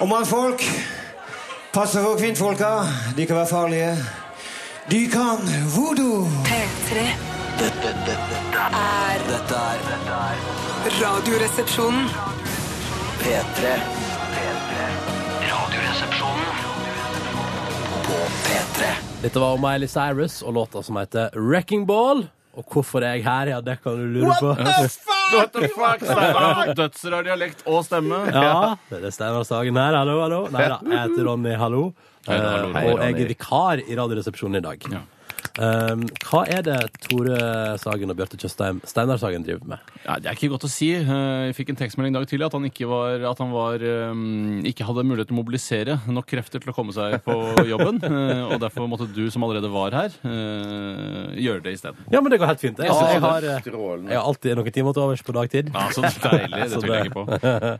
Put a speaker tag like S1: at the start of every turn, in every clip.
S1: Og mannfolk, pass dere for kvinnfolka. De kan være farlige. De kan voodoo.
S2: P3
S3: Dette, dette, dette er-
S2: er
S3: dette er dette er
S2: Radioresepsjonen.
S3: P3. P3. Radioresepsjonen på P3.
S4: Dette var Miley Cyrus og låta som heter Wrecking Ball. Og hvorfor er jeg her? Ja, det kan du lure på.
S5: What the fuck, Steinar? Dødsrar, dialekt og stemme.
S4: Ja, det er Steinar Sagen her. Hallo, hallo. Nei da, jeg heter Ronny, hallo.
S5: Hei, hallo,
S4: Eh,
S5: hei,
S4: og jeg
S5: Ronny.
S4: er vikar i Radioresepsjonen i dag.
S5: Ja.
S4: Um, hva er det Tore Sagen og Bjarte Tjøstheim Steinar Sagen driver med?
S5: Ja, det er ikke godt å si. Eh, Jeg fikk en tekstmelding i dag tidlig at han ikke, var, at han var, eh, ikke hadde mulighet til å mobilisere nok krefter til å komme seg på jobben. eh, Og derfor måtte du, som allerede var her, eh, gjøre det isteden.
S4: Ja, men det går helt fint. Jeg,
S5: synes
S4: jeg,
S5: det er
S4: har, eh, jeg har alltid noen timer til overs på dagtid.
S5: Ja, så
S4: Så
S5: deilig. Det tviler jeg ikke på.
S4: Eh,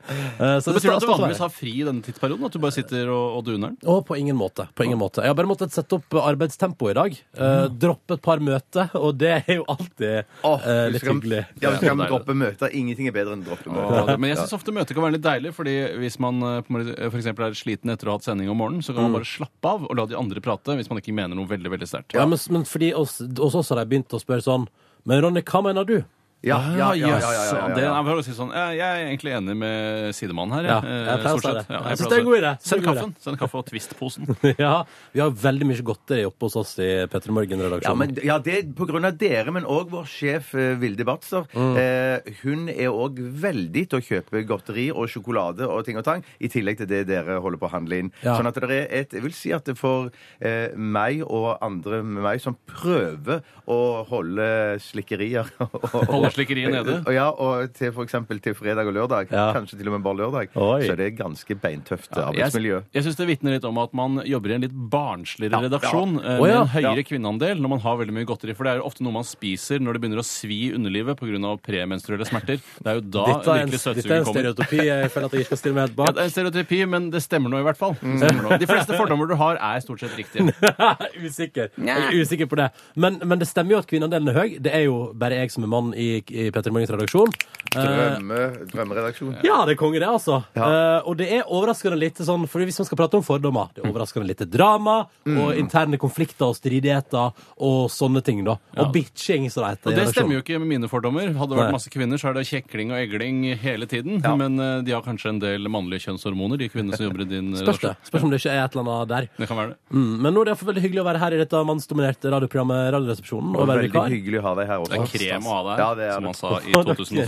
S4: så
S5: Det
S4: det
S5: betyr
S4: står-
S5: at du
S4: står-
S5: vanligvis har fri i denne tidsperioden? At du bare sitter og, og duner den?
S4: Å, på ingen måte. På ingen måte. Jeg har bare måttet sette opp arbeidstempoet i dag. Eh, droppe et par møter, og det er jo alltid
S6: Åh,
S4: eh,
S6: du
S4: litt
S6: skal-
S4: hyggelig.
S6: Ja,
S5: Det er
S6: vi skal
S5: deilig.
S6: droppe møter. Ingenting er bedre enn å droppe møter.
S5: Men jeg syns ofte møter kan være litt deilig, fordi hvis man eh, på morgen- eh, for eksempel er sliten etter å ha hatt sending om morgenen, så kan
S4: Mm.
S5: man bare slappe av og la de andre prate hvis man ikke mener noe veldig veldig sterkt.
S4: Ja, men, men fordi oss, hos oss har de begynt å spørre sånn Men Ronny, hva mener du?
S6: Ja, ja, ja, ja, ja,
S5: jøss.
S6: ja, ja,
S5: Ah, Det er
S6: ja.
S5: bare å si sånn, jeg jeg er egentlig enig med sidemannen her.
S4: Ja,
S5: eh,
S4: jeg pleier å
S5: stort
S4: si
S5: sett.
S4: det.
S5: Ja,
S4: Jeg
S5: jeg
S4: synes
S5: pleier
S4: det er
S5: å
S4: en god
S5: si
S4: idé.
S5: Send
S4: Det er en god idé.
S5: kaffen, send kaffe og Twist-posen.
S4: ja, Vi har veldig mye godteri oppe hos oss i Petter
S6: Ja,
S4: Morgen-redaksjonen.
S6: men, ja, det er på grunn av dere, men òg vår sjef eh, Vilde Batzer. Eh, hun er òg veldig til å kjøpe godteri og sjokolade og ting og tang, i tillegg til det dere holder på å handle inn.
S4: Ja.
S6: Sånn at det er et Jeg vil si at det for eh, meg og andre med meg som prøver å holde slikkerier og, og-
S5: Holde slikkeriet nede.
S6: Og, ja, og til for eksempel til fredag og lørdag,
S4: Ja.
S6: kanskje til og med bare lørdag,
S4: Oi.
S6: så er det ganske beintøft arbeidsmiljø.
S5: Jeg, jeg syns det vitner litt om at man jobber i en litt barnsligere redaksjon
S4: Å,
S5: eh, med
S4: ja.
S5: en høyere kvinneandel når man har veldig mye godteri. For det er jo ofte noe man spiser når det begynner å svi i underlivet pga. premenstruelle smerter. Det er jo da
S4: dette, er en, dette
S5: virkelig
S4: er
S5: søtsuget
S4: en
S5: kommer.
S4: stereotypi. Jeg føler at jeg ikke skal stille meg helt
S5: Ja,
S4: bak.
S5: det er en stereotypi, men det stemmer nå i hvert fall. Det stemmer nå. De fleste fordommer du har, er stort sett riktige.
S4: usikker. Jeg er usikker på det. Men, men det stemmer jo at kvinneandelen er høy. Det er jo bare jeg som er mann i, i Petter Morgens redaksjon. Eh,
S6: Drømme, drømmeredaksjon.
S4: ja, det er konge, det, altså.
S6: Ja.
S4: Eh, og det er overraskende lite sånn For hvis man skal prate om fordommer, det er overraskende lite drama
S5: Mm.
S4: og interne konflikter og stridigheter og sånne ting, da. Og bitching, som det heter.
S5: Og det stemmer jo ikke med mine fordommer. Hadde det
S4: Nei.
S5: vært masse kvinner, så er det kjekling og egling hele tiden. Men eh, de har kanskje en del mannlige kjønnshormoner, de kvinnene som jobber i din
S4: Spørs det.
S5: redaksjon.
S4: Spørs om det ikke er et eller annet der.
S5: Det kan være det.
S4: Mm, men nå er det iallfall veldig hyggelig å være her i dette mannsdominerte radioprogrammet Radioresepsjonen. Og
S6: Og
S4: være
S6: veldig
S4: vikar.
S6: hyggelig å ha deg her også.
S5: Det er krem å ha der,
S6: Ja, det er
S5: som
S6: det.
S5: han sa i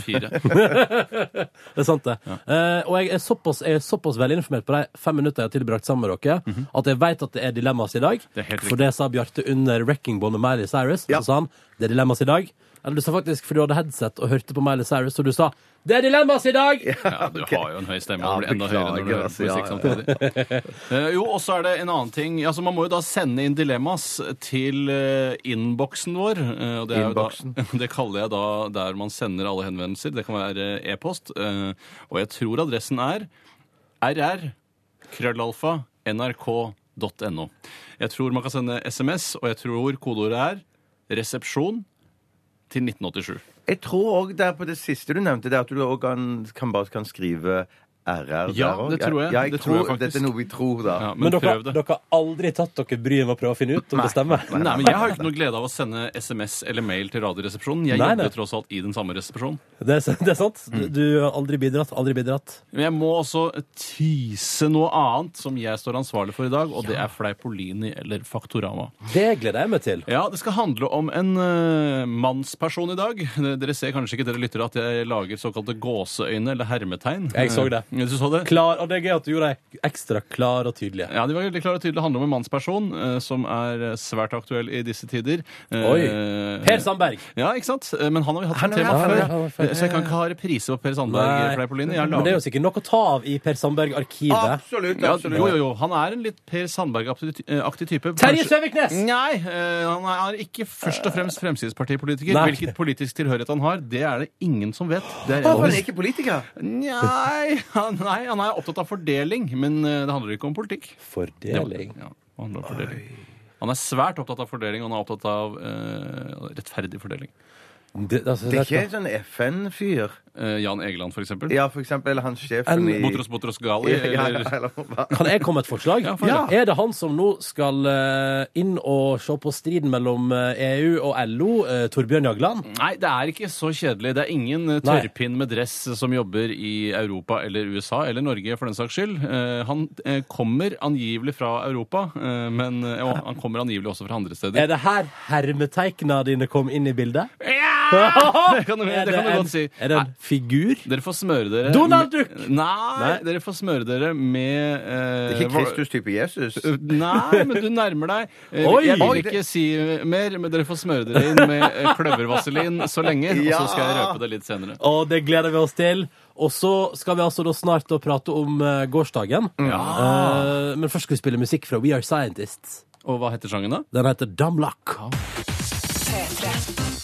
S5: 2004.
S4: Det er sant, det. Eh, og jeg er såpass, jeg er såpass velinformert på de fem minutter jeg har tilbrakt sammen med dere, at jeg vet at det er dilemmas i dag.
S5: Mhm. Det er helt
S4: for det sa Bjarte under Wrecking Ball med Miley Cyrus.
S6: Ja.
S4: Så sa han det er dilemmas i dag. Eller du sa faktisk, for du hadde headset og hørte på Miley Cyrus, og du sa det er dilemmas i dag!
S5: Ja, du har jo en høy stemme.
S6: Ja,
S5: og det blir enda høyere når du
S6: beklager,
S5: hører
S6: altså,
S5: på
S6: ja,
S5: musikk samtidig. Eh, Jo, og så er det en annen ting. Altså, man må jo da sende inn dilemmas til eh, innboksen vår. eh, Og det, er jo da, det kaller jeg da der man sender alle henvendelser. Det kan være eh, e-post. eh, Og jeg tror adressen er rr krøllalfa nrk.no. Jeg tror man kan sende SMS, og jeg tror kodeordet er resepsjon til 1987.
S6: Jeg tror òg der på det siste du nevnte, det er at du òg kan, kan bare kan skrive RR
S5: Ja,
S6: der òg.
S5: det tror jeg.
S6: Ja, jeg
S5: Det tror
S6: tror,
S5: jeg faktisk.
S6: Dette er noe vi tror, da.
S5: Ja,
S4: Men
S5: men
S4: dere,
S5: prøv det.
S4: dere har aldri tatt dere bryet med å prøve å finne ut om det stemmer?
S5: Nei, men Jeg har jo ikke noe glede av å sende SMS eller mail til Radioresepsjonen. Jeg
S4: Nei,
S5: jobber
S4: nei.
S5: jo tross alt i den samme resepsjonen.
S4: Det er, det er sant.
S5: Mm.
S4: Du, du har aldri bidratt. Aldri bidratt.
S5: Men jeg må også tease noe annet som jeg står ansvarlig for i dag, og det er Fleipolini eller Faktorama.
S4: Det gleder jeg meg til.
S5: Ja, Det skal handle om en eh, mannsperson i dag. Dere ser kanskje ikke dere lyttere at jeg lager såkalte gåseøyne eller hermetegn.
S4: Jeg så det.
S5: Eh, Du så det?
S4: Klar, og det er gøy at du gjorde deg ekstra klar og tydelig.
S5: Ja, de var veldig klare og tydelige. Det handler om en mannsperson eh, som er eh, svært aktuell i disse tider. Eh,
S4: Oi. Per Sandberg.
S5: Ja, ikke sant? Eh, Men han har vi hatt
S6: Han
S5: som
S6: har vi
S5: tema
S6: hatt,
S5: før. Eh,
S4: han har vi hatt før.
S5: Så jeg kan ikke ha reprise på Per Sandberg. Fleipolini. Jeg har
S4: Men det er
S5: laget-
S4: jo sikkert nok å ta av i Per Sandberg-arkivet.
S6: Absolutt.
S5: ja,
S6: absolutt.
S5: jo, jo, jo. Han er en litt Per Sandberg-aktig eh, type.
S4: Terje
S5: Kanskje-
S4: Søviknes!
S5: Nei, eh, han er ikke først og fremst Fremskrittspartipolitiker.
S4: Nei.
S5: Hvilket politisk tilhørighet han har, det er det ingen som vet. Det er
S6: Hvorfor er
S5: en-
S6: han ikke politiker?
S5: Nei, han, nei, han er opptatt av fordeling, men eh, det handler ikke om politikk.
S4: Fordeling.
S5: Ja, det handler om fordeling. Han er svært opptatt av fordeling, og han er opptatt av eh, rettferdig fordeling.
S4: Det, altså,
S6: Det er
S4: vet
S6: ikke
S4: du.
S6: en sånn FN-fyr.
S5: Eh, Jan Egeland, for eksempel.
S6: Ja, for eksempel han sjefen
S4: En-
S6: i
S5: Botros Botros Gali.
S6: Ja, ja,
S5: eller- liksom.
S6: eller
S5: Eh,
S6: hva?
S4: Kan jeg komme med et forslag?
S5: Ja, få høre.
S4: Er det han som nå skal eh, inn og se på striden mellom eh, EU og LO, eh, Torbjørn Jagland?
S5: Nei, det er ikke så kjedelig. Det er ingen eh,
S4: Nei.
S5: tørrpinn med dress som jobber i Europa eller USA, eller Norge for den saks skyld. Eh, Han eh, kommer angivelig fra Europa, eh, men eh, og han kommer angivelig også fra andre steder.
S4: Er det her hermeteikna dine kom inn i bildet?
S5: Det kan du, det
S4: Er
S5: kan du
S4: en-
S5: godt si.
S4: Er det en figur?
S5: Dere får smøre dere
S4: Donald
S5: med-
S4: Duck!
S5: Nei,
S4: Nei.
S5: dere får smøre dere med eh,
S6: Ikke
S5: hva-
S6: Kristus-type Jesus.
S5: Nei, men du nærmer deg. Eh,
S4: Oi!
S5: Jeg vil ikke si eh, mer, men dere får smøre dere inn med eh, kløvervaselin så lenge, og
S6: Ja!
S5: så skal jeg røpe det litt senere.
S4: Og det gleder vi oss til. Og så skal vi altså da snart da prate om eh, gårsdagen. Eh, men først skal vi spille musikk fra We Are Scientists.
S5: Og hva heter sangen da?
S4: Den heter Dumb Luck.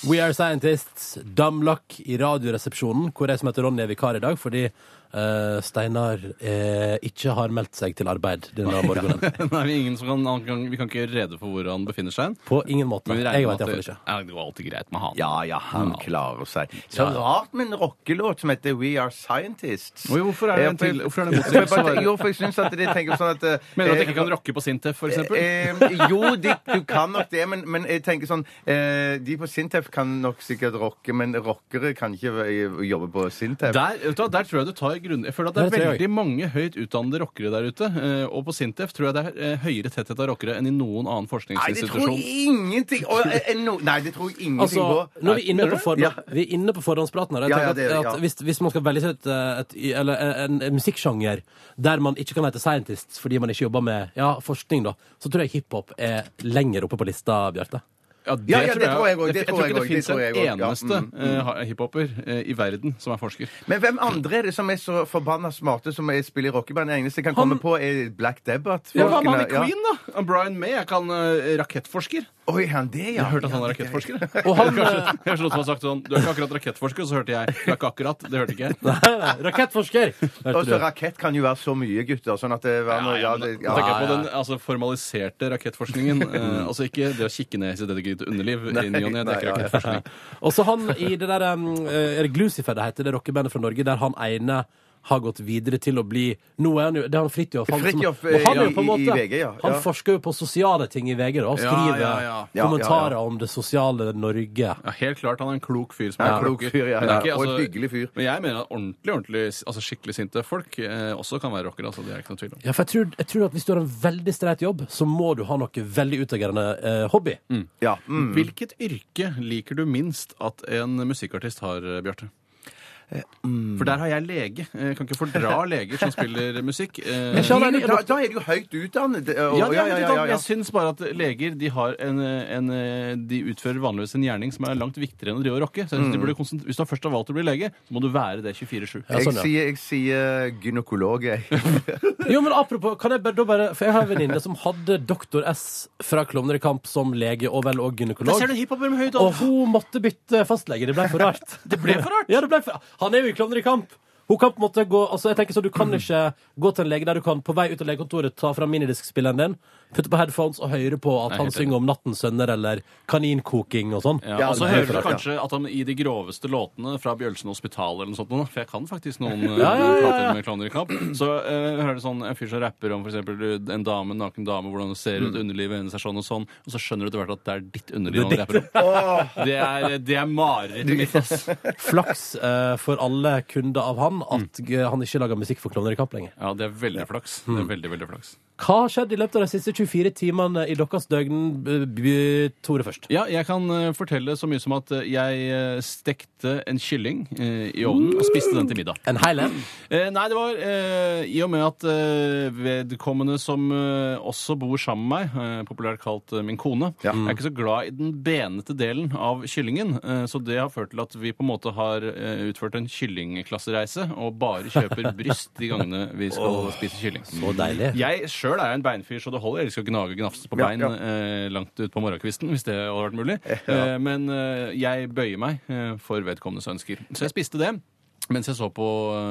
S4: We Are Scientists, Dumb Luck i Radioresepsjonen, hvor jeg som heter Ronny er vikar i dag fordi eh, Steinar eh, ikke har meldt seg til arbeid denne morgenen.
S5: Nei, vi, er ingen som kan, han kan, vi kan ikke gjøre rede for hvor han befinner seg.
S4: På ingen måte.
S5: Men vi regner
S4: Jeg
S5: med
S4: vet
S5: at
S4: iallfall
S5: det-
S4: ikke.
S5: Ja, det går alltid greit med han.
S6: Ja, ja, han klarer seg. Så rart med en rockelåt som heter We Are Scientists.
S5: Oi, hvorfor er det
S6: Eh,
S5: en til-
S6: for-
S5: hvorfor er det en
S6: for jeg bare
S5: motsetning?
S6: tenker- Jo, for jeg syns at de tenker sånn at eh,
S5: Mener du at jeg ikke
S6: eh,
S5: kan rocke på Sintef, for eksempel?
S6: Eh, jo, de, du kan nok det, men, men jeg tenker sånn eh, De på Sintef kan nok sikkert rocke, men rockere kan ikke eh, jobbe på Sintef.
S5: Der, vet du, hva, der tror jeg du tar grunn... Jeg føler at det
S4: Der
S5: er
S4: tror jeg
S5: veldig mange høyt utdannede rockere der ute. eh, Og på Sintef tror jeg det er eh, høyere tetthet av rockere enn i noen annen
S6: Nei, det tror
S5: forskningsinstitusjon.
S6: jeg ingenting og, eh, eh, no, Nei, det tror jeg ingenting
S4: Altså,
S6: på.
S4: når vi er inne på, forhånd,
S6: Ja.
S4: vi er inne på forhåndspraten her, jeg
S6: Ja,
S4: tenker
S6: ja,
S4: at,
S6: det er det, ja.
S4: at hvis, hvis man skal velge seg et, eh, et, eller en, en musikksjanger der man ikke kan hete scientist fordi man ikke jobber med ja, forskning, da, så tror jeg hiphop er lenger oppe på lista, Bjarte.
S5: Ja, det,
S6: Ja, ja, det tror jeg også, det
S5: Jeg
S6: tror
S5: tror
S6: jeg
S5: ikke
S6: også,
S5: det
S6: det
S5: fins
S6: tror jeg også,
S5: en
S6: ja.
S5: eneste eh, ha- hiphoper eh, i verden som er forsker.
S6: Men hvem andre er det som er så forbanna smarte som er spiller i rockeband? Det eneste jeg kan komme på, er Black Debbath.
S5: Ja, hva med han i
S6: Folkene- ja.
S5: Queen, da? Og Brian May er ikke han eh, rakettforsker?
S6: Oi, han det, ja.
S5: Jeg hørte at han
S6: Ja,
S5: er
S6: det-
S5: rakettforsker.
S4: Og han,
S5: Kanskje, kanskje noen som har sagt sånn Du er ikke akkurat rakettforsker, så hørte jeg. Du er ikke akkurat, det hørte ikke jeg.
S4: Rakettforsker!
S6: Og
S4: Hørte
S6: så
S4: du?
S6: rakett kan jo være så mye, gutter. Sånn at det var noe, ja,
S5: men
S6: det,
S5: da tenker jeg
S6: ja. Mm.
S5: på den altså, formaliserte rakettforskningen. Eh, altså ikke det å kikke ned i sitt eget underliv i ny og ne. Det er ikke
S6: nei, ja, ja.
S5: rakettforskning.
S4: Og så han i det der um, Er det Glucifer det heter, det rockebandet fra Norge, der han ene har gått videre til å bli Nå er han jo Det er han Fridtjof. Han, som-
S6: Fridtjof,
S4: og han, er jo
S6: ja,
S4: på en
S6: i- i
S4: måte,
S6: VG, ja, ja.
S4: han forsker jo på sosiale ting i VG, da. Og
S5: Ja,
S4: skriver
S5: ja, ja.
S6: ja,
S4: kommentarer
S6: ja.
S4: om det sosiale Norge.
S5: Ja, helt klart han er en klok fyr. som
S6: Ja, klok fyr, ja,
S5: Men det er altså,
S6: ja. Og en hyggelig fyr.
S5: Men jeg mener at ordentlig, ordentlig, altså skikkelig sinte folk eh, også kan være rockere. Altså, det er ikke noe tvil om.
S4: Ja, for jeg tror, jeg tror at hvis du har en veldig streit jobb, så må du ha noe veldig utagerende eh, hobby.
S6: Ja, mm.
S5: Hvilket yrke liker du minst at en musikkartist har, eh, Bjarte? Eh, For der har jeg lege. Jeg kan ikke fordra leger som spiller musikk. Eh,
S4: Jeg skjønner,
S6: Men
S4: jeg,
S6: Da, da er du jo høyt utdannet. eh, og-
S5: Ja, det er litt annet. Jeg syns bare at leger de har en, en De utfører vanligvis en gjerning som er langt viktigere enn å drive og rocke. Så jeg synes de burde konsent- Hvis du har først har valgt å bli lege, så må du være det 24-7.
S4: Ja,
S6: Jeg
S4: sånn, ja.
S6: sier, jeg sier gynekolog, jeg.
S4: Jo, men apropos, kan jeg bare, da bare For jeg har en venninne som hadde Doktor S fra Klovner i kamp som lege og vel òg gynekolog.
S5: hiphoper med høyt
S4: Og hun måtte bytte fastlege. Det ble for rart. det ble for rart? ja, det ble for... Han er jo i Klovner i kamp. Hun kan på en måte gå, altså jeg tenker så Du kan ikke gå til en lege der du kan på vei ut av legekontoret ta fram minidiskspilleren din, putte på headphones og høre på at
S5: Nei,
S4: han
S5: helt enig.
S4: synger om nattens sønner eller kaninkoking og sånn.
S5: Ja,
S6: Ja,
S5: og så
S6: det er
S5: hører
S6: helt
S5: du
S6: rart, ja.
S5: kanskje at han i de groveste låtene fra Bjølsen Hospital eller noe sånt, nå, for jeg kan faktisk noen eh,
S4: Ja, ja, ja, ja.
S5: plater med Klovner i Kamp, så eh, hører du sånn en fyr som rapper om for eksempel du, en dame, en naken dame, hvordan det ser ut, underlivet hennes er sånn og sånn, og så skjønner du etter hvert at det er ditt underliv han rapper om. Det er, det er marerittet mitt, ass.
S4: Flaks eh, for alle kunder av han at
S5: Mm.
S4: eh, han ikke lager musikk for Klovner i kamp lenger.
S5: Ja, det er veldig flaks. Det er veldig, veldig flaks.
S4: Hva har skjedd i løpet av de siste 24 timene i deres døgn, b- b- Tore først?
S5: Ja, jeg kan eh, fortelle så mye som at eh, jeg eh, stekte en kylling eh, i ovnen og spiste den til middag.
S4: En hel en?
S5: Eh, nei, det var eh, i og med at eh, vedkommende som eh, også bor sammen med meg, eh, populært kalt eh, min kone,
S4: Mm.
S5: er ikke så glad i den benete delen av kyllingen. Eh, så det har ført til at vi på en måte har eh, utført en kyllingklassereise og bare kjøper bryst de gangene vi skal spise kylling.
S4: Så deilig.
S5: Jeg sjøl er jo en beinfyr, så det holder. Jeg elsker å gnage og gnafse på bein Eh, langt utpå morgenkvisten, hvis det hadde vært mulig. Eh, men eh, jeg bøyer meg eh, for vedkommendes ønsker. Så jeg spiste det. Mens jeg så på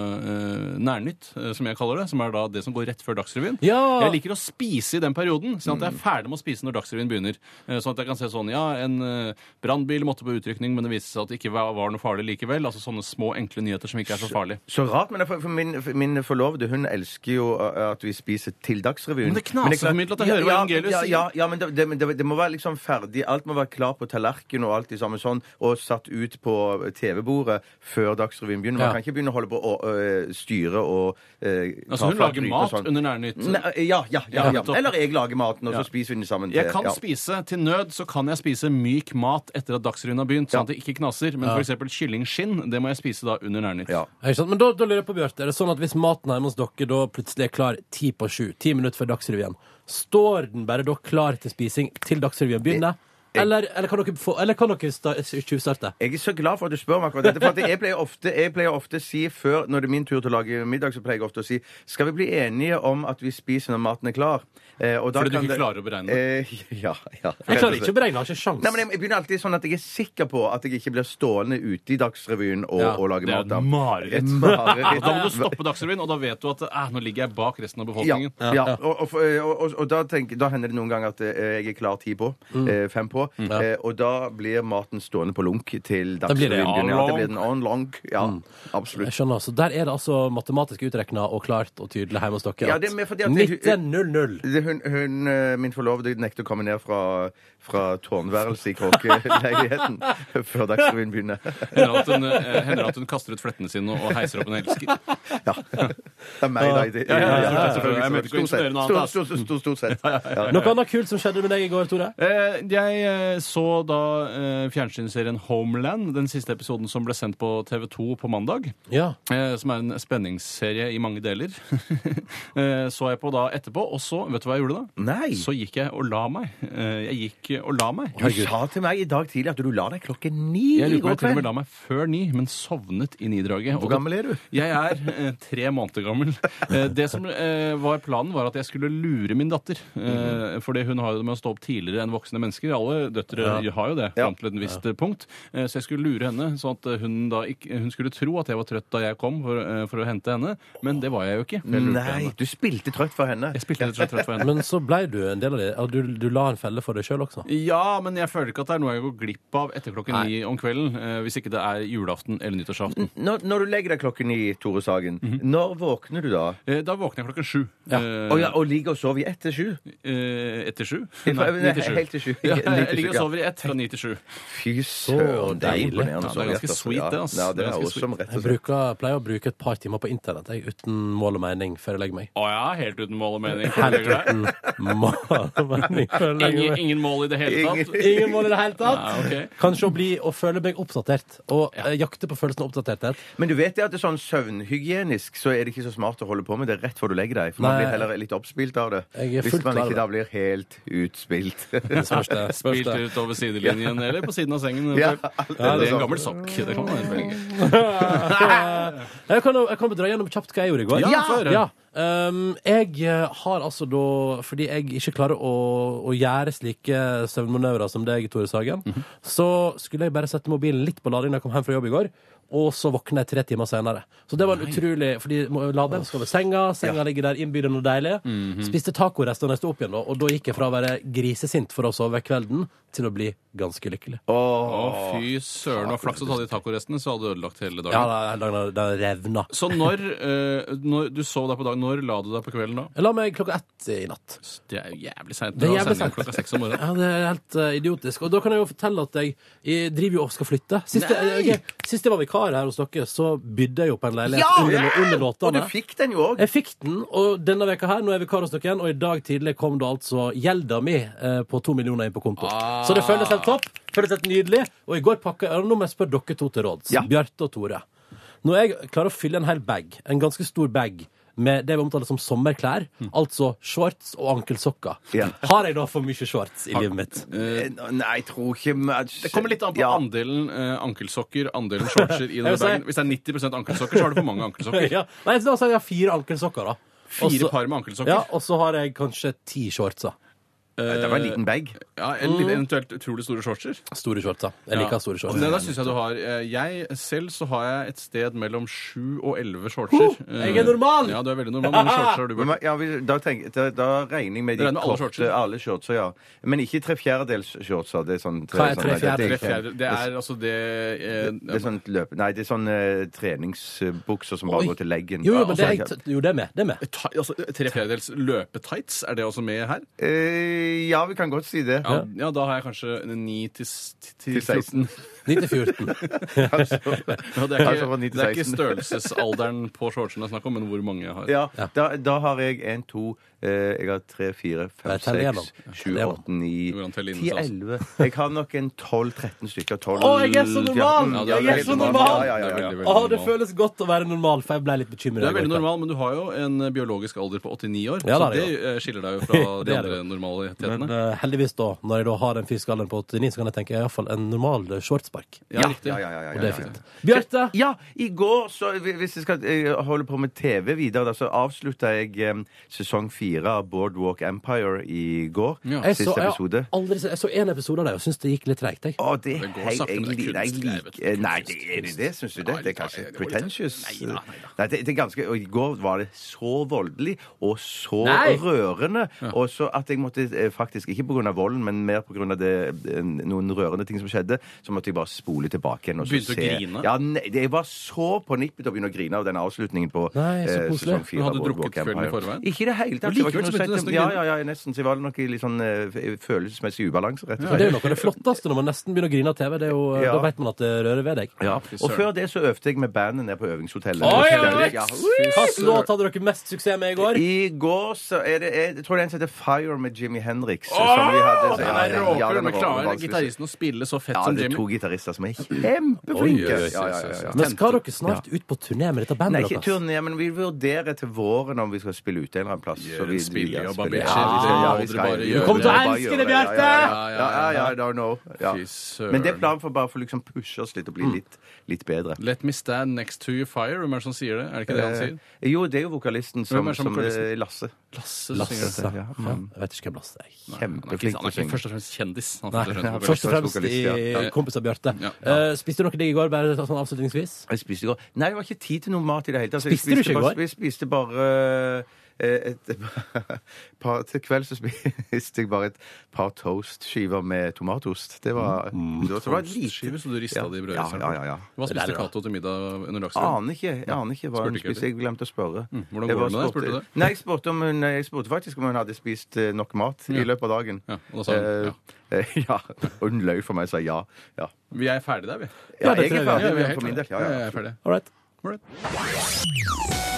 S5: eh, Nærnytt, eh, som jeg kaller det, som er da det som går rett før Dagsrevyen.
S4: Ja!
S5: Jeg liker å spise i den perioden, sånn at jeg er ferdig med å spise når Dagsrevyen begynner. Eh, Sånn at jeg kan se sånn, ja, en eh, brannbil måtte på utrykning, men det viste seg at det ikke var var noe farlig likevel. Altså sånne små, enkle nyheter som ikke er så farlig.
S6: Så rart, men for, for min, for min forlovede hun elsker jo uh, at vi spiser til Dagsrevyen.
S5: Men det knaser
S6: klart-
S5: for mye til at jeg hører hva Angelius
S6: ja,
S5: sier.
S6: ja, ja, men det, det, men det, det må være liksom ferdig. Alt må være klar på tallerken og alt det samme sånn, og satt ut på TV-bordet før Dagsrevyen begynner. Man
S4: Ja.
S6: kan ikke begynne å holde på å øh, styre og øh,
S5: Altså
S6: ta
S5: hun
S6: fra
S5: lager
S6: gryter og
S5: mat
S6: sånn.
S5: under Nærnytt.
S6: Nei, ja, ja, ja, ja.
S5: nettopp.
S6: Eller jeg lager maten, og
S5: Ja.
S6: så spiser vi den sammen.
S5: Jeg
S6: til-
S5: kan
S6: Eh, ja.
S5: spise til nød, så kan jeg spise myk mat etter at Dagsrevyen har begynt, sånn at det ikke knaser. Men for eksempel kyllingskinn, det må jeg spise da under Nærnytt.
S6: Ja.
S4: Ja, Ikke sant? Men da, da lurer jeg på, Bjarte, er det sånn at hvis maten hjemme hos dere da plutselig er klar ti på sju, ti minutter før Dagsrevyen, står den bare da klar til spising til Dagsrevyen begynner? Eller, eller kan dere, få, eller kan dere sta- tjuvstarte?
S6: Jeg er så glad for at du spør meg akkurat dette. For at jeg pleier ofte jeg pleier ofte å si før, når det er min tur til å lage middag, så pleier jeg ofte å si skal vi bli enige om at vi spiser når maten er klar. Eh, og da
S5: Fordi du
S6: kan
S5: ikke klarer å beregne
S6: Eh, ja, ja.
S4: Jeg klarer ikke å beregne, jeg har ikke sjans.
S6: Nei, men jeg, jeg begynner alltid sånn at jeg er sikker på at jeg ikke blir stående ute i Dagsrevyen og,
S4: Ja,
S6: og lage
S5: det er
S6: mat. av.
S5: et mareritt.
S6: Et mareritt.
S5: Da må du stoppe Dagsrevyen, og da vet du at eh, nå ligger jeg bak resten av
S6: Ja.
S5: befolkningen.
S6: ja. Og, og, og, og, og da, tenker, da hender det noen ganger at eh, jeg er klar ti på.
S5: Mm.
S6: Eh, fem på. Eh, og da blir maten stående på lunk til
S4: blir
S6: Dagsrevyen
S4: det
S5: en Mm.
S6: begynner. Ja, det
S5: long.
S6: blir den on long. Ja, absolutt.
S4: Jeg skjønner, så Der er det altså matematisk utregna og klart og tydelig hjemme hos dere
S6: Ja,
S4: at
S6: det er mer fordi at jeg-
S4: 1900
S6: Det, hun, hun, eh, min forlovede nekter å komme ned fra, fra tårnværelset i kråkeleiligheten før Dagsrevyen begynner.
S5: Hender at, hun, eh, hender at hun kaster ut flettene sine og heiser opp en elsker.
S6: Ja. Det er meg, da. i det-
S5: Ja, ja, ja, ja, ja, ja.
S6: selvfølgelig.
S5: Jeg mente ikke å
S6: Stort sett.
S5: insinuere noe annet,
S6: Stort,
S5: ass.
S6: stort, stort, stort, stort sett. Ja.
S4: Noe annet kult som skjedde med deg i går, Tore?
S5: Eh, jeg eh, så da eh, fjernsynsserien Homeland, den siste episoden som ble sendt på TV2 på mandag.
S4: Ja.
S5: Eh, som er en spenningsserie i mange deler. eh, så jeg på da etterpå, og så Vet du hva jeg gjorde da?
S6: Nei!
S5: Så gikk jeg og la meg. Eh, jeg gikk og la meg.
S6: Du sa til meg i dag tidlig at du la deg klokken ni
S5: Jeg
S6: i
S5: lurer på om
S6: går
S5: jeg til og med
S6: kveld.
S5: la meg før ni, men sovnet i nidraget.
S6: Hvor gammel er du?
S5: Jeg er eh, tre måneder gammel. Eh, det som eh, var planen, var at jeg skulle lure min datter. Eh, fordi hun har jo det med å stå opp tidligere enn voksne mennesker. Alle døtre har jo det fram til et visst eh, punkt. Eh, så jeg skulle lure henne, sånn at eh, hun, da ikke, hun skulle tro at jeg var trøtt da jeg kom for, eh, for å hente henne. Men det var jeg jo ikke. for Jeg, lurte
S6: Nei,
S5: henne.
S6: du spilte trøtt for henne.
S5: jeg spilte litt trøtt for henne.
S4: Men så blei du en del av det. Ja, Du, du la en felle for deg sjøl også.
S5: Ja, men jeg føler ikke at det er noe jeg går glipp av etter klokken ni om kvelden. Eh, hvis ikke det er julaften eller nyttårsaften.
S6: Når, når du legger deg klokken ni, Tore Sagen, når våkner du da?
S5: Eh, Da våkner jeg klokken sju. Mhm. Eh,
S6: Å ja, og ligger og sover i ett til sju?
S5: eh, etter sju?
S6: Nei,
S5: ni til sju.
S6: helt til sju.
S5: Ja,
S6: Ni til
S5: jeg
S6: sju,
S5: ligger og
S6: ja.
S5: sover i ett fra ni til sju.
S6: Fy søren, det er
S4: deilig.
S6: imponerende.
S5: Ja, det er
S6: sovet,
S5: ganske
S6: altså.
S5: sweet, det,
S6: Ja,
S5: ass.
S6: Ja,
S5: Det
S6: det
S5: er
S6: er
S5: ganske sweet.
S6: awesome, rett og
S4: Jeg
S6: slett.
S4: bruker, pleier å bruke et par timer på internett jeg, uten mål og mening før jeg legger meg.
S5: Å ja, helt uten mål og mening.
S4: Helt
S5: Ligger der.
S4: uten mål og mening før jeg legger
S5: Ingen,
S4: meg.
S5: ingen mål i det hele tatt?
S4: Ingen mål i det hele tatt.
S5: Nei, ok.
S4: Kanskje å bli og føle meg oppdatert. Og eh, jakte på følelsen av oppdaterthet.
S6: Men du vet det at det er sånn søvnhygienisk så er det ikke så smart å holde på med det rett før du legger deg. For man
S4: Nei.
S6: blir heller litt oppspilt av det.
S4: Jeg er
S6: Hvis
S4: fullt
S6: man
S4: klar
S6: ikke da
S4: over
S6: blir helt utspilt.
S4: Det spørs det. Spørs
S5: Spilt
S4: det.
S5: ut over sidelinjen eller på siden av sengen.
S6: Ja,
S5: eventuelt.
S6: alt
S5: det er
S6: sånn.
S5: en gammel sokk. Det kan man være veldig.
S4: Jeg kan, jeg kan dra gjennom kjapt hva jeg gjorde i går.
S5: Ja, få høre.
S4: Ja. Um, jeg eh, har altså da Fordi jeg ikke klarer å, å gjøre slike søvnmanøvrer som deg, Tore Sagen,
S5: Mhm.
S4: så skulle jeg bare sette mobilen litt på lading da jeg kom hjem fra jobb i går. Og så våkna jeg tre timer senere. Så det var en utrolig Fordi må- laderen skal over senga, senga ligger der innbydende og deilig.
S5: Mhm.
S4: Spiste tacorester da jeg sto opp igjen, da, og da gikk jeg fra å være grisesint for å sove kvelden, til å bli ganske lykkelig.
S5: Å, fy søren. Det var flaks å ta de tacorestene, så hadde du ødelagt hele dagen.
S4: Ja, den- den den revna.
S5: Så når, eh, når du sov deg på dagen, når la du deg på kvelden da?
S4: Jeg la meg klokka ett i natt.
S5: Det er jo jævlig seint.
S4: Det er jævlig sent.
S5: Klokka seks om morgenen.
S4: Ja, det er helt eh, idiotisk. Og da kan jeg jo fortelle at jeg, jeg driver jo og skal flytte. Sist jeg, ok, sist jeg var vikar her hos dere, så bydde jeg jo på en leilighet under, under
S5: Sånn,
S6: Og du
S4: låtene.
S6: fikk den jo òg.
S4: Jeg fikk den, og denne veka her, nå er jeg vikar hos dere igjen, og i dag tidlig kom det altså gjelda mi eh, på to millioner inn på konto.
S5: Ah.
S4: Så det føles helt topp. Føles helt nydelig. Og i går pakka jeg og Nå må jeg spørre dere to til råds.
S6: Ja.
S4: Bjarte og Tore. Når jeg klarer å fylle en hel bag, en ganske stor bag, med det vi omtaler som sommerklær, altså shorts og ankelsokker,
S6: Ja.
S4: har jeg da for mye shorts i livet mitt?
S6: Eh, Nei, jeg tror ikke
S5: Det kommer litt an på
S6: ja.
S5: andelen eh, ankelsokker, andelen shortser i denne
S4: vil si-
S5: dagen. Hvis det er 90 ankelsokker, så har du for mange ankelsokker.
S4: ja. Nei, så da har jeg fire ankelsokker, da.
S5: Fire par med ankelsokker.
S4: Ja, og så har jeg kanskje ti shortser.
S6: Det var en liten bag.
S5: Ja, eller
S6: Mm.
S5: eventuelt utrolig store shortser.
S4: Store shorts, da. Jeg liker store shorts.
S5: Ja, da synes jeg du har. Eh, Jeg selv så har jeg et sted mellom sju og elleve shortser.
S4: jeg er normal!
S5: Ja, du er veldig normal. Hvor mange shortser har du, Bjørn?
S6: Men man- Ja, vi- da, tenk, da, da regner jeg med de
S5: Regner med alle
S6: korte-
S5: shortser.
S6: alle shortser. Ja. Men ikke tre fjerdedels shortser. Det er sånn
S4: Hva er
S6: sånn-
S4: tre
S6: nei, det er-
S4: fjerde-
S5: Tre fjerde. Det er altså det eh,
S6: Det er sånn løp... Nei, det er sånn eh, treningsbukser som
S4: Oi.
S6: bare går til leggen.
S4: Jo, jo, men det
S6: Ja,
S4: er, jo, det er med. Det er med.
S5: ta- altså, Tre fjerdedels løpetights, er det også med her?
S6: Eh, ja, vi kan godt si det.
S5: Ja, ja da har jeg kanskje ni til s- til
S6: Til
S5: 16.
S6: 16.
S4: 1914.
S5: Ja, det, er
S6: Altså,
S5: ikke,
S6: fra ni til
S5: det er ikke
S6: 16.
S5: størrelsesalderen på shortsen det er snakk om, men hvor mange jeg har.
S6: Ja, da, da har jeg én, to eh, Jeg har tre, fire,
S4: Ja,
S6: fem,
S4: tell igjennom.
S6: seks, sju,
S4: Tell igjennom.
S6: åtte, ni,
S5: Du må telle inn,
S6: ti,
S5: altså.
S6: elleve Jeg har nok en tolv-tretten stykker. 12,
S4: Å, jeg er så normal!
S5: Ja,
S4: Jeg
S5: du er
S6: 14.
S4: er
S5: veldig
S4: så
S5: normal.
S4: normal!
S6: Ja,
S5: Du
S6: ja, ja,
S5: er
S6: ja.
S5: veldig, veldig
S4: Å, Ah, det
S5: normal.
S4: føles godt å være normal, for jeg ble litt bekymra.
S5: Du er veldig normal, men du har jo en eh, biologisk alder på 89 år,
S4: Ja,
S5: så
S4: det
S5: det
S4: er det
S5: eh, skiller deg jo fra
S4: Det er
S5: de
S4: det
S5: andre
S4: jo. Men
S5: normalitetene.
S4: eh, heldigvis, da, når jeg da har den fysiske alderen på 89, så kan jeg tenke iallfall en normal eh, shortspark.
S5: Ja, riktig.
S6: Ja, ja, ja, ja,
S4: Og det
S6: ja,
S4: er
S6: ja.
S4: fint. Bjarte!
S6: Ja, i går, så, hvis jeg skal eh, holde på med TV videre, da, så avslutta jeg eh, sesong fire av Boardwalk Empire i går.
S4: Jeg så,
S6: Siste
S4: jeg,
S6: episode.
S4: har aldri, sett- jeg så en episode av det og syns det gikk litt treigt. jeg.
S6: Å, det er
S5: Det går
S6: helt
S5: sakte, men det er
S6: egentlig Nei,
S5: kunst, jeg vet.
S6: like- nei,
S5: Kunst,
S6: det er det, det syns du
S5: Ja,
S6: det? Det er
S5: litt- ja,
S6: kanskje
S5: det går litt- sånn-
S6: pretentious?
S5: Nei da, nei da.
S6: Nei, det, det er ganske Og i går var det så voldelig og så
S4: Nei!
S6: rørende, og så at jeg måtte eh, faktisk, ikke pga. volden, men mer pga. eh, noen rørende ting som skjedde, så måtte jeg bare spole tilbake igjen og så
S5: Begynte å
S6: se
S5: grine?
S6: Ja, nei, det, jeg var så på nippet til å begynne å grine av den avslutningen på
S4: Nei, så
S6: eh,
S4: koselig.
S6: sesong fire.
S5: Men hadde
S6: av
S5: du drukket
S6: Boardwalk
S5: kvelden i
S6: Empire.
S5: forveien?
S6: Ikke i det hele tatt.
S5: Og
S6: Det var ikke
S5: likevel så begynte
S6: noe
S5: du
S6: sett-
S5: nesten å
S6: Ja,
S5: grine.
S6: ja, ja, nesten. Så jeg var nok i litt sånn eh, f- følelsesmessig ubalanse, rett og
S4: Men
S6: slett.
S4: det er jo noe av det flotteste når man nesten begynner å grine av TV. Det er jo, eh,
S6: Ja.
S4: Da vet man at det rører ved deg.
S6: Ja,
S5: fy
S6: og
S5: søren.
S6: før det så øvte jeg med bandet nede på øvingshotellet.
S4: Oi,
S6: Ja,
S4: oi, oi!
S6: ja.
S4: Hvilken låt hadde dere mest suksess med i går?
S6: I går så er det Jeg tror det er en som heter Fire med Jimmy Hendrix. som vi hadde, så,
S5: Den
S6: ja,
S5: er
S6: den- ja,
S5: råker,
S6: den er
S5: men klarer
S6: vanskelig.
S5: gitaristen å spille så fett
S6: Ja,
S5: som
S6: det er
S5: Jimmy?
S6: to gitarister som er kjempeflinke.
S5: Oi, oi, oi,
S6: Ja, ja, ja, ja.
S5: oi, oi.
S4: Men skal dere snart ut på turné med dette
S6: Nei,
S4: bandet
S6: ikke
S4: deres?
S6: turné, men vi vurderer til våren om vi skal spille ute en eller annen plass. Så vi,
S5: Spille
S6: ja,
S5: og
S6: spille-
S5: barbere.
S6: Ja, vi skal- ja,
S5: Det må
S6: vi
S5: dere
S6: skal-
S5: bare
S6: vi
S5: gjøre.
S6: må
S5: Kom til å
S6: bare
S4: elske
S6: gjøre
S4: det, Bjarte!
S6: Ja, ja, ja,
S5: Ja, ja,
S6: ja, ja, I don't know. Ja.
S5: Fy søren. Mm.
S6: Men det er planen for bare for å liksom pushe oss litt og bli litt, litt bedre.
S5: Let me stand next to your fire. Hvem er det som sier det? Er det ikke det han sier?
S6: Eh, Jo, det er jo vokalisten som,
S5: Hvem er det som
S6: som,
S5: vokalisten?
S6: eh, Lasse.
S5: Lasse.
S4: Lasse.
S5: synger det.
S4: Ja, jeg vet ikke hvem Lasse er.
S5: Han er ikke,
S6: Kjempeflink
S5: han
S6: til å
S5: er ikke
S6: synge.
S5: først og fremst kjendis. Han
S4: Nei,
S5: er først og fremst vokalist.
S4: først og fremst i
S6: vokalist,
S4: kompis av Bjarte.
S5: Ja.
S4: Eh, spiste dere digg i går, bare sånn avslutningsvis?
S6: Jeg spiste i går. Nei, det var ikke tid til noe mat i det hele tatt. så
S4: Spiste du
S6: jeg
S4: ikke i
S6: bare-
S4: går?
S6: Jeg spiste bare eh, et par, Til kveld så spiste jeg bare et par toastskiver med tomatost. Det var, det var, det var
S5: Skiver,
S6: lite.
S5: så Mm. du rista
S6: Ja.
S5: de i brødet
S6: Ja,
S5: selv.
S6: ja, ja, Ah, ja.
S5: Hva
S4: Det der
S5: spiste
S4: er bra.
S5: Cato til middag under Dagsrevyen?
S6: Aner ikke. Jeg aner ikke hva
S5: Spurte
S6: hun
S5: ikke Mm.
S6: spiste. Jeg glemte å spørre.
S5: hvordan
S6: Jeg
S5: går det
S6: bare
S5: med deg? Spurte du det?
S6: Nei, jeg spurte, om hun, jeg spurte faktisk om hun hadde spist eh, nok mat i løpet av dagen.
S5: Ja, og da sa hun ja.
S6: Eh, eh, ja. Og hun løy for meg og sa ja. Ja,
S5: Vi er ferdige der, vi.
S6: ja,
S4: det tror
S6: jeg
S4: jeg vi
S6: er
S4: er.
S5: Ja,
S6: ferdig
S5: vi er
S6: med
S5: helt
S6: for min del.
S5: ferdige.
S6: Ja, ja,
S5: Ja, jeg er
S6: absolutt.
S5: ferdig.
S4: All right.
S5: Alright.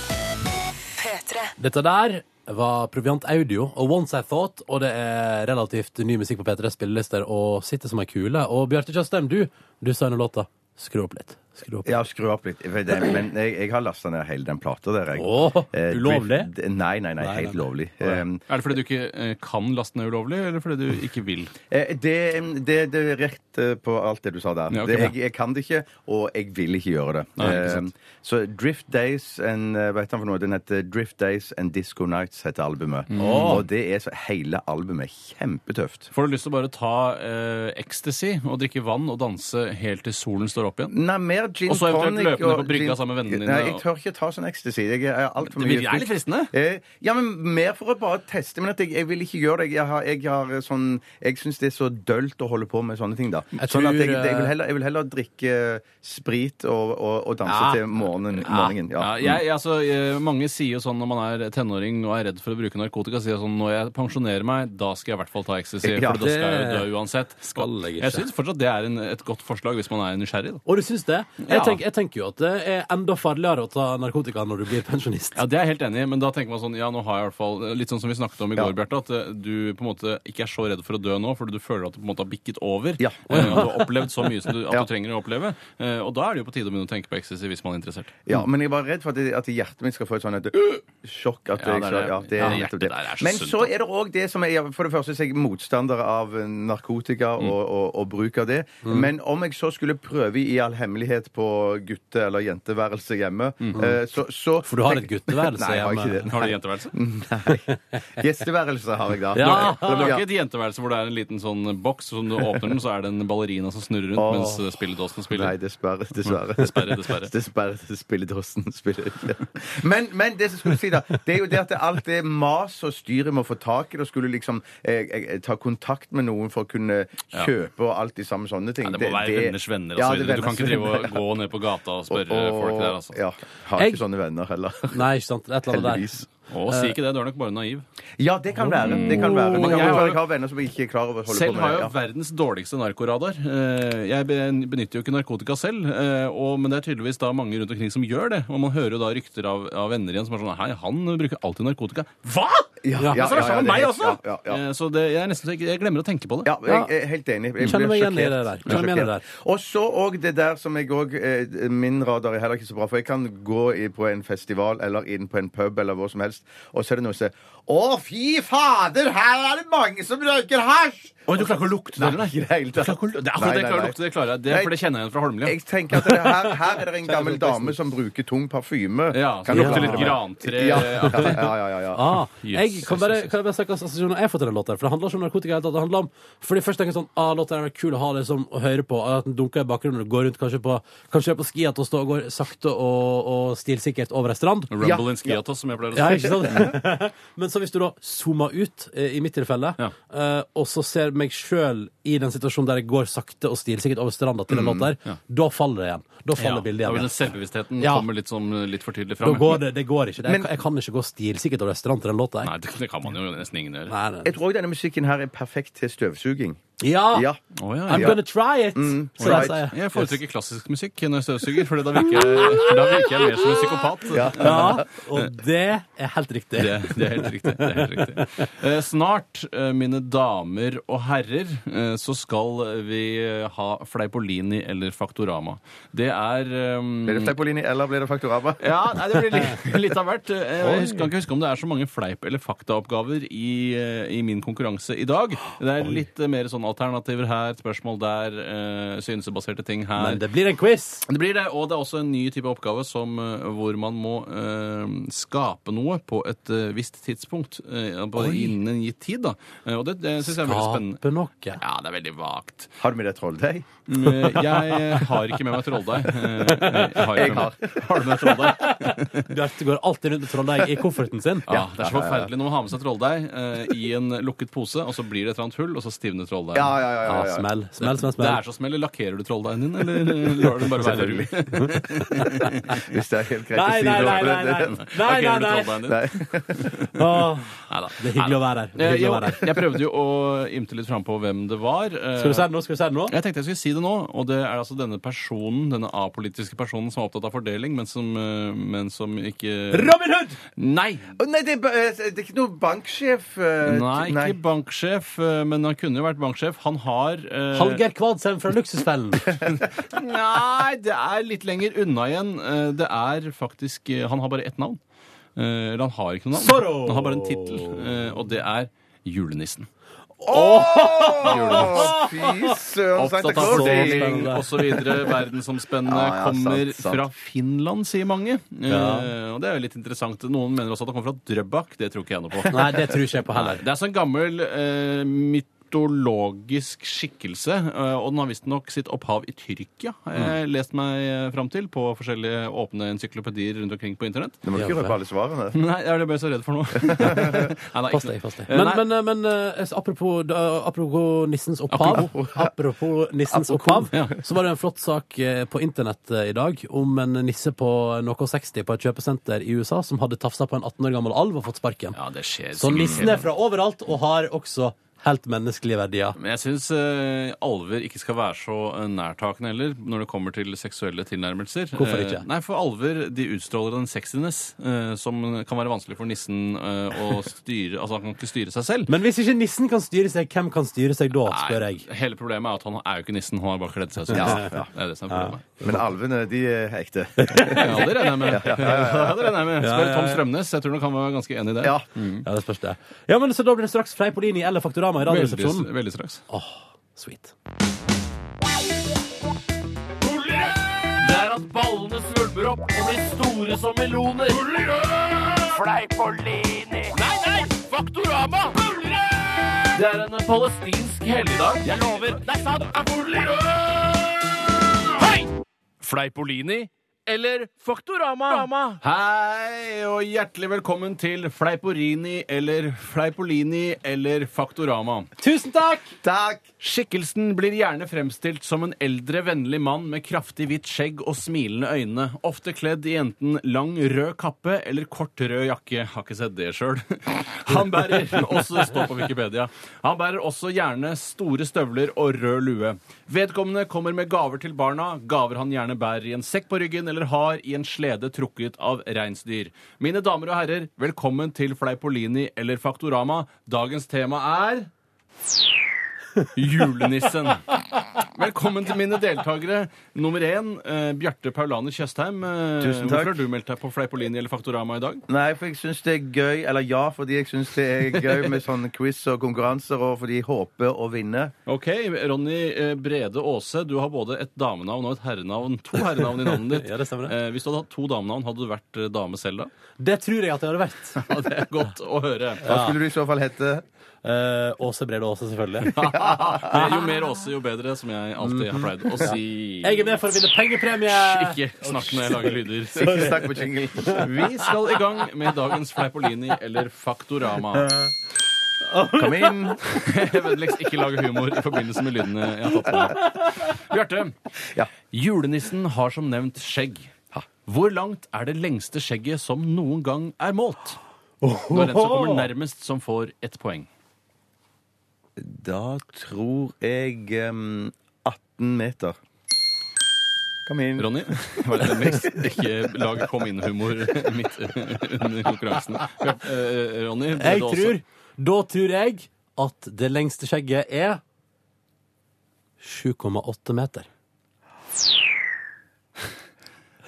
S2: P3.
S4: Dette der var Proviant Audio og Once I Thought, og det er relativt ny musikk på P3 spillelister og sitter som ei kule. Og Bjarte Tjøstheim, du, du sa under låta Skru opp litt. Skru opp.
S6: Ja, skru opp litt. For det- Men jeg, jeg har lasta ned hele den plata der. Jeg.
S4: Åh,
S6: Eh,
S4: ulovlig?
S6: Drift- Nei, nei, nei, helt lovlig. Um,
S5: Er det fordi du ikke eh, kan laste ned ulovlig, eller fordi du ikke vil?
S6: eh, det, det, det er rett eh, på alt det du sa der.
S5: Ja, ok,
S6: det,
S5: bra.
S6: jeg, jeg kan det ikke, og jeg vil ikke gjøre det.
S5: Nei, ikke sant.
S6: Um, så Drift Days and eh, Hva heter den for noe? Den heter Drift Days and Disco Nights, heter albumet.
S5: Mm.
S6: Og det er så, hele albumet. Kjempetøft.
S5: Får du lyst til å bare ta eh, ecstasy og drikke vann og danse helt til solen står opp igjen?
S6: Nei, mer gin
S5: Og så eventuelt
S6: tonic
S5: løpe ned
S6: og
S5: på brygga
S6: gin-
S5: sammen med vennene dine,
S6: Nei, jeg
S5: og-
S6: tør ikke ta sånn ecstasy. Jeg er
S5: Det
S6: altfor mye
S5: blir- det er litt fristende.
S6: Eh, ja, men mer for å bare teste. Men at jeg, jeg vil ikke gjøre det. Jeg, har, jeg, har eh, sånn, jeg syns det er så dølt å holde på med sånne ting, da.
S4: Jeg
S6: sånn at jeg,
S4: tror, eh,
S6: jeg, vil heller, jeg vil heller drikke sprit og, og, og danse
S4: Ja.
S6: til morgenen. morgenen ja.
S5: Ja, jeg, jeg- altså, eh, mange sier jo sånn når man er tenåring og er redd for å bruke narkotika, sier sånn når jeg pensjonerer meg, da skal jeg i hvert fall ta ecstasy,
S6: Ja,
S5: for da skal jeg jo
S4: det
S5: dø uansett.
S4: skal jeg ikke.
S5: Jeg syns fortsatt det er en, et godt forslag hvis man er nysgjerrig. Da.
S4: Og du syns det? Jeg,
S5: Ja.
S4: tenk, jeg tenker jo at det er enda farligere å ta narkotika når du blir pensjonist.
S5: Ja, det er jeg helt enig i, men da tenker man sånn ja, nå har jeg i hvert fall Litt sånn som vi snakket om i går, Bjarte, at eh, du på en måte ikke er så redd for å dø nå, fordi du føler at du på en måte har bikket over.
S6: Ja.
S5: Eh, og Du har opplevd så mye som du, at du trenger å oppleve. eh, Og da er det jo på tide å begynne å tenke på ecstasy hvis man er interessert.
S6: Ja, men jeg var redd for at, at hjertet mitt skal få et sånn et øh, sjokk. At
S5: Ja,
S6: jeg
S5: det er
S6: skal-
S5: det.
S6: ja, det
S5: Ja,
S6: er
S5: det
S6: nettopp
S5: hjertet
S6: det.
S5: der er så
S6: Men
S5: sunt,
S6: så
S5: da.
S6: er det òg det som er For det første så er jeg motstander øh,
S5: Mm.
S6: av narkotika og, og, og bruk av det. Men om jeg så skulle prøve i all hemmelighet leilighet på gutte- eller jenteværelse hjemme.
S5: Mm.
S6: Eh, så, så,
S4: For du har et gutteværelse
S6: Nei, jeg har ikke det.
S5: Har du jenteværelse?
S6: Mm. Gjesteværelse har jeg da.
S4: Ja.
S5: Du har ikke et jenteværelse hvor det er en liten sånn boks, og når du åpner den, så er det en ballerina som snurrer rundt
S6: Åh.
S5: mens eh, spilledåsen spiller.
S6: Nei, dessverre. Dessverre.
S5: Dessverre, dessverre.
S6: Dessverre, spilledåsen spiller ikke. Men, men det som skulle si da, det er jo det at det alt det mas og styret med å få tak i det, og skulle liksom eh, eh, ta kontakt med noen for å kunne kjøpe og alt de samme sånne ting.
S5: Nei, det må være venners venner og
S6: Ja,
S5: så
S6: det er
S5: videre. Du kan ikke drive
S6: venners
S5: og
S6: venner.
S5: gå ned på gata og spørre
S6: Og-
S5: folk der, altså.
S6: Ja. Har
S4: Jeg-
S6: ikke sånne venner heller.
S4: Nei, ikke sant. Et eller annet der.
S6: Heldigvis.
S5: Å,
S6: Eh,
S5: si ikke det, du er nok bare naiv.
S6: Ja, det kan være. Det kan være. Man
S5: Mm. Jeg
S6: kan
S5: har
S6: være
S5: jo-
S6: jeg har venner som ikke er klar over å holde
S5: Selv
S6: på
S5: har
S6: med
S5: jeg
S6: det.
S5: jo
S6: Ja.
S5: verdens dårligste narkoradar. Eh, Jeg ben- benytter jo ikke narkotika selv, eh, og, men det er tydeligvis da mange rundt omkring som gjør det. Og man hører jo da rykter av, av venner igjen som er sånn Hei, han bruker alltid narkotika. Hva?!
S6: Ja, ja,
S5: Og så er det
S6: ja,
S5: sånn
S6: det er
S5: meg
S6: helt-
S5: også!
S6: ja, ja, ja.
S5: Eh, Så det, jeg, er nesten, så ikke- jeg glemmer å tenke på det.
S6: Ja, jeg er helt enig. Jeg
S4: Kjenner meg
S6: blir
S4: igjen i det
S6: sjokkert.
S4: der.
S6: Blir
S4: Kjenner meg igjen i
S6: sjokkert.
S4: det
S6: Og så òg det der som jeg òg Min radar er heller ikke så bra, for jeg kan gå i, på en festival eller inn på en pub eller hvor som helst, og så er det noe som sier Å, fy fader, her er det mange som røyker hasj!
S5: Oi, du klarer ikke å lukte det, eller?
S6: Nei, ikke i det hele tatt.
S5: Du klarer ikke å lu- Det er akkurat det jeg
S6: Nei, nei,
S5: klarer å
S6: nei.
S5: lukte, det klarer jeg. Det, er for det kjenner jeg igjen fra Holmlia.
S6: Jeg tenker at det her, her er det en gammel dame som bruker tung parfyme.
S5: Ja, så
S6: Kan
S5: det lukter
S6: du-
S5: litt grantre.
S6: Ja, ja, ja, ja, ja, ja.
S4: Ah, jeg
S5: Yes,
S4: kan bare, kan jeg bare snakke om assosiasjoner jeg får til den låten. her, For det handler ikke om narkotika. i det hele tatt, Det handler om, fordi først tenker jeg sånn ah, låten her er kul å ha det som å høre på. At den dunker i bakgrunnen når du går rundt, kanskje på, kanskje du er på ski, at du står og går sakte og, og stilsikkert over ei strand.
S5: Rumble in Skiatos, som jeg pleier å si.
S4: Ja, ikke sant? Men så hvis du da zoomer ut, eh, i mitt tilfelle,
S5: Mm. Ja.
S4: eh, og så ser meg sjøl i den situasjonen der jeg går sakte og stilsikkert over stranda til den låten der, da faller det igjen. Da faller
S5: Mm, Ja,
S4: bildet
S5: da vil
S4: igjen.
S5: den selvbevisstheten
S4: Ja.
S5: kommer litt, sånn, litt for tydelig
S4: Da
S5: fram.
S4: går det, det går ikke. Det, jeg,
S6: Men-
S4: jeg kan ikke gå stilsikkert over ei strand til den låten der.
S5: Nei, det, det kan man jo nesten ingen gjøre.
S4: Nei, nei.
S6: Jeg tror også denne musikken her er perfekt til støvsuging.
S4: Ja!
S6: Ja.
S5: Å, ja,
S4: I'm
S5: ja. Mm,
S4: gonna try it! så jeg
S6: right.
S4: sier.
S5: Jeg foretrekker klassisk musikk når jeg støvsuger, for da virker jeg, for da virker jeg mer som en psykopat.
S4: Ja, og det er helt riktig.
S5: Det, det er helt riktig. Det er helt riktig. Eh, snart, eh, mine damer og herrer, eh, så skal vi eh, ha Fleipolini eller Faktorama. Det er eh,
S6: Ble det Fleipolini, eller ble det Faktorama?
S5: Ja, nei, det blir litt, litt av hvert. Eh, Jeg husker, kan ikke huske om det er så mange fleip- eller faktaoppgaver i, eh, i min konkurranse i dag. Det er litt eh, mer sånn alternativer her, et spørsmål der, eh, synsebaserte ting her.
S4: Men det blir en quiz.
S5: Det blir det, og det er også en ny type oppgave som, eh, hvor man må eh, skape noe på et eh, visst tidspunkt. Eh, på, innen en gitt tid, da. Eh, og det, det syns jeg er veldig spennende.
S4: Gape noe.
S5: Ja, det er veldig vagt.
S6: Har du med deg trolldeig?
S5: Eh, Jeg eh, har ikke med meg trolldeig. Eh, Jeg har.
S6: Jeg
S5: Ikke med meg. har du med deg trolldeig?
S4: Bjarte går alltid rundt med trolldeig i kofferten sin.
S5: Ja, det er så forferdelig når man har med seg trolldeig eh, i en lukket pose, og så blir det et eller annet hull, og så stivner trolldeigen.
S6: Ja, ja, ja. ja,
S4: Ja,
S6: ja.
S4: smell, smell, smell.
S5: Det
S4: smell.
S5: er sånn så smell. Lakkerer du trolldeigen din, eller lar du den bare være rull?
S6: Hvis det er helt greit
S4: Nei,
S6: å si
S4: nei,
S6: det.
S4: nei, nei, nei.
S6: det-
S4: nei, nei,
S5: Lakkerer du
S4: nei.
S5: trolldeigen din?
S4: Åh,
S5: Neida.
S4: Det er hyggelig å være her. Det er
S5: Eh,
S4: hyggelig å
S5: jo,
S4: være her.
S5: Jeg prøvde jo å ymte litt frampå hvem det var. eh,
S4: Skal du si det nå? Skal du si det nå?
S5: Jeg tenkte jeg skulle si det nå, og det er altså denne personen, denne apolitiske personen som er opptatt av fordeling, men som, eh, men som ikke
S4: Robin Hood!
S5: Nei!
S6: Å, nei, det er, ba- eh, det er ikke noe banksjef eh,
S5: Nei,
S6: t-
S5: ikke banksjef, eh, men han kunne jo vært banksjef. Han har eh,
S4: Hallgeir Kvadsheim fra Luksusfellen.
S5: Nei, det er litt lenger unna igjen. Eh, Det er faktisk eh, Han har bare ett navn. Eh, Eller han har ikke noe navn.
S4: Zorro!
S5: Han har bare en tittel, eh, og det er Julenissen.
S6: Å, Fy søren, Santa
S5: Opptatt av
S6: Claus!
S5: fordeling
S4: spennende.
S5: osv. Verdensomspennende
S6: Ja, ja,
S5: kommer
S6: sant, sant.
S5: fra Finland, sier mange. Eh, og det er jo litt interessant. Noen mener også at han kommer fra Drøbak. Det tror ikke jeg noe på.
S4: Nei, det tror ikke jeg på
S5: Nei,
S4: heller.
S5: Det er sånn gammel eh, mytologisk skikkelse, eh, og den har visstnok sitt opphav i Tyrkia, har
S6: Mm.
S5: jeg lest meg eh, fram til på forskjellige åpne encyklopedier rundt omkring på internett.
S6: Du må ikke røpe alle svarene.
S5: Nei, det er det jeg ble så redd for nå. Nei, nei,
S4: Pass Mm.
S5: ikke-
S4: deg, pass deg.
S5: Eh,
S4: Men,
S5: nei.
S4: men, eh, men eh, altså, apropos, da- apropos nissens opphav, apropos nissens opphav
S5: ja.
S4: så var det en flott sak eh, på internett eh, i dag om en nisse på noe 60 på et kjøpesenter i USA som hadde tafsa på en 18 år gammel alv og fått sparken.
S5: Ja, det skjer
S4: Så
S5: sikkert.
S4: nissen er fra overalt og har også helt menneskelige verdier.
S5: Men jeg syns eh, alver ikke skal være så eh, nærtakende heller når det kommer til seksuelle tilnærmelser.
S4: Hvorfor ikke?
S5: Eh, nei, for alver de utstråler en sexiness eh, som kan være vanskelig for nissen eh, å styre. Altså, han kan ikke styre seg selv.
S4: Men hvis ikke nissen kan styre seg, hvem kan styre seg da, spør jeg.
S5: Nei, hele problemet er at han er jo ikke nissen, han har bare kledd seg som
S6: Ja,
S5: nissen.
S6: ja.
S5: Det er det som er problemet.
S6: Men alvene, de er ekte.
S5: Ja, det regner jeg med. Ja, det regner jeg med. Spør Tom Strømnes, jeg tror nok han var ganske enig i det.
S6: Ja.
S4: Ja, det spørs det. Ja, men så da blir det straks Fleipolini eller Faktorama i
S5: Veldig,
S4: Radioresepsjonen.
S5: veldig straks.
S4: Åh, sweet.
S5: Det
S7: at ballene svulmer opp og blir store som meloner. Fleipolini. Nei, nei! Faktorama! Det er en palestinsk helligdag. Jeg lover. Det er sant. Hei! Fleipolini eller Faktorama?
S5: Hei og hjertelig velkommen til Fleiporini eller Fleipolini eller Faktorama.
S4: Tusen takk!
S6: Takk!
S5: Skikkelsen blir gjerne fremstilt som en eldre, vennlig mann med kraftig hvitt skjegg og smilende øyne, ofte kledd i enten lang, rød kappe eller kort, rød jakke. Har ikke sett det sjøl. Han bærer også det står på Wikipedia. Han bærer også gjerne store støvler og rød lue. Vedkommende kommer med gaver til barna, gaver han gjerne bærer i en sekk på ryggen eller har i en slede trukket av reinsdyr. Mine damer og herrer, velkommen til Fleipolini eller Faktorama. Dagens tema er Julenissen. Velkommen til mine deltakere. Nummer én, eh, Bjarte Paulane Tjøstheim. Eh,
S6: Tusen takk.
S5: Hvorfor har du meldt deg på Fleipolini eller Faktorama i dag?
S6: Nei, for jeg syns det er gøy. Eller ja, fordi jeg syns det er gøy med sånne quiz og konkurranser, og fordi jeg håper å vinne.
S5: Ok, Ronny eh, Brede Aase, du har både et damenavn og et herrenavn. To herrenavn i navnet ditt.
S4: Ja, det stemmer det.
S5: Eh, Hvis du hadde hatt to damenavn, hadde du vært eh, dame selv da?
S4: Det tror jeg at det hadde vært.
S5: Ja, det er godt å høre.
S6: Hva skulle du i så fall hete?
S4: Eh, Åse Brede Aase, selvfølgelig.
S5: Eh, Jo mer Aase, jo bedre, som jeg alltid har pleid å si.
S4: Jeg er med for å vinne pengepremie!
S5: Ikke snakk når jeg lager lyder.
S6: Ikke snakk på jingle.
S5: Vi skal i gang med dagens Fleipolini eller Faktorama.
S6: Kom inn.
S5: Vennligst ikke lage humor i forbindelse med lydene jeg har tatt på meg. Bjarte.
S6: Ja.
S5: Julenissen har som nevnt skjegg. Hvor langt er det lengste skjegget som noen gang er målt? Det er den som kommer nærmest, som får ett poeng.
S6: Da tror jeg em, 18 meter. Kom inn.
S5: Ronny, vær vennligst ikke lag kom inn-humor midt under konkurransen. Bjarte, eh, Ronny, ble
S4: Jeg
S5: det også-
S4: tror, da tror jeg at det lengste skjegget er 7,8 meter.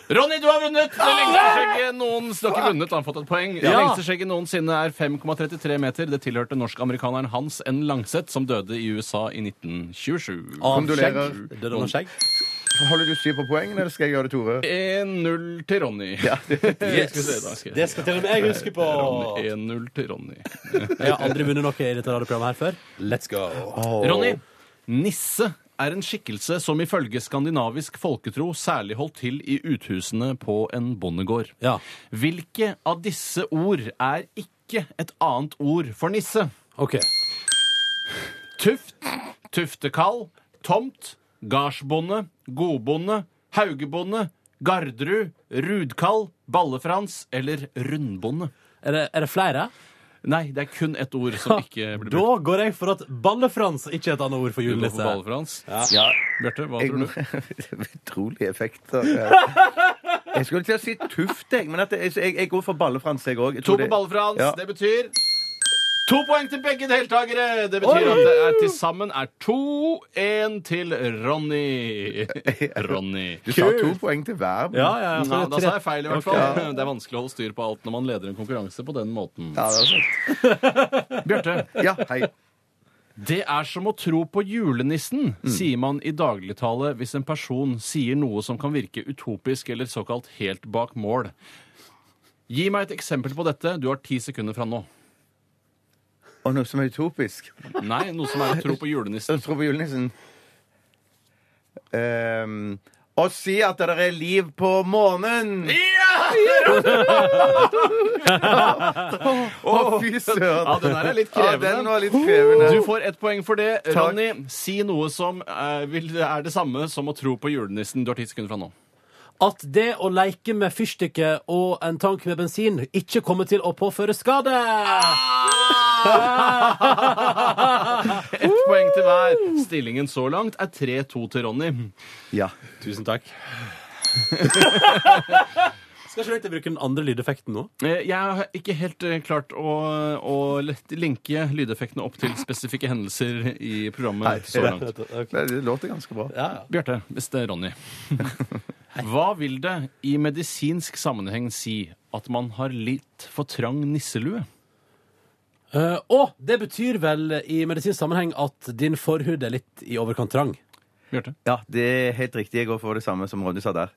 S5: Ronny, du har vunnet! Det lengste skjegget noen Du har ikke vunnet, han har fått et poeng. Det
S4: Ah! Ja.
S5: lengste skjegget noensinne er 5,33 meter. Det tilhørte norskamerikaneren Hans N. Langseth, som døde i USA i 1927.
S4: Ah.
S6: Kondolerer.
S4: Skjegg. Det er noe skjegg.
S6: Holder du styr på poengene, eller skal jeg gjøre det, Tore?
S5: 1-0 til Ronny.
S4: Yes.
S5: Skal vi se, da, skal jeg-
S4: Det skal til og med jeg huske på.
S5: Ronny, 1-0 til Ronny.
S4: Jeg har aldri vunnet noe i dette radioprogrammet her før. Let's go.
S5: Ronny, nisse er en skikkelse som ifølge skandinavisk folketro særlig holdt til i uthusene på en bondegård.
S4: Ja.
S5: Hvilke av disse ord er ikke et annet ord for nisse?
S4: OK.
S5: Tuft, tuftekall, tomt, gardsbonde, godbonde, haugebonde, gardru, rudkall, ballefrans eller rundbonde.
S4: Er det, er det flere?
S5: Nei, det er kun ett ord som ikke blir
S4: Da
S5: brukt.
S4: går jeg for at ballefrans ikke er et annet ord for
S5: Du går for
S4: julenisse.
S5: ballefrans. Bjarte, hva tror du?
S6: Utrolige effekter. ja. Jeg skulle til å si tuft, jeg, men at jeg, jeg, jeg går for ballefrans, jeg òg.
S5: To på ballefrans.
S6: Ja.
S5: Det betyr To poeng til begge deltakere! Det betyr at det er til sammen er 2-1 til Ronny. Ronny.
S6: Du sa to poeng til hver. men-
S4: Ja, ja, ja.
S5: Ja,
S4: Så
S5: da
S4: det
S5: sa
S4: er
S5: jeg feil, i hvert fall. Det er vanskelig å holde styr på alt når man leder en konkurranse på den måten.
S6: Ja, det er sant.
S5: Bjarte,
S6: ja, hei.
S5: Det er som å tro på julenissen,
S6: Mm.
S5: sier man i dagligtale hvis en person sier noe som kan virke utopisk eller såkalt helt bak mål. Gi meg et eksempel på dette. Du har ti sekunder fra nå.
S6: Og noe som er utopisk.
S5: Nei, noe som er å tro på julenissen.
S6: Jeg tror på julenissen. Ehm, å si at det er liv på månen! Å, fy søren!
S5: Ja, den her er litt
S6: Ja, den
S5: krevende.
S6: var litt krevende.
S5: Du får ett poeng for det. Ronny, si noe som eh, vil, er det samme som å tro på julenissen. Du har ti sekunder fra nå.
S4: At det å leke med fyrstikker og en tank med bensin ikke kommer til å påføre skade.
S5: Ah! Ett poeng til hver. Stillingen så langt er 3-2 til Ronny.
S6: Ja.
S4: Tusen takk. Skal ikke dere bruke den andre lydeffekten nå?
S5: Eh, Jeg har ikke helt eh, klart å, å lett- linke lydeffektene opp til spesifikke hendelser i programmet så langt.
S6: Nei, Det låter ganske bra.
S5: Bjarte, hvis det er Ronny. Hva vil det i medisinsk sammenheng si at man har litt for trang nisselue?
S4: Eh, og det betyr vel i medisinsk sammenheng at din forhud er litt i overkant trang.
S5: Bjarte.
S6: Ja, det er helt riktig. Jeg går for det samme som Ronny sa der.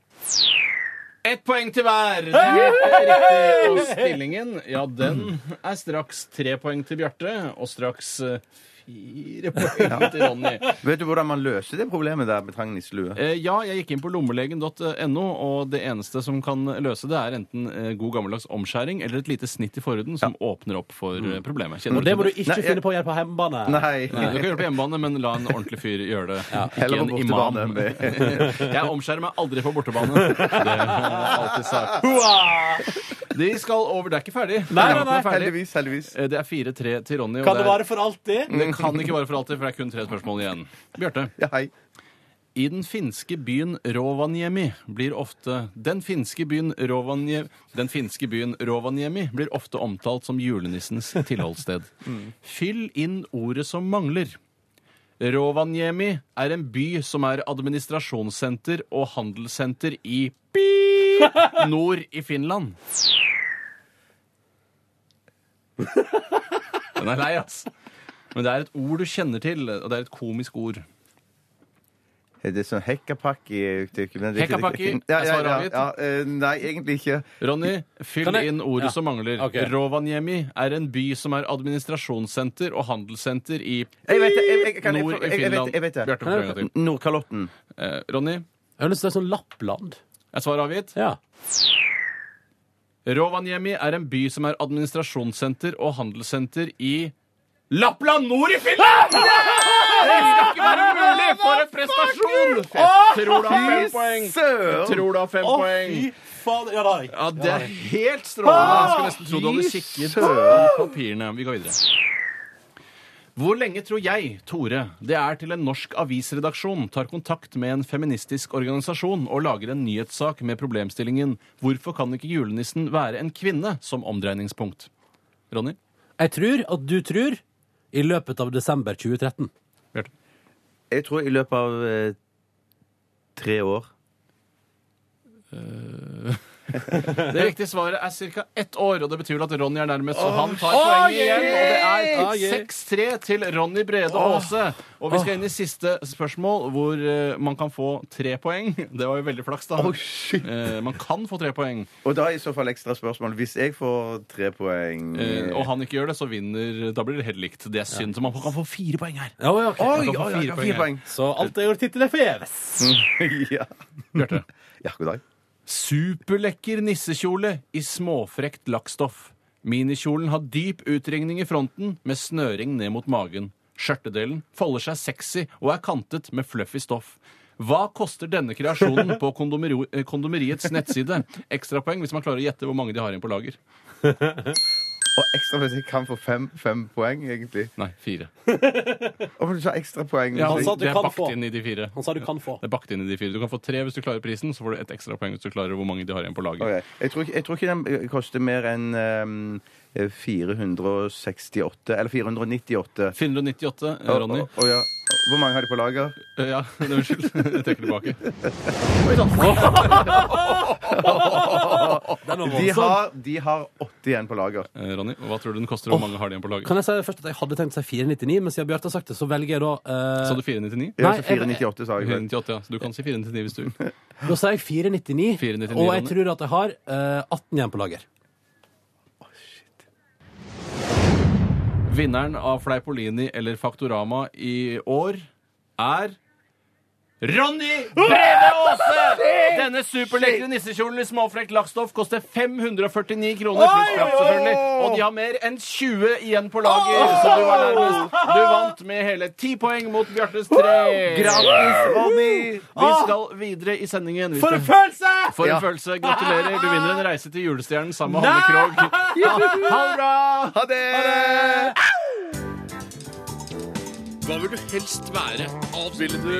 S5: Ett poeng til hver. Det er riktig. Og stillingen, ja, den er straks tre poeng til Bjarte, og straks eh, fire poeng til Ronny.
S6: Vet du hvordan man løser det problemet der med trang nisselue?
S5: Eh, Ja, jeg gikk inn på lommelegen.no, og det eneste som kan løse det, er enten eh, god gammeldags omskjæring eller et lite snitt i forhuden som åpner opp for eh, problemet.
S4: Mm.
S5: Kjenner
S4: Og det
S5: til
S4: må du ikke
S6: Nei, jeg-
S4: finne på å gjøre på hjemmebane.
S6: Nei.
S5: Nei, du kan gjøre det på hjemmebane, men la en ordentlig fyr gjøre det. Ikke
S6: Heller
S5: en
S6: på
S5: imam.
S6: bortebane.
S5: Jeg omskjærer meg aldri på bortebane. Det har jeg alltid sagt. De skal over. Det er ikke ferdig.
S4: Nei, nei,
S5: Kampen er
S4: nei.
S5: ferdig.
S6: Heldigvis, heldigvis.
S5: Eh, Det er 4-3 til Ronny. og
S4: Kan det
S5: er-
S4: vare for alltid?
S5: det kan ikke vare for alltid, for det er kun tre spørsmål igjen. Bjarte.
S6: Ja, hei.
S5: I den finske byen Rovaniemi blir ofte Den finske byen Rovaniemi, den finske byen Rovaniemi blir ofte omtalt som julenissens tilholdssted. Fyll inn ordet som mangler. Rovaniemi er en by som er administrasjonssenter og handelssenter i Pip nord i Finland. Den er lei, ass. Men det er et ord du kjenner til, og det er et komisk ord.
S6: Er det sånn hekkapakki?
S5: Hekkapakki?
S6: Ja,
S5: Er
S6: ja,
S5: svaret
S6: ja,
S5: avgitt?
S6: ja, eh, nei, egentlig ikke.
S5: Ronny, fyll
S4: Kan jeg-
S5: inn ordet
S4: Ja.
S5: som mangler.
S4: Ok.
S5: Rovaniemi er en by som er administrasjonssenter og handelssenter i
S6: Jeg vet det! Jeg, jeg, kan, jeg,
S5: nord i
S6: jeg, jeg, vet,
S5: Finland.
S6: jeg vet det.
S5: Bjarte, prøv en gang til.
S6: Nordkalotten.
S5: Eh, Ronny,
S4: Jeg har lyst til å si sånn Lappland.
S5: er svaret avgitt?
S4: Ja.
S5: Rovaniemi er en by som er administrasjonssenter og handelssenter i Lappland nord i Finland! Det skal ikke være mulig! For en prestasjon! Tror du har fem poeng?
S6: Søren!
S5: Tror du har fem poeng?
S4: Fader, ja, da.
S5: Ja, det er helt strålende. Jeg skulle nesten tro du hadde kikket på papirene. Vi går videre. Hvor lenge tror jeg, Tore, det er til en norsk avisredaksjon tar kontakt med en feministisk organisasjon og lager en nyhetssak med problemstillingen 'Hvorfor kan ikke julenissen være en kvinne?' som omdreiningspunkt? Ronny?
S4: Jeg tror at du tror i løpet av desember 2013.
S5: Bjarte?
S6: Jeg tror i løpet av eh, tre år
S5: Det riktige svaret er ca. ett år, og det betyr vel at Ronny er nærmest, så han tar poenget igjen. Og det er 6-3 til Ronny Brede Aase. Og vi skal inn i siste spørsmål, hvor eh, man kan få tre poeng. Det var jo veldig flaks, da.
S6: Å, shit.
S5: Eh, man kan få tre poeng.
S6: Og da er i så fall ekstra spørsmål. Hvis jeg får tre poeng
S5: Eh, og han ikke gjør det, så vinner Da blir det helt likt. Det er synd. Så man kan få fire poeng her.
S4: Ja, ja, ok.
S6: Oi,
S5: kan få
S6: oi, oi,
S5: fire
S6: fire
S5: poeng
S6: poeng.
S4: Så alt jeg har gjort hittil, er forgjeves.
S6: ja.
S5: Bjarte.
S6: ja, god dag.
S5: Superlekker nissekjole i småfrekt lakkstoff. Minikjolen har dyp utringning i fronten med snøring ned mot magen. Skjørtedelen folder seg sexy og er kantet med fluffy stoff. Hva koster denne kreasjonen på kondomeri eh, kondomeriets nettside? Ekstrapoeng hvis man klarer å gjette hvor mange de har igjen på lager.
S6: Og ekstra hvis jeg kan få fem, fem poeng, egentlig.
S5: Nei, fire.
S6: Å, men du sa ekstra poeng.
S5: Ja,
S4: han sa at du
S5: det er
S4: kan
S5: bakt
S4: få.
S5: inn i de fire.
S4: Han sa Sånn du kan få.
S5: Det er bakt inn i de fire. Du kan få tre hvis du klarer prisen, så får du et ekstrapoeng hvis du klarer hvor mange de har igjen på lager.
S6: Ok. Jeg, tror ikke, jeg tror ikke den eh, koster mer enn ehm, eh, 468 Eller 498.
S5: 498, eh,
S6: Å,
S5: Ronny.
S6: å, å, ja. Hvor mange har de på lager?
S5: Eh, Ja, unnskyld. Jeg trekker tilbake.
S4: Den var
S6: De
S4: voldsom.
S6: har, de har 80 igjen på lager.
S5: Eh, Ronny, hva tror du den koster, og hvor mange har de igjen på lager?
S4: Kan jeg si først at jeg hadde tenkt å si 499, men siden Bjarte har sagt det, så velger jeg da eh,
S5: Sa du 499?
S6: Jeg
S4: Nei,
S6: sa
S4: jeg-
S6: 498, Altså sa jeg.
S5: 498, ja. Så du kan si 499 hvis du vil.
S4: Da sier jeg 499,
S5: 499,
S4: og jeg
S5: Ronny.
S4: tror at jeg har eh, 18 igjen på lager.
S5: Vinneren av Fleipolini eller Faktorama i år er Ronny Brede Aase! Denne superlekre nissekjolen i småfrekt lakkstoff koster 549 kroner pluss frakt, selvfølgelig. Og de har mer enn 20 igjen på lager, så du var nærmest. Du vant med hele 10 poeng mot Bjartes 3.
S6: Grattis, Ronny!
S5: Vi skal videre i sendingen. Vi
S4: For
S5: skal
S4: en følelse!
S5: For en følelse. Gratulerer. Du vinner en reise til julestjernen sammen med Hanne Krogh. Ha, ha det bra!
S6: Ha det!
S7: Hva vil du helst være? Ville du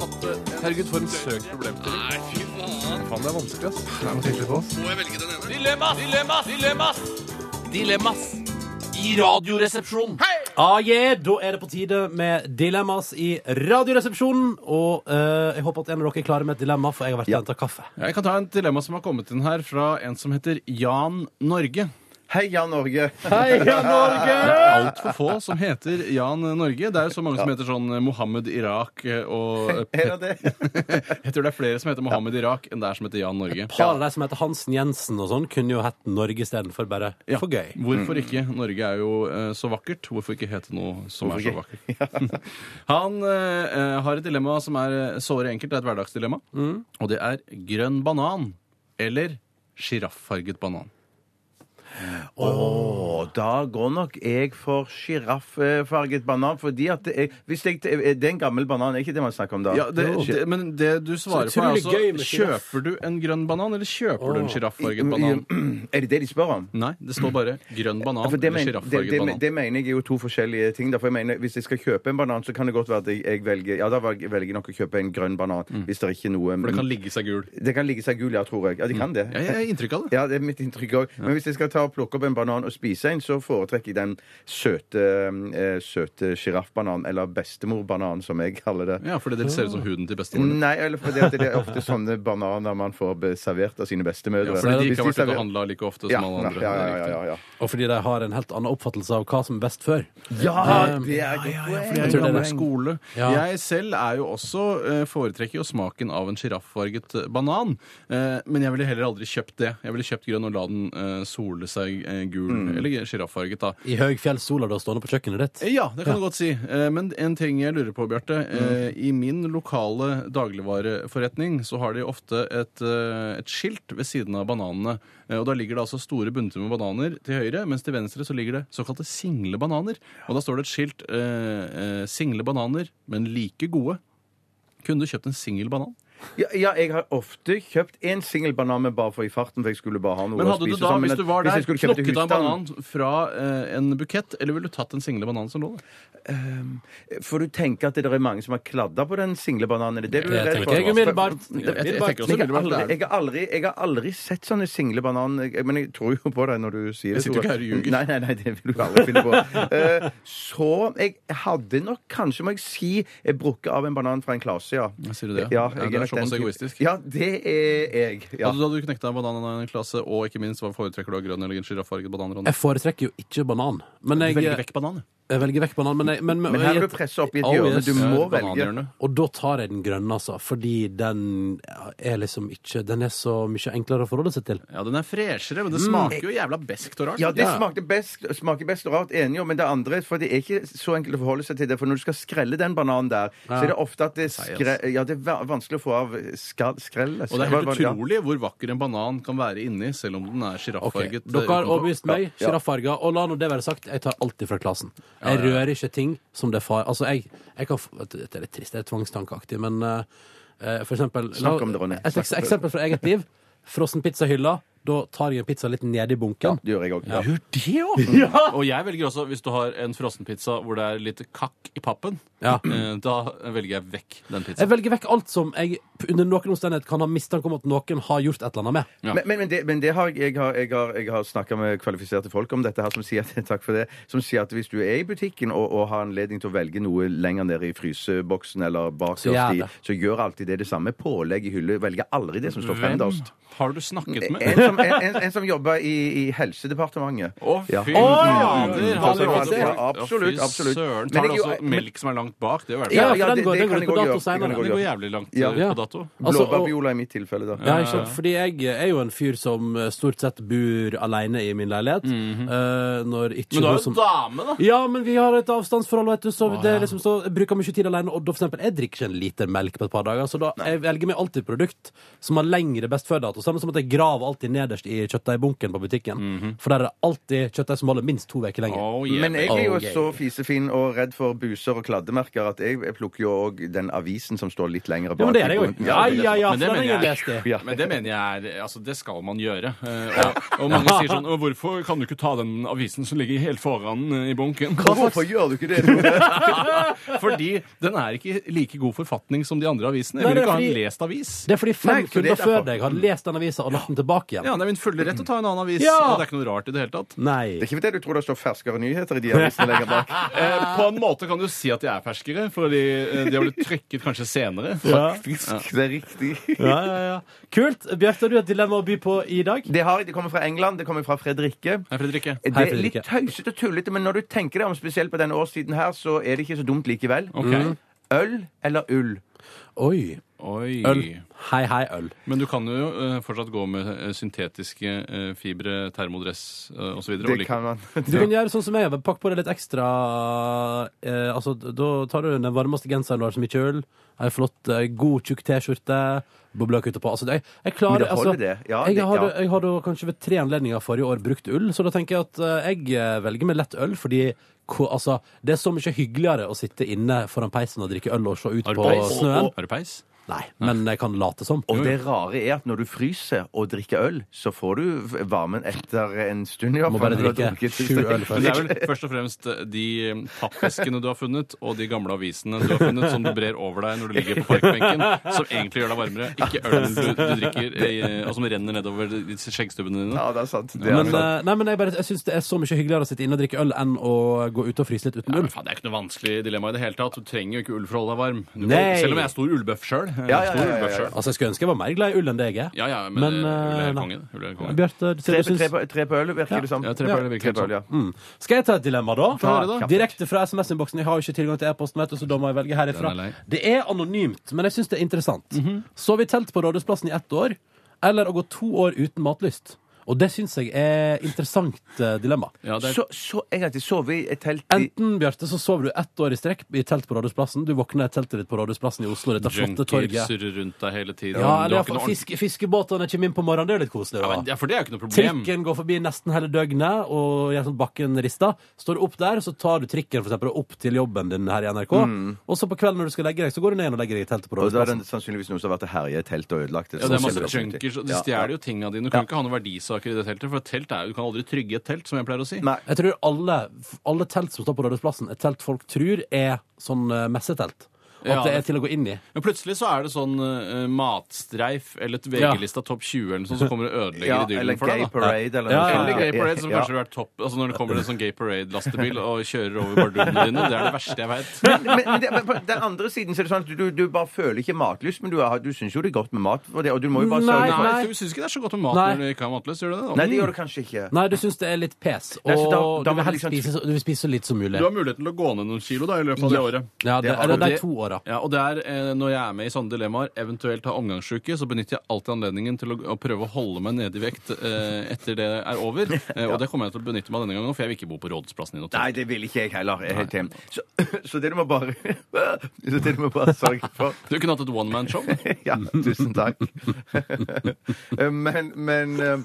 S7: hatt det?
S5: Herregud, for en søk problemstilling.
S7: Nei, fy faen.
S5: Det er vanskelig, ass.
S7: Må jeg velge den ene? Dilemmas! Dilemmas! Dilemmas! Dilemmas! I radioresepsjonen.
S4: Ah, yeah, da er det på tide med dilemmas i Radioresepsjonen. Og eh, jeg håper at en av dere er klare med et dilemma, for jeg har vært og henta kaffe.
S5: Jeg kan ta en dilemma som har kommet inn her fra en som heter Jan Norge.
S6: Heia Norge!
S4: Heia Norge!
S5: Altfor få som heter Jan Norge. Det er jo så mange som heter sånn Mohammed Irak eh, og
S6: Er det det?
S5: Jeg tror det er flere som heter Mohammed Irak enn det er som heter Jan Norge.
S4: Par av de som heter Hansen Jensen og sånn, kunne jo hett Norge istedenfor bare
S5: Ja.
S4: for gøy.
S5: Hvorfor ikke? Norge er jo eh, så vakkert. Hvorfor ikke hete noe som er så
S6: Hvorfor
S5: vakkert? Han eh, har et dilemma som er eh, såre enkelt. Det er et hverdagsdilemma. Og det er grønn banan eller sjirafffarget banan.
S6: Og da går nok jeg for sjirafffarget banan, fordi at det er, hvis jeg, det er en gammel banan, er ikke det man snakker om da?
S5: Ja, det, det, men det du svarer på, er
S4: utrolig gøy med
S5: altså
S4: giraff.
S5: Kjøper du en grønn banan, eller kjøper du en sjirafffarget banan?
S6: Er det det de spør om?
S5: Nei, det står bare grønn banan
S6: Ja, for det,
S5: eller
S6: men, det,
S5: sjirafffarget
S6: det,
S5: banan.
S6: det mener jeg er jo to forskjellige ting. Da, for jeg mener, Hvis jeg skal kjøpe en banan, så kan det godt være at jeg, jeg velger Ja, da velger velger jeg nok å kjøpe en grønn banan. Hvis det er ikke noe
S5: Mm. For det kan ligge seg gul.
S6: Det kan ligge seg gul, ja, tror jeg. Ja, de kan det.
S5: Ja, jeg har inntrykk av det.
S6: Ja, det er mitt inntrykk òg. Men hvis jeg skal ta og plukke opp en banan og spise en, så foretrekker jeg den søte eh, søte sjiraffbananen, eller bestemorbanan, som jeg kaller det.
S5: Ja, fordi det ser ut som huden til bestemoren. din.
S6: Nei, eller fordi at det er ofte sånne bananer man får be- servert av sine bestemødre.
S5: Ja, fordi de
S6: Hvis
S5: ikke har vært ute
S6: server-
S5: og handla like ofte som
S6: ja,
S5: alle andre.
S6: ja, ja, ja,
S5: Det er
S6: ja,
S5: riktig.
S6: ja.
S4: Og fordi de har en helt annen oppfattelse av hva som er best før.
S6: Ja, det er godt poeng.
S4: tror
S5: Jeg,
S4: det er
S5: gammel
S4: det.
S5: skole.
S4: Ja.
S5: jeg selv er jo også eh, foretrekker jo smaken av en sjirafffarget eh, banan. Eh, Men jeg ville heller aldri kjøpt det. Jeg ville kjøpt grønn og la den eh, sole seg eh, gul.
S4: Mm.
S5: Eller sjirafffarget, da.
S4: I høyfjellssola du har stående på kjøkkenet ditt.
S5: Eh, Ja, det kan du godt si. Eh, Men en ting jeg lurer på, Bjarte. Eh, I min lokale dagligvareforretning så har de ofte et, eh, et skilt ved siden av bananene. Eh, Og da ligger det altså store bunter med bananer til høyre, mens til venstre så ligger det såkalte single bananer. Og da står det et skilt eh, eh, 'single bananer, men like gode'. Kunne du kjøpt en singel banan?
S6: Ja, ja, jeg har ofte kjøpt en singel banan, men bare for i farten, for jeg skulle bare ha noe
S5: Men
S6: å
S5: hadde
S6: spise.
S5: du da,
S6: sammen.
S5: hvis du var der,
S6: jeg skulle kjøpt i
S5: knokket av en
S6: husstanden-
S5: banan fra eh, en bukett, eller ville du tatt den single bananen som lå der?
S6: For du tenker at det er mange som har kladda på den single bananen? Er Det, det, du er
S4: Det
S6: redd
S4: tenker
S6: for?
S4: jeg umiddelbart.
S5: Jeg- jeg tenker også
S6: Men Jeg har,
S5: umiddelbart.
S6: aldri, jeg, har aldri, jeg har aldri sett sånne singlebananer, jeg- men jeg tror jo på deg når du sier det.
S5: Jeg sitter jo
S6: Tore.
S5: ikke her og ljuger.
S6: Nei, nei, nei, det vil du aldri finne på. Eh, så jeg hadde nok, kanskje må jeg si, eh, brukket av en banan fra en klase, ja.
S5: Ja, sier du det?
S6: Ja,
S5: Ja,
S6: jeg
S5: det er
S6: nok den
S5: såpass
S6: typen.
S5: egoistisk. Altså,
S6: Ja, det er jeg. Ja.
S5: Hadde du, hadde du knekta en banan av en klasse, og ikke minst hva foretrekker du av grønn eller sjirafffarget banan? Ronny?
S4: Jeg foretrekker jo ikke banan. Men jeg,
S5: Velge vekk banan.
S4: jeg velger vekk banan. Men, jeg, men,
S6: Men her må du presse opp i et
S4: Oh,
S6: hjørne.
S4: yes.
S6: Du
S5: Ja,
S6: må velge.
S5: bananhjørnet.
S4: Og da tar jeg den grønne, altså. Fordi den er liksom ikke Den er så mye enklere å forholde seg til.
S5: Ja, den er freshere, men det smaker jo jævla beskt og rart.
S6: Ja, det smakte best, smaker best og rart, enig om, men det andre For det er ikke så enkelt å forholde seg til det. For når du skal skrelle den bananen der, så er det ofte at det, skre, ja, det er va- vanskelig å få av ska, skrellet.
S5: altså. Og det er
S6: Hva-
S5: helt
S6: hva- ja.
S5: utrolig hvor vakker en banan kan være inni, selv om den er eh, sjirafffarget.
S4: Dere har overbevist meg. Sjirafffarga. Og la nå det være sagt, jeg tar alltid fra klassen. Jeg rører ikke ting som det er far... Altså, jeg, jeg kan f- Dette er litt trist, det er tvangstankeaktig, men eh, eh, for eksempel
S6: Snakk om det, Ronny.
S4: Et eks eksempel fra eget liv. Frossen pizzahylla. Da tar jeg en pizza litt ned i bunken.
S6: Det gjør jeg òg. Ja.
S5: Gjør det òg! Og jeg velger også, hvis du har en frossenpizza hvor det er litt kakk i pappen,
S4: Ja.
S5: eh, da velger jeg vekk den
S4: Jeg
S5: pizzaen.
S4: velger vekk alt som jeg under noen omstendighet kan ha mistanke om at noen har gjort et eller annet med.
S5: Ja.
S6: Men, men, men, det, men det har jeg, jeg har, jeg har, jeg har snakka med kvalifiserte folk om dette her, som sier, at, takk for det, som sier at hvis du er i butikken og, og har anledning til å velge noe lenger ned i fryseboksen eller bakerst
S4: Så gjør
S6: i,
S4: det.
S6: så gjør alltid det det samme. Pålegg i hylle. Velger aldri det som står
S5: Hvem
S6: fremderst.
S5: har du snakket
S6: En,
S5: med?
S6: som- en, en, en som jobber i, i Helsedepartementet.
S5: Å, fy
S6: Ja.
S5: fader!
S6: Mm.
S5: har du
S6: Ja,
S5: fått-
S6: ja,
S5: Å,
S6: absolutt,
S5: fy
S6: absolutt.
S5: Søren.
S6: Men
S5: Tar
S6: jeg-
S5: du også
S6: men-
S5: melk som er langt bak? Det er jo i hvert
S4: Ja,
S5: fall-
S4: for den
S6: det-
S4: går-
S6: det
S4: den går
S6: kan jeg
S4: på
S6: også
S4: dato
S6: gjøre. Det kan
S4: senere.
S6: jeg
S5: Det
S6: også
S5: går
S6: gjøre.
S5: jævlig langt
S6: Ja.
S5: eh,
S4: Ja.
S5: på dato.
S4: Altså, og-
S6: Blåbærbiola i mitt tilfelle, da.
S4: Ja, ikke sant? Fordi jeg er jo en fyr som eh, stort sett bor alene i min leilighet.
S6: Mhm.
S4: eh, når ikke
S5: Men du
S4: hun
S5: er jo
S4: som
S5: dame, da!
S4: Ja, men vi har et avstandsforhold, vet du, så det er liksom så, jeg bruker mye tid alene. Og da for eksempel, jeg drikker ikke en liter melk på et par dager, så da jeg velger meg alltid produkt som har lengre best før-dato. Samme som at jeg graver alltid nederst i kjøttdeigbunken på butikken. For der er det alltid kjøttdeig som holder minst to uker lenger.
S5: Mhm. Oh, yeah,
S6: Men jeg er jo
S4: Oh, yeah.
S6: så fisefin og redd for buser og kladdemerker at jeg jeg plukker jo òg den avisen som står litt lenger bak.
S4: Ja, men det er det
S6: i
S4: jo.
S6: bunnen.
S4: Ja,
S6: det er
S4: ja, ja,
S5: Men
S4: for
S5: det
S4: den har
S5: mener
S4: jeg
S5: jeg-
S4: lest det.
S6: Ja.
S5: Men det mener jeg er Altså, det skal man gjøre. Eh, Og, og mange sier sånn «Å, Hvorfor kan du ikke ta den avisen som ligger helt foran eh, i bunken?
S6: Hvorfor gjør du ikke det? Tore?
S5: Fordi den er ikke i like god forfatning som de andre avisene. Jeg
S4: Nei,
S5: vil
S4: det er
S5: ikke ha en
S4: fordi-
S5: lest avis.
S4: Det er fordi fem
S6: Nei, så det er
S4: kunder før
S6: derfor.
S4: deg har lest den avisa og lagt den tilbake igjen.
S5: Ja, det er min fulle rett å ta en annen avis.
S4: Ja!
S5: Og det er ikke noe rart i det hele tatt.
S4: Nei.
S6: Det er ikke fordi du tror det står ferskere nyheter i de avisene lenger bak.
S5: Eh, på en måte kan du si at de er ferskere, fordi eh, de har blitt trykket kanskje senere.
S4: Ja.
S6: Fisk, det er riktig.
S4: Ja, ja, ja. Kult. Bjarte, har du et dilemma å by på i dag?
S6: Det, har, det kommer fra England, det kommer fra Fredrikke.
S5: Nei, Fredrikke.
S6: Det
S4: Hei,
S6: er litt
S4: Fredrikke.
S6: tøysete og tullete, men når du tenker deg om, spesielt på denne årstiden her, så er det ikke så dumt likevel.
S5: Ok.
S4: Mm.
S6: Øl eller ull?
S4: Oi.
S5: Oi.
S4: Øl. Hei, hei, øl.
S5: Men du kan jo eh, fortsatt gå med eh, syntetiske eh, fibre, termodress uh, osv.
S6: Det kan man.
S4: Du kan gjøre sånn som jeg gjør. Pakk på deg litt ekstra eh, Altså, Da tar du den varmeste genseren du har som ikke øl. Ei flott, eh, god, tjukk T-skjorte. Boblekutter på. Altså, jeg, jeg klarer
S6: Men det holder
S4: altså,
S6: det. Ja,
S4: jeg,
S6: det-
S4: har,
S6: ja.
S4: jeg har da kanskje ved tre anledninger forrige år brukt ull, så da tenker jeg at eh, jeg eh, velger med lett øl, fordi ko- Altså, Det er så mye hyggeligere å sitte inne foran peisen og drikke øl og se ut
S5: Har du
S4: på
S5: peis?
S4: snøen.
S5: Har du peis?
S4: Nei, men jeg kan late som.
S6: Og det rare er at når du fryser og drikker øl, så får du varmen etter en stund. i hvert
S4: Må
S6: fall,
S4: bare
S6: når du har
S4: drikke
S6: drukket.
S4: sju øl
S5: Men det
S4: først.
S5: er vel først og fremst de pappeskene du har funnet, og de gamle avisene du har funnet, som du brer over deg når du ligger på parkbenken, som egentlig gjør deg varmere. Ikke ølen du, du drikker, eh, og som renner nedover de- de skjeggstubbene dine.
S6: Ja, det er sant. Det altså. er
S4: Men,
S6: sant.
S4: eh, nei, men jeg, bare- jeg syns det er så mye hyggeligere å sitte inne og drikke øl enn å gå ut og fryse litt uten
S5: Ja,
S4: ull.
S5: men faen, Det er ikke noe vanskelig dilemma i det hele tatt. Du trenger jo ikke ull for å holde deg varm. Du kan-
S4: Nei.
S5: Selv om jeg er stor ullbøff sjøl.
S6: Ja, ja, ja, ja, ja.
S4: Altså, Jeg skulle ønske jeg var mer glad i ull enn det jeg er.
S5: Ja, ja, men, men
S4: eh,
S5: ull er
S4: nei.
S5: kongen. Ull er kongen.
S4: Bjarte, du
S6: Tre,
S4: sier du syns
S6: tre, på- tre på øl virker det som.
S5: Ja, tre på øl virker det som.
S6: ja.
S4: mm. Skal jeg ta et dilemma, da?
S5: Ta det, da.
S4: Direkte fra SMS-innboksen. Jeg har jo ikke tilgang til e-posten, vet du, så da må jeg velge herifra.
S5: Den er lei.
S4: Det er anonymt, men jeg syns det er interessant.
S5: Mhm.
S4: Sove i telt på Rådhusplassen i ett år, eller å gå to år uten matlyst? Og det syns jeg er interessant eh, dilemma.
S5: Ja, det er
S6: Så, så en gang til sove i et telt i
S4: Enten, Bjarte, så sover du ett år i strekk i telt på Rådhusplassen. Du våkner i teltet ditt på Rådhusplassen i Oslo, dette flotte
S5: junkier
S4: torget.
S5: surrer rundt deg hele tiden.
S4: Ja,
S5: Du
S4: eller
S5: har ikke
S4: iallfall
S5: noe ordentlig-
S4: fiske, fiskebåtene kommer inn på morgenen. Det er jo litt koselig.
S5: Ja,
S4: da.
S5: men, ja, for det er jo ikke noe problem.
S4: Trikken går forbi nesten hele døgnet, og gjør sånn bakken rister. Står du opp der, så tar du trikken for eksempel, opp til jobben din her i NRK. Og så på kvelden når du skal legge deg, så går du ned igjen og legger deg i teltet på
S6: Mm. Og da er
S4: Rådhusplassen.
S6: det sannsynligvis noen som har vært og herja i teltet og ødelagt det.
S5: Ja, det er
S6: Sånn
S5: masse
S6: ser det ut.
S5: junkers, og de
S6: Ja.
S5: stjeler jo tingene dine. Du kan jo ikke ha noen verdisaker i det teltet, for et telt er jo, du kan aldri trygge et telt, som jeg pleier å si.
S6: Nei.
S4: Jeg tror alle, alle telt som står på Rådhusplassen, et telt folk tror er sånn eh, messetelt. At
S5: Ja,
S4: det
S5: det-
S4: er til å gå inn i.
S5: Men plutselig så er det sånn eh, matstreif eller et VG-lista Topp 20 eller noe sånt som kommer og ødelegger
S6: Ja, eller
S5: idyllen for
S6: Gay
S5: deg. da.
S6: Parade eller
S4: Ja,
S6: noe
S4: ja,
S5: Eller
S6: sånt.
S5: Gay Parade, som
S6: Ja.
S5: kanskje vil være topp altså Når det kommer en sånn Gay Parade-lastebil og kjører over bardunene dine. Det er det verste jeg veit.
S6: men, men, det, men på den andre siden så er det sånn at du, du bare føler ikke matlyst, men du, har- du syns jo det er godt med mat. Og, det, og du må jo bare
S4: Nei,
S6: sørge for
S4: nei.
S5: Du syns ikke det er så godt med mat
S4: Nei.
S5: når du ikke har matløs, gjør du det? da?
S6: Mm. Nei, det gjør du kanskje ikke.
S4: Nei, du syns det er litt pes, og
S6: Nei, så da-
S4: du
S6: da må
S4: vil helst
S6: liksom-
S4: spise så, du vil spise så litt som mulig.
S5: Du har muligheten til å gå ned noen kilo da, i løpet av det året.
S4: Ja, det,
S6: Det har
S4: eller
S6: du.
S4: de to åra.
S5: Ja, og det er, eh, Når jeg er med i sånne dilemmaer, eventuelt har omgangssjuke, så benytter jeg alltid anledningen til å, å prøve å holde meg nede i vekt eh, etter det er over. Eh, og det kommer jeg til å benytte meg av denne gangen, for jeg vil ikke bo på Rådhusplassen i noe
S6: Nei,
S5: tid.
S6: det vil ikke jeg heller. Jeg er helt enig. Så, så det du må bare Så det du må bare sørge for
S5: Du kunne hatt et one man-show.
S6: Ja, tusen takk. Eh, men, men, eh,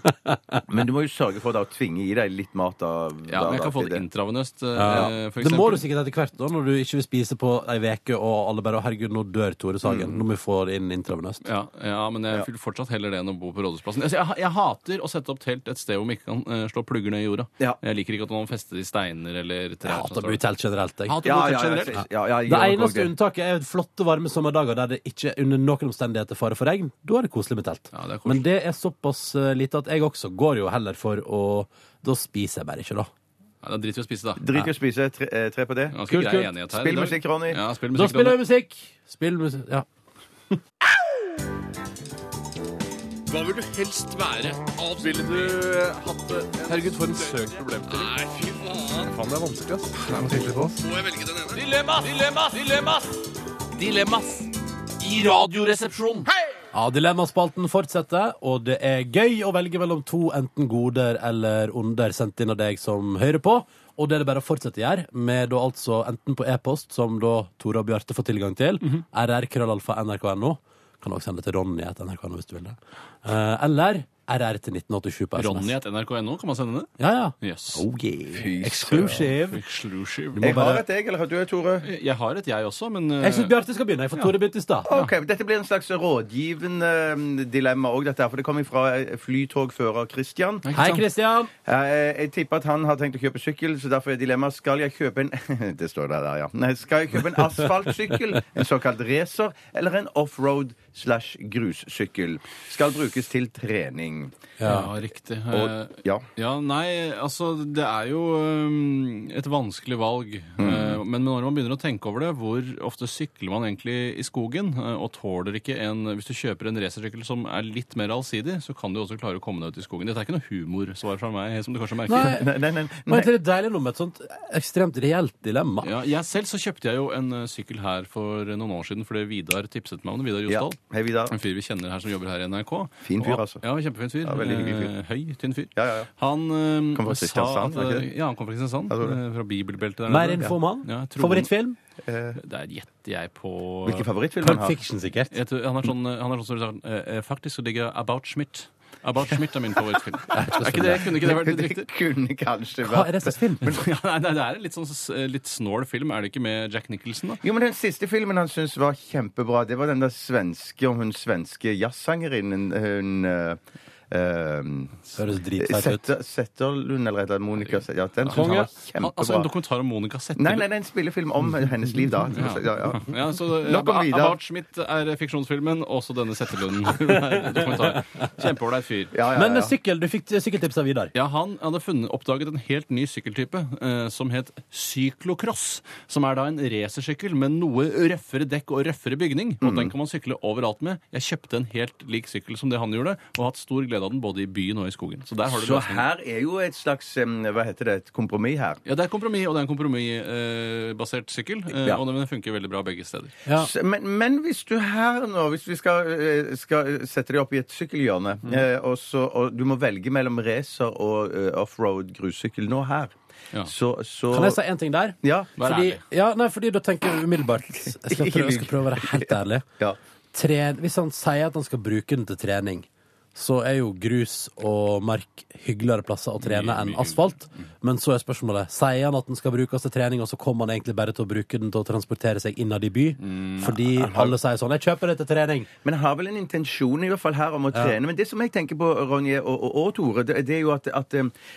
S6: men du må jo sørge for da å tvinge i deg litt mat av
S5: Ja, men jeg kan få det intravenøst, eh, for
S4: Det må du
S5: eksempel.
S4: sikkert etter hvert, da, når du ikke vil spise på ei uke, og alle bare 'Å, herregud, nå dør Tore Sagen'.
S6: Mm.
S4: Nå må vi få det inn intravenøst.
S5: Ja, ja, men jeg vil fortsatt heller det enn å bo på Rådhusplassen. Altså, jeg, jeg hater å sette opp telt et sted hvor man ikke kan eh, slå plugger ned i jorda.
S6: Ja.
S5: Jeg liker ikke at noen fester i steiner eller
S4: Jeg
S5: trær.
S4: hater å bo i telt generelt, jeg.
S5: Hater
S6: Ja,
S5: å bo i telt
S6: ja, ja,
S5: generelt.
S6: ja, ja,
S4: Det
S6: jeg gjør nok også
S4: eneste unntaket er flotte, varme sommerdager der det ikke under noen omstendigheter fare for regn. Da er det koselig med telt.
S5: Ja, det er koselig.
S4: Men det er såpass eh, lite at jeg også går jo heller for å Da spiser jeg bare ikke, da.
S5: Ja, da driter vi i å spise, da.
S6: Drit i å spise. Tre, eh, tre på det.
S5: Ganske
S4: Kult,
S5: grei
S4: kult.
S5: enighet her.
S6: Spill
S5: i dag.
S6: musikk, Ronny.
S5: Ja, spill
S4: Da
S5: musikk,
S4: spiller
S5: Ronny.
S4: jeg musikk! Spill musikk Ja.
S5: Hva vil du helst være? Ville du hatt det? Herregud, for en søk problemstilling. Nei, fy faen. Faen, det er vanskelig, ass. Det er noe tydelig på oss. Må jeg velge den ene?
S7: Dilemmas, dilemmas, dilemmas! Dilemmas i Radioresepsjonen.
S4: Ja, Dilemmaspalten fortsetter, og det er gøy å velge mellom to enten goder eller onder sendt inn av deg som hører på. Og det er det bare å fortsette å gjøre, med da altså enten på e-post, som da Tore og Bjarte får tilgang til, rrkrøllalfa.nrk.no. Kan også sende det til Ronny etter nrk.no hvis du vil det. Eh, Eller rr til 1987 på SMS.
S5: Ronny at nrk.no, kan man sende det?
S4: Ja, ja.
S5: Yes.
S4: Oh, yeah. Exclusive.
S5: Exclusive.
S6: Jeg har et, jeg. Eller har du et, Tore?
S5: Jeg har et, jeg også, men eh,
S4: Jeg syns Bjarte skal begynne, for Tore begynte i stad.
S6: Ok, Dette blir en slags rådgivende eh, dilemma òg, dette her. For det kommer fra eh, flytogfører Christian.
S5: ikke
S4: Hei,
S5: sant?
S4: Kristian.
S6: Eh, Jeg tipper at han har tenkt å kjøpe sykkel, så derfor er dilemmaet skal jeg kjøpe en Det står der, der, ja. Nei, skal jeg kjøpe en asfaltsykkel, en såkalt racer, eller en offroad slash grussykkel skal brukes til trening.
S5: Ja, riktig.
S6: Og-
S5: Eh,
S6: ja.
S5: Nei, altså det er jo um, et vanskelig valg. Eh, Men når man begynner å tenke over det, hvor ofte sykler man egentlig i skogen? eh, Og tåler ikke en Hvis du kjøper en racersykkel som er litt mer allsidig, så kan du også klare å komme deg ut i skogen. Dette er ikke noe humorsvar fra meg, som du kanskje merker.
S6: Nei, nei, nei,
S4: Men
S6: nei.
S4: det er litt deilig noe med et sånt ekstremt reelt dilemma.
S5: Ja, jeg selv så kjøpte jeg jo en eh, sykkel her for eh, noen år siden fordi Vidar tipset meg om det. Vidar
S6: Ja.
S5: Josdal.
S6: Hei, Vidar.
S5: En fyr vi kjenner her som jobber her i NRK.
S6: Fin fyr,
S5: Og-
S6: altså.
S5: Ja, kjempefin fyr.
S6: Ja, veldig hyggelig fyr.
S5: Eh, Høy, tynn fyr.
S6: Ja, ja, ja.
S5: Han eh,
S6: Kom fra
S5: sa
S6: Kristiansand,
S5: at,
S6: er ikke det?
S5: Ja, han kom fra Kristiansand.
S6: Jeg tror det.
S5: eh, Fra bibelbeltet der.
S4: Mer
S5: nede.
S4: info om han?
S5: Ja, jeg tror-
S4: Favorittfilm?
S5: Der gjetter jeg på
S6: Hvilken favorittfilm han
S4: Pulp
S6: har?
S4: Fiction, sikkert.
S5: jeg tror, han, er sånn, eh, han er sånn som sier eh, eh, Faktisk så digger jeg About Schmidt. About Schmidt er min favorittfilm. er ikke det, kunne ikke det vært litt riktig?
S6: Det kunne kanskje
S4: Hva
S6: vært
S4: er det slags film?
S5: Ja, nei, nei, det er en litt, sånn, s- eh, litt snål film, er det ikke, med Jack Nicholson? da?
S6: Jo, men Den siste filmen han syntes var kjempebra, det var den der svenske om hun svenske jazzsangerinnen hun eh, eh,
S4: Høres dritteit ut.
S6: Setter- Setterlund eller et eller annet. Monica Set- Ja, den synes
S5: Konge.
S6: han var
S5: Al- Altså en
S6: kjempebra.
S5: dokumentar om Monica Zetterlund?
S6: Nei, nei, nei, en spillefilm om hennes liv da. Ja, ja.
S5: Ja, så eh,
S6: Nok om
S5: Ab-
S6: Vidar.
S5: About Schmidt er fiksjonsfilmen, også denne Setterlunden. er dokumentar. Kjempeålreit fyr.
S6: Ja, ja,
S4: Men
S6: ja.
S4: eh, sykkel, du fikk sykkeltips av Vidar.
S5: Ja, Han hadde funnet, oppdaget en helt ny sykkeltype eh, som het cyklocross. Som er da en racersykkel med noe røffere dekk og røffere bygning.
S6: Mm.
S5: Og den kan man sykle overalt med. Jeg kjøpte en helt lik sykkel som det han gjorde, og har hatt stor glede av den både i byen og i skogen. Så der har du
S6: Så
S5: løsningen.
S6: her er jo et slags em, Hva heter det? Et kompromiss her.
S5: Ja, Det er kompromiss, og det er en kompromissbasert sykkel. eh,
S6: Ja.
S5: Og den funker veldig bra begge steder.
S4: Ja.
S6: S- Men, men hvis du her nå Hvis vi skal, eh, skal sette deg opp i et sykkelhjørne, eh, og, så, og du må velge mellom racer og eh, offroad grussykkel nå her,
S5: Ja.
S6: så, så
S4: Kan jeg si en ting der?
S6: Ja.
S5: Vær
S4: Fordi,
S5: ærlig.
S4: ja, nei, fordi da tenker jeg umiddelbart Jeg skal prøve, jeg skal prøve å være helt ærlig.
S6: Ja.
S4: Tre, hvis han sier at han skal bruke den til trening, så er jo grus og mark hyggeligere plasser å trene enn asfalt. Men så er spørsmålet Sier han at den skal brukes til trening, og så kommer han egentlig bare til å bruke den til å transportere seg innad i by?
S5: Mm.
S4: Fordi alle sier sånn 'Jeg kjøper det til trening'.
S6: Men har vel en intensjon i hvert fall her om å trene. Men det som jeg tenker på, Ronje og, og, og Tore, det, det er jo at, at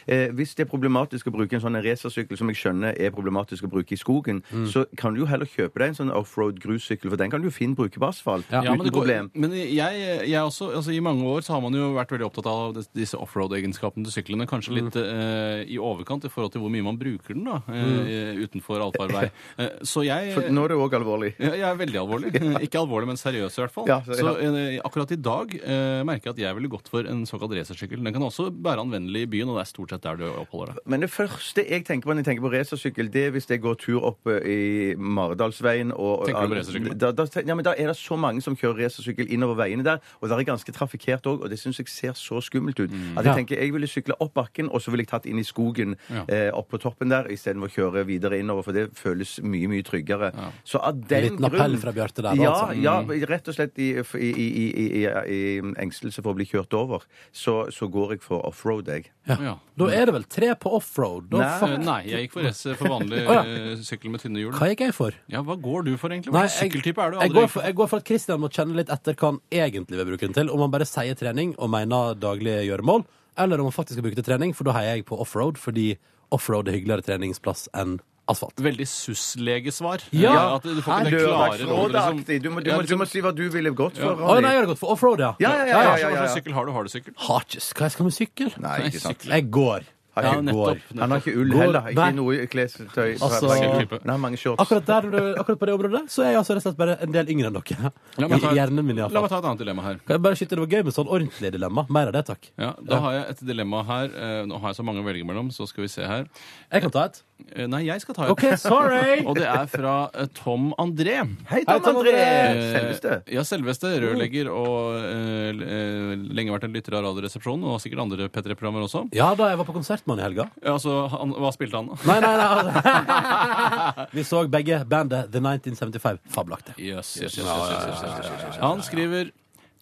S6: eh, hvis det er problematisk å bruke en sånn racersykkel, som jeg skjønner er problematisk å bruke i skogen,
S5: Mm.
S6: så kan du jo heller kjøpe deg en sånn offroad grussykkel, for den kan du jo fint bruke på asfalt
S4: Ja,
S5: men
S6: uten
S5: det går-
S6: problem.
S5: Men jeg, jeg også, altså I mange år så har man jo vært veldig opptatt av des- disse offroad-egenskapene til syklene. Kanskje litt eh, i overkant i forhold til hvor mye man bruker den da, eh, utenfor allfarvei. Eh, så jeg
S6: For nå er det òg alvorlig.
S5: ja, jeg er veldig alvorlig. Eh, Ikke alvorlig, men seriøs i hvert fall.
S6: Ja, så-
S5: så, eh, akkurat i dag eh, merker jeg at jeg ville gått for en såkalt racersykkel. Den kan også være anvendelig i byen, og det er stort sett der du oppholder deg.
S6: Men det første jeg tenker på når jeg tenker på racersykkel, det er hvis jeg går tur opp eh, i Maridalsveien og
S5: Tenker du på racersykkel?
S6: Da, da, ten- ja, men da er det så mange som kjører racersykkel innover veiene der, og det er ganske trafikkert òg, og det syns jeg ser så skummelt ut. At jeg
S4: Ja.
S6: tenker jeg ville sykle opp bakken, og så ville jeg tatt inn i skogen
S5: Ja.
S6: eh, opp på toppen der, istedenfor å kjøre videre innover, for det føles mye, mye tryggere. Så av den
S4: Liten appell fra Bjarte der, da,
S6: ja,
S4: altså.
S6: ja, rett og slett i, i, i, i, i, i engstelse for å bli kjørt over, så, så går jeg for offroad, jeg.
S5: Ja.
S4: Da er det vel tre på offroad. Da
S6: Nei.
S4: fuck,
S5: Eh, Nei, jeg gikk for racer for vanlig
S4: Å, ja.
S5: eh, sykkel med tynne hjul.
S4: hva gikk jeg for?
S5: Ja, Hva går du for, egentlig?
S4: Nei,
S5: Hvilken sykkeltype er du?
S4: Jeg
S5: Aldri-
S4: går, for, jeg går for at Christian må kjenne litt etter hva han egentlig vil bruke den til. Om han bare sier trening og mener daglige gjøremål, eller om han faktisk skal bruke det til trening, for da heier jeg på offroad, fordi offroad er hyggeligere treningsplass enn asfalt.
S5: Veldig susslegesvar.
S4: Ja.
S5: At du får ikke det klare rådet. Liksom.
S6: Lørdagsrådaktig. Du, må- du,
S5: Ja,
S6: må- du
S5: liksom,
S6: må si hva du ville gått
S4: Å
S6: for. Ronny.
S4: nei, jeg har gått for offroad, ja.
S6: Ja, ja, ja, ja, ja,
S5: Hva
S6: ja,
S5: slags
S6: ja.
S5: sykkel har du? Har du sykkel?
S4: Harkes, hva skal jeg med sykkel?
S6: Nei, ikke sant.
S4: Jeg går.
S6: Ja,
S4: Jeg går.
S5: nettopp.
S6: Han har ikke ull
S4: Går-
S6: heller.
S4: Nei.
S6: Ikke noe klestøy.
S4: Altså-
S5: Sykkeltype.
S6: Nei, mange shorts.
S4: Akkurat, der, når du- akkurat på det området der, så er jeg altså rett og slett bare en del yngre enn dere.
S5: La meg ta-
S4: I hjernen min,
S5: La meg
S4: iallfall.
S5: ta et annet dilemma her.
S4: Kan jeg bare skyte, det var gøy med sånn ordentlig dilemma. Mer av det, takk.
S5: Ja, da har jeg et dilemma her. Eh, Nå har jeg så mange å velge mellom, så skal vi se her.
S4: Jeg kan ta et.
S5: Eh, Nei, jeg skal ta et.
S4: OK, sorry!
S5: Og det er fra eh, Tom André.
S6: Hei, Tom
S4: Tom
S6: André!
S4: André!
S6: Selveste. Uh.
S5: Eh, Ja, selveste. Rørlegger og eh, l- eh, lenge vært en lytter av Radioresepsjonen, og sikkert andre P3-programmer også.
S4: Ja, da jeg var på konsert med han i helga.
S5: Ja, Altså, han, hva spilte han, da?
S4: Nei, nei, nei. Vi så begge bandet The 1975. Fabelaktig.
S5: Yes, yes, yes, yes, yes, yes, yes, yes, yes. Han skriver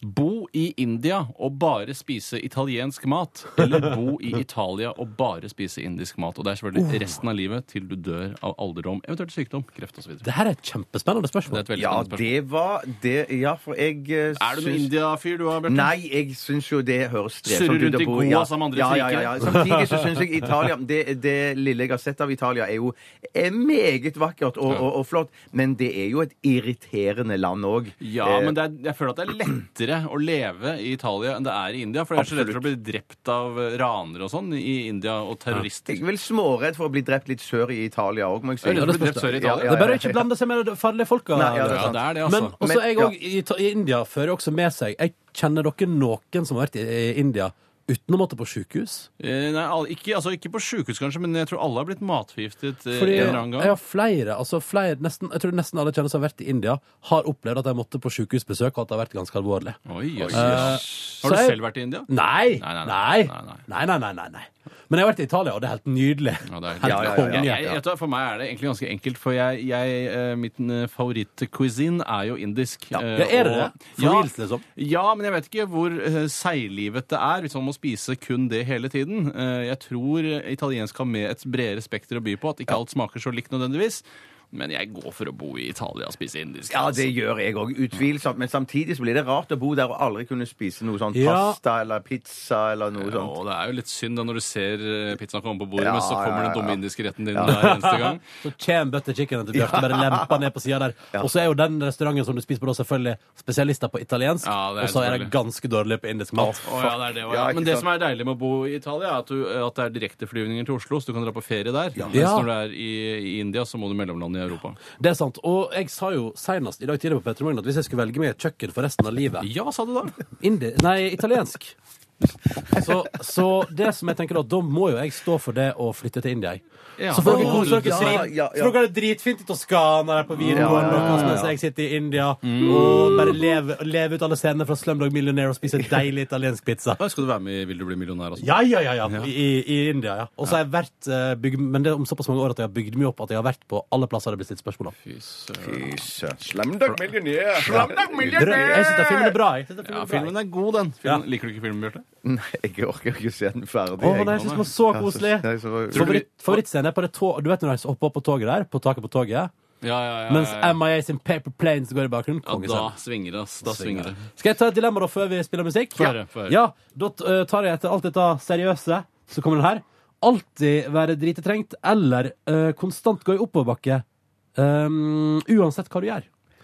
S5: Bo i India og bare spise italiensk mat. Eller bo i Italia og bare spise indisk mat. Og det er
S6: Oh.
S5: selvfølgelig resten av livet til du dør av alderdom, eventuelt sykdom, kreft osv. Det
S4: Det her er et kjempespennende
S5: er
S4: spørsmål.
S5: et veldig
S6: Ja,
S5: spennende spørsmål.
S6: det var det Ja, for jeg eh,
S5: Er du noen
S6: syns-
S5: India-fyr du har, Bjarte?
S6: Nei, jeg syns jo det høres
S5: Surrer
S6: strevsomt
S5: rundt
S6: ut
S5: i
S6: å bo
S5: Goa
S6: ja.
S5: som andre
S6: ja, ja, ja, ja.
S5: triker.
S6: Samtidig så syns jeg Italia det, det lille jeg har sett av Italia, er jo er meget vakkert og, og, og flott, men det er jo et irriterende land Eh, òg.
S5: Ja, men det er, jeg føler at det er lettere å leve i Italia enn det er i India. For jeg er så redd for å bli drept av eh, ranere og sånn i India, og terrorister.
S6: Jeg er vel småredd for å bli drept litt sør i Italia òg, må jeg si.
S5: Jeg er redd for å bli drept sør i Italia.
S4: Det er bare å ikke blande seg med de farlige folka.
S6: Nei, ja, det
S5: Ja,
S6: er sant.
S5: det er det,
S4: Men
S5: altså.
S4: også
S6: Men-
S4: jeg
S6: ja.
S4: òg i, ta- i India fører også med seg Jeg kjenner dere noen som har vært i, i India uten å måtte på sjukehus?
S5: Eh, Nei, al- ikke, altså, ikke på sjukehus, kanskje, men jeg tror alle har blitt matforgiftet eh,
S4: Fordi
S5: en
S4: jeg
S5: eller annen gang.
S4: har flere, altså flere nesten, Jeg tror nesten alle kjenner som har vært i India, har opplevd at de måtte på sjukehusbesøk, og at det har vært ganske alvorlig.
S5: Oi, jøss.
S4: Eh,
S5: har du
S4: så jeg-
S5: selv vært i India?
S4: Nei!
S5: Nei, nei,
S4: Nei!
S5: nei.
S4: Nei, nei, nei. nei, nei. Men jeg har vært i Italia, og det er helt nydelig.
S5: Ja, det er helt
S4: Helt
S5: ja, ja,
S4: konge.
S5: ja, Jeg, vet du hva, for meg er det egentlig ganske enkelt, for jeg, jeg, eh, mitt eh, favorittcuisine er jo indisk. Ja,
S4: Ja, er det det? Forvildt, liksom.
S5: Ja, men jeg vet ikke hvor eh, seiglivet det er, hvis man må spise kun det hele tiden. Eh, Jeg tror eh, italiensk har med et bredere spekter å by på, at ikke alt smaker så likt nødvendigvis. Men jeg går for å bo i Italia og spise indisk.
S6: Ja,
S5: altså.
S6: det gjør jeg òg, utvilsomt. Men samtidig så blir det rart å bo der og aldri kunne spise noe sånn
S4: Ja.
S6: pasta eller pizza eller noe
S5: Ja,
S6: sånt.
S5: og det er jo litt synd da når du ser eh, pizzaen komme på bordet,
S6: Ja,
S5: men så kommer
S6: ja, ja,
S5: den dumme
S6: ja.
S5: indiske retten din hver eneste gang.
S4: Så kjem butter chickenen til Bjarte, bare lempa ned på sida der. Og så er jo den restauranten som du spiser på, da selvfølgelig spesialister på italiensk,
S5: Ja, det er
S4: og så er det
S5: selvfølgelig.
S4: ganske dårlig på indisk mat.
S5: Å, ja, det er det, også,
S6: Ja,
S5: ja.
S6: ikke
S5: Men det
S6: sant.
S5: som er deilig med å bo i Italia, er at, du, eh, at det er direkteflyvninger til Oslo, så du kan dra på ferie der. Mens
S4: Ja.
S5: når du er i, i India, så må du mellomlande i Europa.
S4: Det er sant. Og jeg sa jo senest i dag tidlig på Petter Morgen at hvis jeg skulle velge meg et kjøkken for resten av livet
S5: Ja, sa du da!
S4: Indi Nei, italiensk. Så, så det som jeg tenker da, da må jo jeg stå for det å flytte til India. jeg.
S5: Ja.
S4: Så får dere
S5: Å,
S4: kose dere.
S6: ja,
S4: så-
S6: ja, ja.
S4: Så dere har det dritfint i Toskana der på videregående, og kos mens jeg sitter i India
S6: Mm.
S4: og bare leve, leve ut alle scenene fra Slumdog Millionaire og spise deilig italiensk pizza.
S5: Ja, Skal du være med i Vil du bli millionær? Altså?
S4: Ja, ja, ja, ja. I, i India, ja. Og så har jeg vært eh, bygd, Men det er om såpass mange år at jeg har bygd meg opp at jeg har vært på alle plasser det blir stilt spørsmål om.
S5: Fy søren.
S6: Slamdag millionaire. Slamdag
S4: Drøy. Jeg syns filmen er bra. jeg synes at
S5: Ja,
S4: filmen er bra.
S5: filmen er god, den. Filmen,
S4: Ja.
S5: Liker du ikke filmen, Bjarte?
S6: Nei, jeg orker ikke se den ferdig.
S4: Å,
S6: jeg.
S4: nei, jeg syns den var så
S6: Ja, så-
S4: koselig.
S6: nei, så var-
S4: Favoritt, favorittscene er på det tog, Du vet når de hopper opp på toget der, på taket på toget,
S5: Ja, ja, ja.
S4: mens
S5: ja, ja.
S4: MIA sin Paper Planes går i bakgrunnen?
S5: ja da
S4: Kongescene.
S5: svinger det, ass. Da svinger det.
S4: Skal jeg ta et dilemma da før vi spiller musikk?
S5: Få høre, få høre.
S4: Ja, Da eh, tar jeg etter alt dette seriøse, så kommer den her. Alltid være dritetrengt eller eh, konstant gå i oppoverbakke. Um, uansett hva du gjør.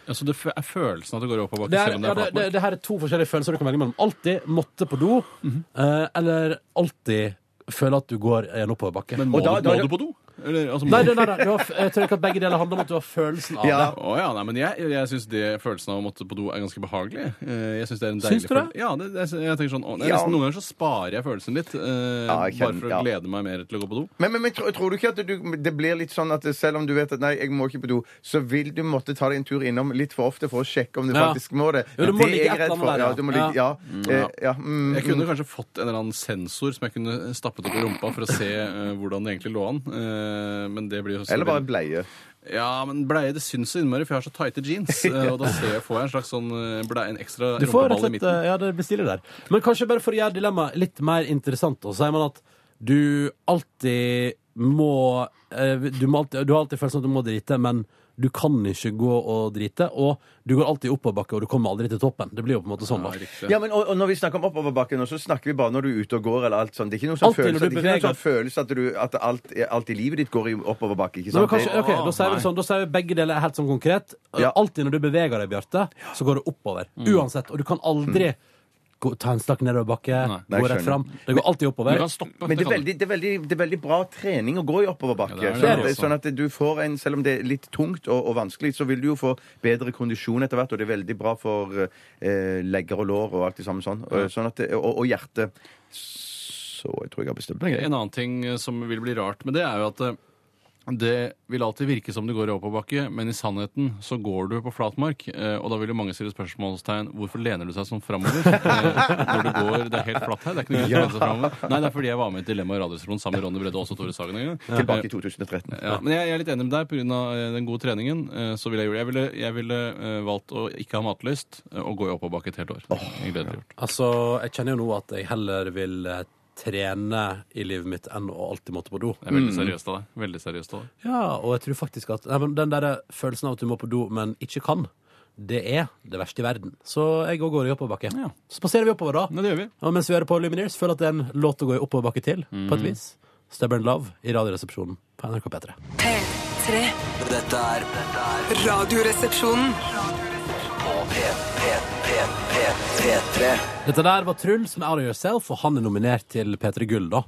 S5: Altså, det f- er følelsen at det går oppoverbakke,
S4: Det, er,
S5: selv om det
S4: ja,
S5: er
S4: det, det,
S5: flat mark.
S4: det her er to forskjellige følelser du kan velge mellom. Alltid måtte på do,
S5: Mhm.
S4: eh, eller alltid føle at du går i en oppoverbakke.
S5: Men må,
S6: Og da-
S5: du, må
S6: da-
S5: du på do? Eller, altså, må
S4: Nei,
S5: du-
S4: nei, nei, nei. Du har, f- jeg tror ikke at begge deler handler om at du har følelsen av
S6: Ja.
S4: det.
S5: Å ja, nei, men jeg, jeg syns følelsen av å måtte på do er ganske behagelig. Eh, Jeg synes det er en deilig
S4: Syns du det?
S5: følelse. Ja, det, det, jeg tenker sånn, å, det er
S6: Ja.
S5: nesten, Noen ganger så sparer jeg følelsen litt, eh,
S6: Ja,
S5: bare
S6: jeg kjenner-
S5: for å
S6: ja.
S5: glede meg mer til å gå på do.
S6: Men, men, men tror, tror du ikke at du, det blir litt sånn at selv om du vet at nei, jeg må ikke på do, så vil du måtte ta deg en tur innom litt for ofte for å sjekke om du
S4: Ja.
S6: faktisk må det?
S4: Jo, du må
S6: det
S4: ligge et
S6: er jeg redd
S4: eller annet
S6: for.
S4: der,
S6: Ja,
S4: ja.
S6: du må ligge, ja.
S5: Ja.
S6: Eh, ja, mm,
S5: Jeg kunne kanskje fått en eller annen sensor som jeg kunne stappet opp i rumpa for å se eh, hvordan det egentlig lå an. Eh, men det blir jo så
S6: Eller bare
S5: veldig-
S6: bleie.
S5: Ja, men bleie det syns så innmari, for jeg har så tighte jeans. eh, Og da ser jeg, får jeg en slags sånn eh, bleie, en ekstra
S4: Du får rett og
S5: rumpeball i
S4: slett
S5: midten.
S4: eh, Ja, det blir stilig der. Men kanskje bare for å gjøre dilemmaet litt mer interessant, og så sier man at du alltid må eh, Du, må alltid, du har alltid følelsen at du må drite, men du kan ikke gå og drite. Og du går alltid i oppoverbakke, og du kommer aldri til toppen. Det blir jo på en måte sånn,
S5: Ja,
S4: da.
S5: riktig.
S6: Ja, men og, og når vi snakker om oppoverbakken, nå, så snakker vi bare når du er ute og går. eller alt sånt. Det er ikke noe sånn
S4: Alltid når
S6: følelse,
S4: du
S6: det er ikke
S4: beveger-
S6: noe sånn følelse at, du, at alt, alt i livet ditt går i oppoverbakke. ikke
S4: Nei, men
S6: sant?
S4: kanskje,
S6: Det-
S4: ok, da sier vi det sånn, da sier vi begge deler er helt sånn konkret.
S6: Ja.
S4: Alltid når du beveger deg, Bjarte, så går det oppover.
S5: Mm.
S4: Uansett. Og du kan aldri gå, ta en slakk nedoverbakke,
S5: Nei.
S6: Nei,
S4: gå
S6: skjønner.
S4: rett fram. Det går alltid
S5: Du
S4: oppover.
S5: kan stoppe.
S6: Men det er,
S5: kan du.
S6: veldig, det, er veldig, det er veldig bra trening å gå i
S5: sånn.
S6: oppoverbakke.
S5: Ja, det er det
S6: sånn, at-
S5: også.
S6: sånn at du får en, Selv om det er litt tungt og, og vanskelig, så vil du jo få bedre kondisjon etter hvert, og det er veldig bra for eh, legger og lår og alt det samme sånn. Og, sånn at, det- og, og hjerte. Så jeg tror jeg har bestemt meg.
S5: En annen ting eh, som vil bli rart med det, er jo at eh, Det vil alltid virke som du går i oppoverbakke, men i sannheten så går du på flatmark. eh, Og da vil jo mange stille spørsmålstegn hvorfor lener du seg sånn framover eh, når du går Det er helt flatt her. Det er ikke noe grunn til å lene seg framover. Nei, det er fordi jeg var med i Dilemma i Radioresepsjonen sammen med Ronny Brede og også Tore Sagen en gang.
S6: Tilbake i 2013.
S5: Ja, men jeg, jeg er litt enig med deg pga. den gode treningen. eh, Så ville jeg, gjort- jeg, ville, jeg ville eh, valgt å ikke ha matlyst eh, og gå i oppoverbakke et helt år. Jeg gleder meg til å gjøre det.
S4: Altså, jeg kjenner jo nå at jeg heller vil eh, trene i livet mitt enn å alltid måtte på do.
S5: Det er veldig seriøst av deg. Veldig seriøst av deg.
S4: Ja, og jeg tror faktisk at nei, men Den der følelsen av at du må på do, men ikke kan, det er det verste i verden. Så jeg òg går i oppoverbakke.
S5: Ja.
S4: Så passerer vi oppover, da.
S5: Ja, det gjør vi.
S4: Og mens vi hører på Lumineers, føler at det er en låt å gå i oppoverbakke til, på
S5: Mhm.
S4: et vis. Stubborn Love i Radioresepsjonen på NRK P3.
S2: P3.
S8: Dette er dette er
S2: Radioresepsjonen.
S8: på P, P, P, P, P3.
S4: Dette der var Truls med Out of Yourself, og han er nominert til P3 Gull, da.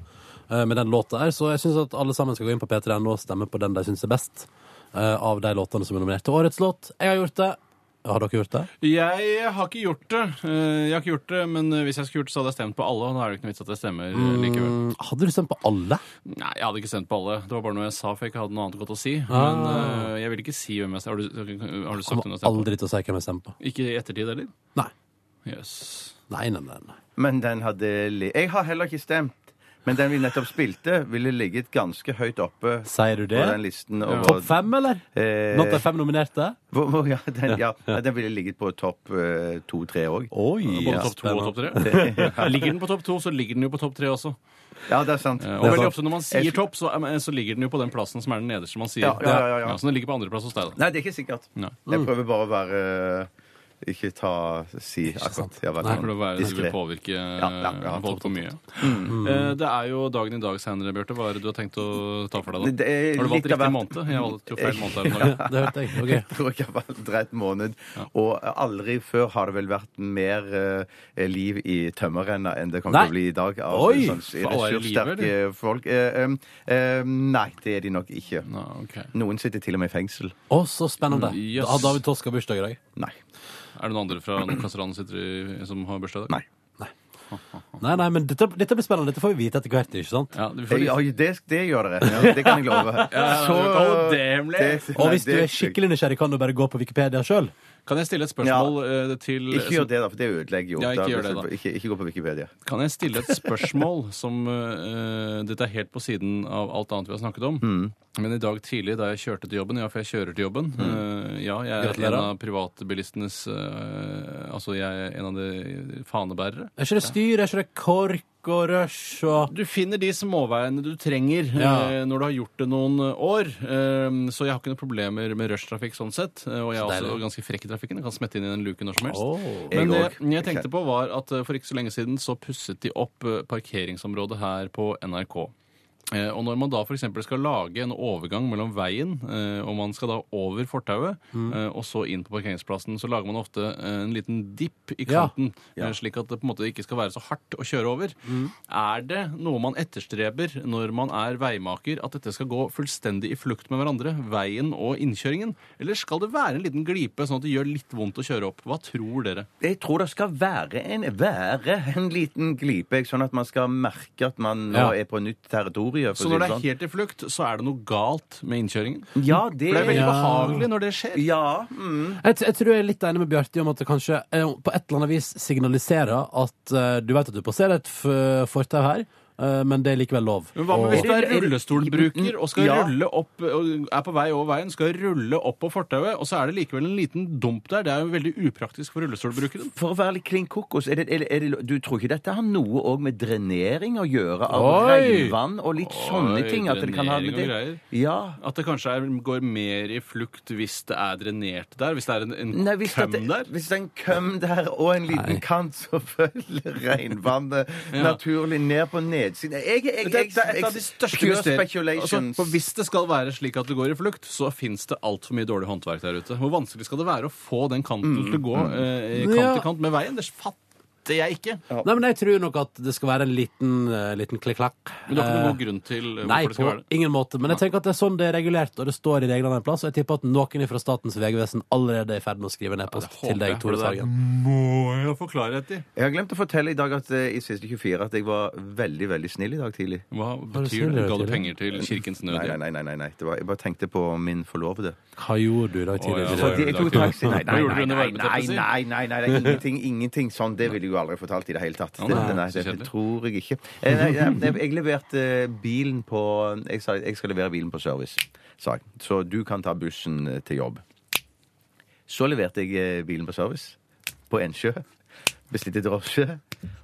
S4: eh, Med den låta her, så jeg syns at alle sammen skal gå inn på p3.no og stemme på den de syns er best. eh, Av de låtene som er nominert til årets låt. Jeg har gjort det. Har dere gjort det?
S5: Jeg har ikke gjort det. Eh, Jeg har ikke gjort det, Men hvis jeg skulle gjort det, så hadde jeg stemt på alle. Og nå er det jo ikke noe vits at jeg stemmer eh, likevel.
S4: Mm, Hadde du stemt på alle?
S5: Nei, jeg hadde ikke stemt på alle. Det var bare noe jeg sa, for jeg ikke hadde noe annet godt å si.
S6: Ah.
S5: Men eh, jeg vil ikke si hvem jeg stemte Har du, har du sagt hvem
S4: Kommer
S5: jeg stemte på?
S4: aldri til å si hvem jeg stemmer på.
S5: Ikke i ettertid heller?
S4: Nei.
S5: Yes.
S4: Nei, nei, nei. nei.
S6: Men den hadde li Jeg har heller ikke stemt. Men den vi nettopp spilte, ville ligget ganske høyt oppe
S4: Sier du
S6: på den
S4: det?
S6: listen. Over,
S4: Topp fem, eller?
S6: Eh,
S4: Blant de fem nominerte?
S6: hvor- hvor- ja, den, ja, ja, den ville ligget på topp eh, to-tre òg.
S4: Oi!
S5: Både
S4: ja,
S5: topp to og
S4: spennende.
S5: topp tre. Ligger den på topp to, så ligger den jo på topp tre også.
S6: Ja, det er sant.
S5: Eh, Og veldig
S4: sant.
S5: ofte når man sier topp, så, eh, så ligger den jo på den plassen som er den nederste man sier.
S6: Ja, ja, ja, ja, ja.
S5: så den ligger på andreplass hos deg, da.
S6: Nei, det er ikke sikkert.
S5: Nei.
S6: Jeg prøver bare å være Ikke ta si akkurat. Ja,
S4: Nei,
S5: For det å være, det vil
S6: diskret.
S5: påvirke
S6: ja, Mm. ja,
S5: folk for mye. Eh, Det er jo dagen i dag senere, Bjarte. Hva er det du har tenkt å ta for deg da?
S6: Det er
S5: Har du valgt
S6: litt
S5: riktig
S6: av hvert.
S5: måned? Jeg valgte jo feil måned her om dagen.
S4: Det hørte jeg. ok.
S6: Jeg tror jeg har valgt rett måned. Og aldri før har det vel vært mer eh, liv i tømmerrenna enn det kommer
S4: Nei.
S6: til å bli i dag. Av
S4: Oi!
S6: sånn
S5: Faen, er det liv,
S6: ressurssterke folk. Eh, eh, eh, nei, det er de nok ikke.
S5: Nå, ok.
S6: Noen sitter til og med i fengsel.
S4: Å, så spennende.
S5: Yes.
S4: Har David Toska bursdag i dag?
S6: Nei.
S5: Er det noen andre fra Nordkasseland som sitter i- som har bursdag i dag?
S6: Nei.
S4: Nei, nei, men dette, dette blir spennende. Dette får vi vite etter hvert, ikke sant?
S5: Ja, vi får
S6: Eh,
S5: vite.
S6: Ja, det, det gjør dere. Ja, det kan jeg love.
S5: ja,
S6: Så,
S5: du kan holde det hemmelig.
S6: det-
S4: Og
S6: nei,
S4: hvis du
S6: det-
S4: er skikkelig nysgjerrig, kan du bare gå på Wikipedia sjøl.
S5: Kan jeg stille et spørsmål eh, til
S6: Ikke gjør det, da, for det ødelegger jo.
S5: Ja, ikke
S6: Da-
S5: gjør det, da.
S6: Ikke, ikke gå på Wikipedia.
S5: Kan jeg stille et spørsmål som eh, Dette er helt på siden av alt annet vi har snakket om. Men i dag tidlig da jeg kjørte til jobben Ja, for jeg kjører til jobben. eh, ja, jeg er en
S4: Gratulerer.
S5: av privatbilistenes eh, Altså, jeg er en av de fanebærere.
S4: Er ikke det styr, er ikke det kork og rush og
S5: Du finner de småveiene du trenger
S4: Ja.
S5: eh, når du har gjort det noen år. Eh, så jeg har ikke noen problemer med rushtrafikk sånn sett. Eh, og jeg er
S4: Så
S5: også
S4: deilig.
S5: ganske frekk i trafikken. Jeg kan smette inn i en luke når som helst.
S4: Åh.
S5: Men
S6: Jeg
S5: det
S6: òg.
S5: jeg tenkte på var at eh, for ikke så lenge siden så pusset de opp eh, parkeringsområdet her på NRK. Eh, Og når man da f.eks. skal lage en overgang mellom veien, eh, og man skal da over fortauet,
S4: Mm.
S5: eh, og så inn på parkeringsplassen, så lager man ofte eh, en liten dipp i
S4: Ja. Mm.
S5: kanten, eh, slik at det på en måte ikke skal være så hardt å kjøre over. Er det noe man etterstreber når man er veimaker, at dette skal gå fullstendig i flukt med hverandre, veien og innkjøringen? Eller skal det være en liten glipe, sånn at det gjør litt vondt å kjøre opp? Hva tror dere?
S6: Jeg tror det skal være en, være en liten glipe, jeg, sånn at man skal merke at man nå
S4: Ja.
S6: er på nytt territorium.
S5: Så
S6: for å si
S5: når det er
S6: det sånn.
S5: helt i flukt, så er det noe galt med innkjøringen?
S6: Ja,
S5: For
S6: det
S5: det er veldig
S6: ja.
S5: behagelig når det skjer.
S6: Ja. Mm.
S4: Jeg, t- jeg tror jeg er litt enig med Bjarte om at det kanskje eh, på et eller annet vis signaliserer at eh, du vet at du passerer et f- fortau her, eh, men det er likevel lov.
S5: Men hva med
S4: Og-
S5: hvis du er rullestolbruker og skal
S6: Ja.
S5: rulle opp, og er på vei over veien, skal rulle opp på fortauet, og så er det likevel en liten dump der. Det er jo veldig upraktisk for rullestolbrukeren.
S6: For å være litt klin kokos, er det, er det, er det, du tror ikke dette har noe også med drenering å gjøre? Av
S5: Oi!
S6: regnvann og litt
S5: Oi,
S6: sånne ting? At det kan ha med
S5: drenering og greier.
S6: det Ja.
S5: At det kanskje er, går mer i flukt hvis det er drenert der, hvis det er en, en
S6: Nei, hvis,
S5: køm
S6: det,
S5: der.
S6: hvis det er en køm der og en liten kant, så følger regnvannet naturlig ned på nedsiden. Jeg, jeg, jeg,
S5: Det er, det er et av de største
S6: Pure
S5: mysterier.
S6: speculations.
S5: Altså, for hvis det skal være slik at det går i flukt, så fins det altfor mye dårlig håndverk der ute. Hvor vanskelig skal det være å få den kanten til å gå eh, kant
S4: Ja.
S5: til kant med veien? Det fatt vet jeg ikke.
S4: Nei, men jeg tror nok at det skal være en liten, eh, liten klikk-klakk.
S5: Men det er ikke noen god grunn til eh,
S4: Nei,
S5: hvorfor det skal
S4: på
S5: være det.
S4: ingen måte. Men jeg tenker at det er sånn det er regulert, og det står i reglene en plass. Og jeg tipper at noen fra Statens vegvesen allerede er i ferd med å skrive en e-post til deg, Tore Sagen.
S5: Må jeg forklare etter?
S6: Jeg har glemt å fortelle i dag at eh, i siste 24 at jeg var veldig veldig snill i dag tidlig.
S5: Hva
S4: snill,
S5: betyr det? Ga du
S4: Tore.
S5: penger til Kirkens
S6: Nei, nei,
S5: Nødhjelp?
S6: nei. nei, nei, nei. Det var, jeg bare tenkte på min forlovede.
S4: Hva gjorde du i dag tidlig?
S5: Å, ja.
S4: Tore?
S6: Fordi jeg tok taxi. Nei, nei,
S5: Hva gjorde du
S6: nei,
S5: under
S6: nei, nei,
S5: varmeteppet, si?
S6: nei, nei, nei, nei, ingenting, ingenting sånn. Det ville jeg jo aldri fortalt i det hele tatt.
S5: Å,
S6: Det,
S5: nei,
S6: nei,
S5: så
S6: det,
S5: kjedelig.
S6: tror jeg ikke. Eh, Nei, nei, nei, jeg leverte eh, bilen på Jeg sa jeg skal levere bilen på service, sa jeg. Så du kan ta bussen eh, til jobb. Så leverte jeg eh, bilen på service på Ensjø. Bestilte drosje.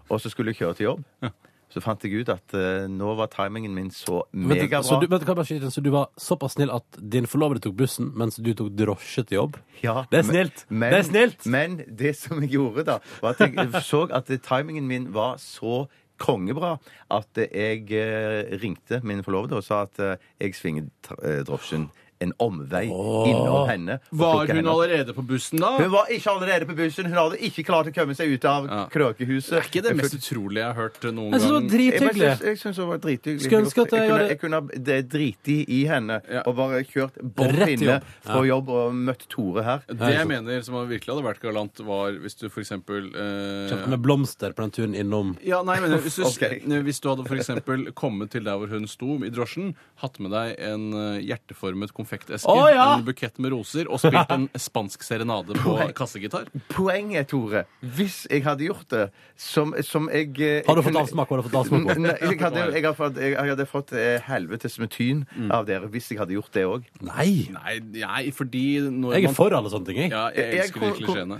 S6: Og så skulle jeg kjøre til jobb. Så fant jeg ut at eh, nå var timingen min så
S4: Vent,
S6: megabra.
S4: så, du, vent, kan jeg bare skyte inn, så du var såpass snill at din forlovede tok bussen, mens du tok drosje til jobb?
S6: Ja,
S4: det er
S6: men-
S4: snilt!
S6: Men,
S4: det er snilt!
S6: Men det som jeg gjorde, da, var at jeg så at eh, timingen min var så kongebra at eh, jeg eh, ringte min forlovede og sa at eh, jeg svinger tr- eh, drosjen en omvei innom henne. og
S5: Var hun
S6: plukker henne opp.
S5: allerede på bussen da?
S6: Hun var ikke allerede på bussen. Hun hadde ikke klart å komme seg ut av
S5: Ja.
S6: Krøkehuset.
S5: Er ikke det mest utrolige jeg har hørt noen
S4: Jeg synes det var
S5: gang?
S6: Jeg, men
S4: drithyggelig!
S6: jeg, jeg syns det var drithyggelig.
S4: Skulle ønske at jeg
S6: kunne,
S4: hadde-
S6: jeg kunne ha det driti i henne
S5: Ja.
S6: og bare kjørt bort
S4: Rett til
S6: inne
S4: jobb.
S6: fra jobb og møtt Tore her.
S5: Det jeg mener som virkelig hadde vært galant, var hvis du for eksempel eh,
S4: Kjøpte med blomster på den turen innom
S5: ja, nei, men hvis, du, eh,
S6: Ok.
S5: hvis du hadde for eksempel kommet til der hvor hun sto i drosjen, hatt med deg en eh, hjerteformet konfekteske,
S4: Å, ja!
S5: en bukett med roser og spilt en spansk serenade på kassegitar
S6: Poenget, Tore, hvis jeg hadde gjort det som, som jeg eh,
S4: Har du
S6: kunne-
S4: fått avsmak? Har du fått avsmak på?
S6: Nei, jeg hadde, jeg hadde fått, jeg hadde fått eh, helvetes med tyn
S4: Mm.
S6: av dere hvis jeg hadde gjort det òg.
S4: Nei!
S5: Nei, nei, fordi når
S4: Jeg er
S5: man-
S4: for alle sånne ting, jeg.
S5: Ja, jeg elsker de klisjeene.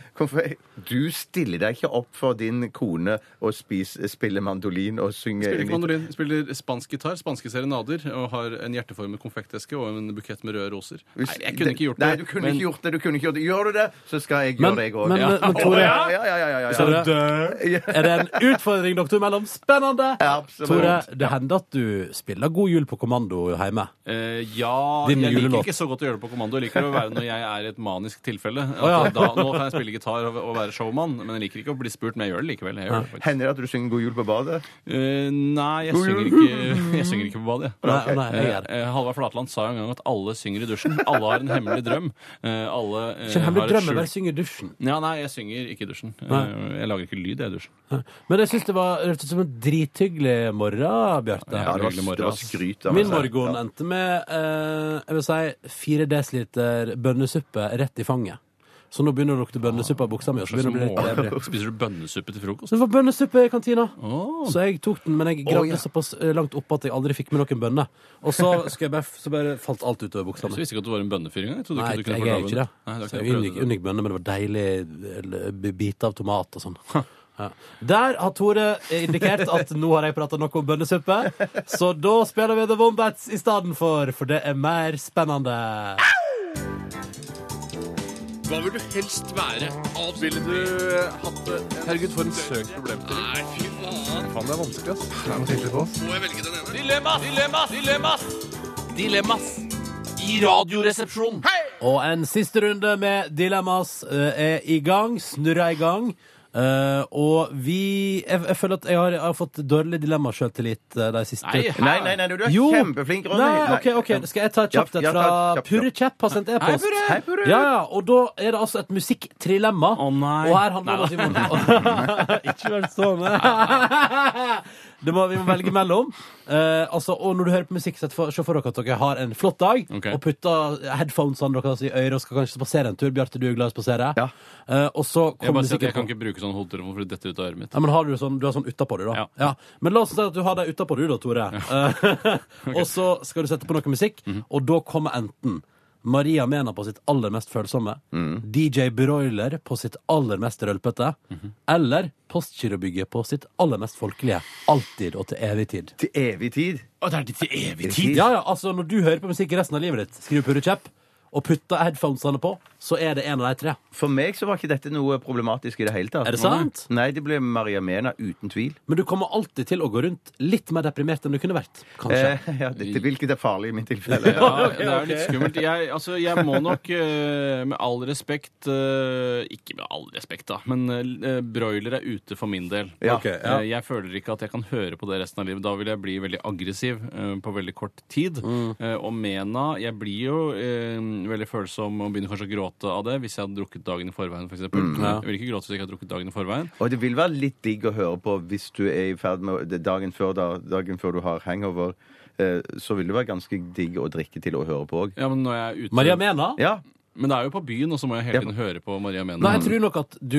S6: Du stiller deg ikke opp for din kone og spis, spiller mandolin og synger
S5: Spiller
S6: inn
S5: ikke
S6: i-
S5: mandolin, spiller spansk gitar, spanske serenader og har en hjerteformet konfekteske og en bukett med røde roser. Nei,
S6: Hvis-
S5: jeg kunne ikke gjort det.
S6: Nei, du kunne
S5: men-
S6: ikke gjort det. Du kunne ikke gjort det. Gjør du det, så skal jeg
S4: Men-
S6: gjøre det, jeg òg.
S4: men-
S6: ja.
S4: men, Tore-
S6: ja, ja, ja, ja, ja, ja.
S4: Er det en utfordring dere mellom? Spennende!
S6: Absolutt.
S4: Tore, det hender at du spiller God jul på kommando hjemme.
S5: Eh, ja,
S4: Din
S5: jeg
S4: julelåt.
S5: liker ikke så godt å gjøre det på kommando. Jeg liker å være når jeg er i et manisk tilfelle.
S4: ja.
S5: At da, nå kan jeg spille gitar og, og være showman, men jeg liker ikke å bli spurt. Men jeg gjør det likevel. Jeg gjør det faktisk.
S6: Hender det at du synger 'God jul' på badet?
S5: Eh, nei, jeg synger, ikke, jeg synger ikke på badet. jeg.
S4: Nei, nei, jeg gjør det.
S5: Eh, Halvard Flatland sa jo en gang at alle synger i dusjen. Alle har en hemmelig drøm. Eh, alle eh,
S4: Ikke en hemmelig
S5: har et
S4: drøm,
S5: skjult-
S4: jeg bare synger i dusjen.
S5: Ja, nei, jeg synger ikke i dusjen. Eh, Jeg lager ikke lyd jeg, i dusjen.
S4: Men jeg syns det var det hørtes ut som en drithyggelig morgen, Bjarte.
S5: Ja,
S6: Ja, det
S5: hyggelig
S6: var,
S5: morgen,
S6: det var
S5: ass.
S6: skryt. av altså. meg
S4: Min
S6: selv.
S4: morgen endte med eh, jeg vil si, fire desiliter bønnesuppe rett i fanget. Så nå begynner det å lukte bønnesuppe av buksa mi. og så begynner det å bli litt
S5: Morgen.
S4: evig.
S5: Spiser du bønnesuppe til frokost?
S4: Så det var bønnesuppe i kantina.
S5: Åh.
S4: Så jeg tok den, men jeg gravde såpass eh, langt opp at jeg aldri fikk med noen bønner. Og så, skal jeg bare, så bare falt alt utover buksa mi.
S5: Så visste ikke at du var en bønnefyr engang. Jeg trodde
S4: Nei,
S5: ikke du
S4: jeg
S5: kunne få
S4: er jo ikke
S5: lov-
S4: det.
S5: Nei, du har
S4: Så
S5: ikke
S4: jeg
S5: prøvd
S4: unngikk,
S5: det.
S4: unngikk bønner, men det var deilig eh, bite av tomat og sånn. Ja. Der har Tore indikert at nå har jeg prata nok om bønnesuppe, så da spiller vi The Wombats i stedet for, for det er mer spennende.
S9: Hva vil du helst være? Ville du eh, hatt det? Herregud, for en søk problemstilling. Nei, fy faen. Faen, det er vanskelig, ass. Må jeg velge den ene? Dilemmas! Dilemmas! Dilemmas! Dilemmas! I radioresepsjonen.
S4: Og en siste runde med Dilemmas eh, er i gang. Snurra i gang. Eh, og vi jeg, jeg føler at jeg har, jeg har fått dårlig dilemmasjøltillit uh, de siste
S5: Nei, hæ?
S6: Nei, nei, nei, du er
S4: Jo.
S6: kjempeflink, Ronny.
S4: Nei, ok, ok, Skal jeg ta et kjapt et
S6: Ja, ja,
S4: fra
S6: ta et kjapt,
S4: Purre
S6: kjapt.
S4: Kjepp har sendt e-post?
S5: Hei, Purre!
S6: Hei, Purre!
S4: Ja, ja, og da er det altså et musikktrilemma.
S5: Å, nei.
S4: Og her handler det om Simon. Ikke vær sånn. Det må, vi må velge mellom. Eh, altså, og når du hører på musikk, sett for- se for dere at dere har en flott dag
S5: Ok.
S4: og putter headphonesene deres i øret og skal kanskje spasere en tur. Bjarte, du er glad i å spasere.
S6: Ja.
S4: Eh, og så
S5: Jeg
S4: kommer
S5: bare sier at
S4: musikken
S5: jeg kan
S4: på.
S5: ikke bruke sånn hodetelefon for det detter ut av øret mitt.
S4: Ja, men har du, sånn, du har sånn utapå deg, da?
S5: Ja.
S4: Men la oss si at du har deg utapå deg, da, Tore. Eh, og så skal du sette på noe musikk,
S6: Mhm.
S4: og da kommer enten Maria Mena på sitt aller mest følsomme,
S6: Mhm.
S4: DJ Broiler på sitt aller mest rølpete, eller Postgirobygget på sitt aller mest folkelige. Alltid og til evig tid.
S6: Til evig tid.
S5: Å, det er til evig
S6: tid.
S4: Ja, ja, altså Når du hører på musikk resten av livet ditt, skriver Purre Kjepp, og putter headphonesene på, så er det en av de tre.
S6: For meg så var ikke dette noe problematisk i det hele tatt.
S4: Er det sant?
S6: Nei, det ble Maria Mena, uten tvil.
S4: Men du kommer alltid til å gå rundt litt mer deprimert enn du kunne vært. Kanskje.
S6: Eh, ja, dette, hvilket er farlig i mitt tilfelle.
S5: Ja, det er jo litt skummelt. Jeg, altså, jeg må nok eh, med all respekt eh, Ikke med all respekt, da, men eh, broiler er ute for min del.
S6: Ja.
S4: Ok, ja.
S5: Eh, Jeg føler ikke at jeg kan høre på det resten av livet. Da vil jeg bli veldig aggressiv eh, på veldig kort tid.
S4: Mm.
S5: Eh, Og mena Jeg blir jo eh, veldig følsom og begynner kanskje å gråte av det hvis jeg hadde drukket dagen i forveien, f.eks.
S4: Mm,
S5: Jeg vil ikke gråte hvis jeg ikke har drukket dagen i forveien.
S6: Og det vil være litt digg å høre på hvis du er i ferd med å- det er dagen før, da, dagen før du har hangover. eh, Så vil det være ganske digg å drikke til å høre på òg.
S5: Ja, Men når jeg er ute
S4: Maria Mena?
S6: Ja.
S5: Men det er jo på byen, og så må jeg hele
S6: Ja.
S5: tiden høre på Maria Mena.
S4: Nei, jeg tror nok at du,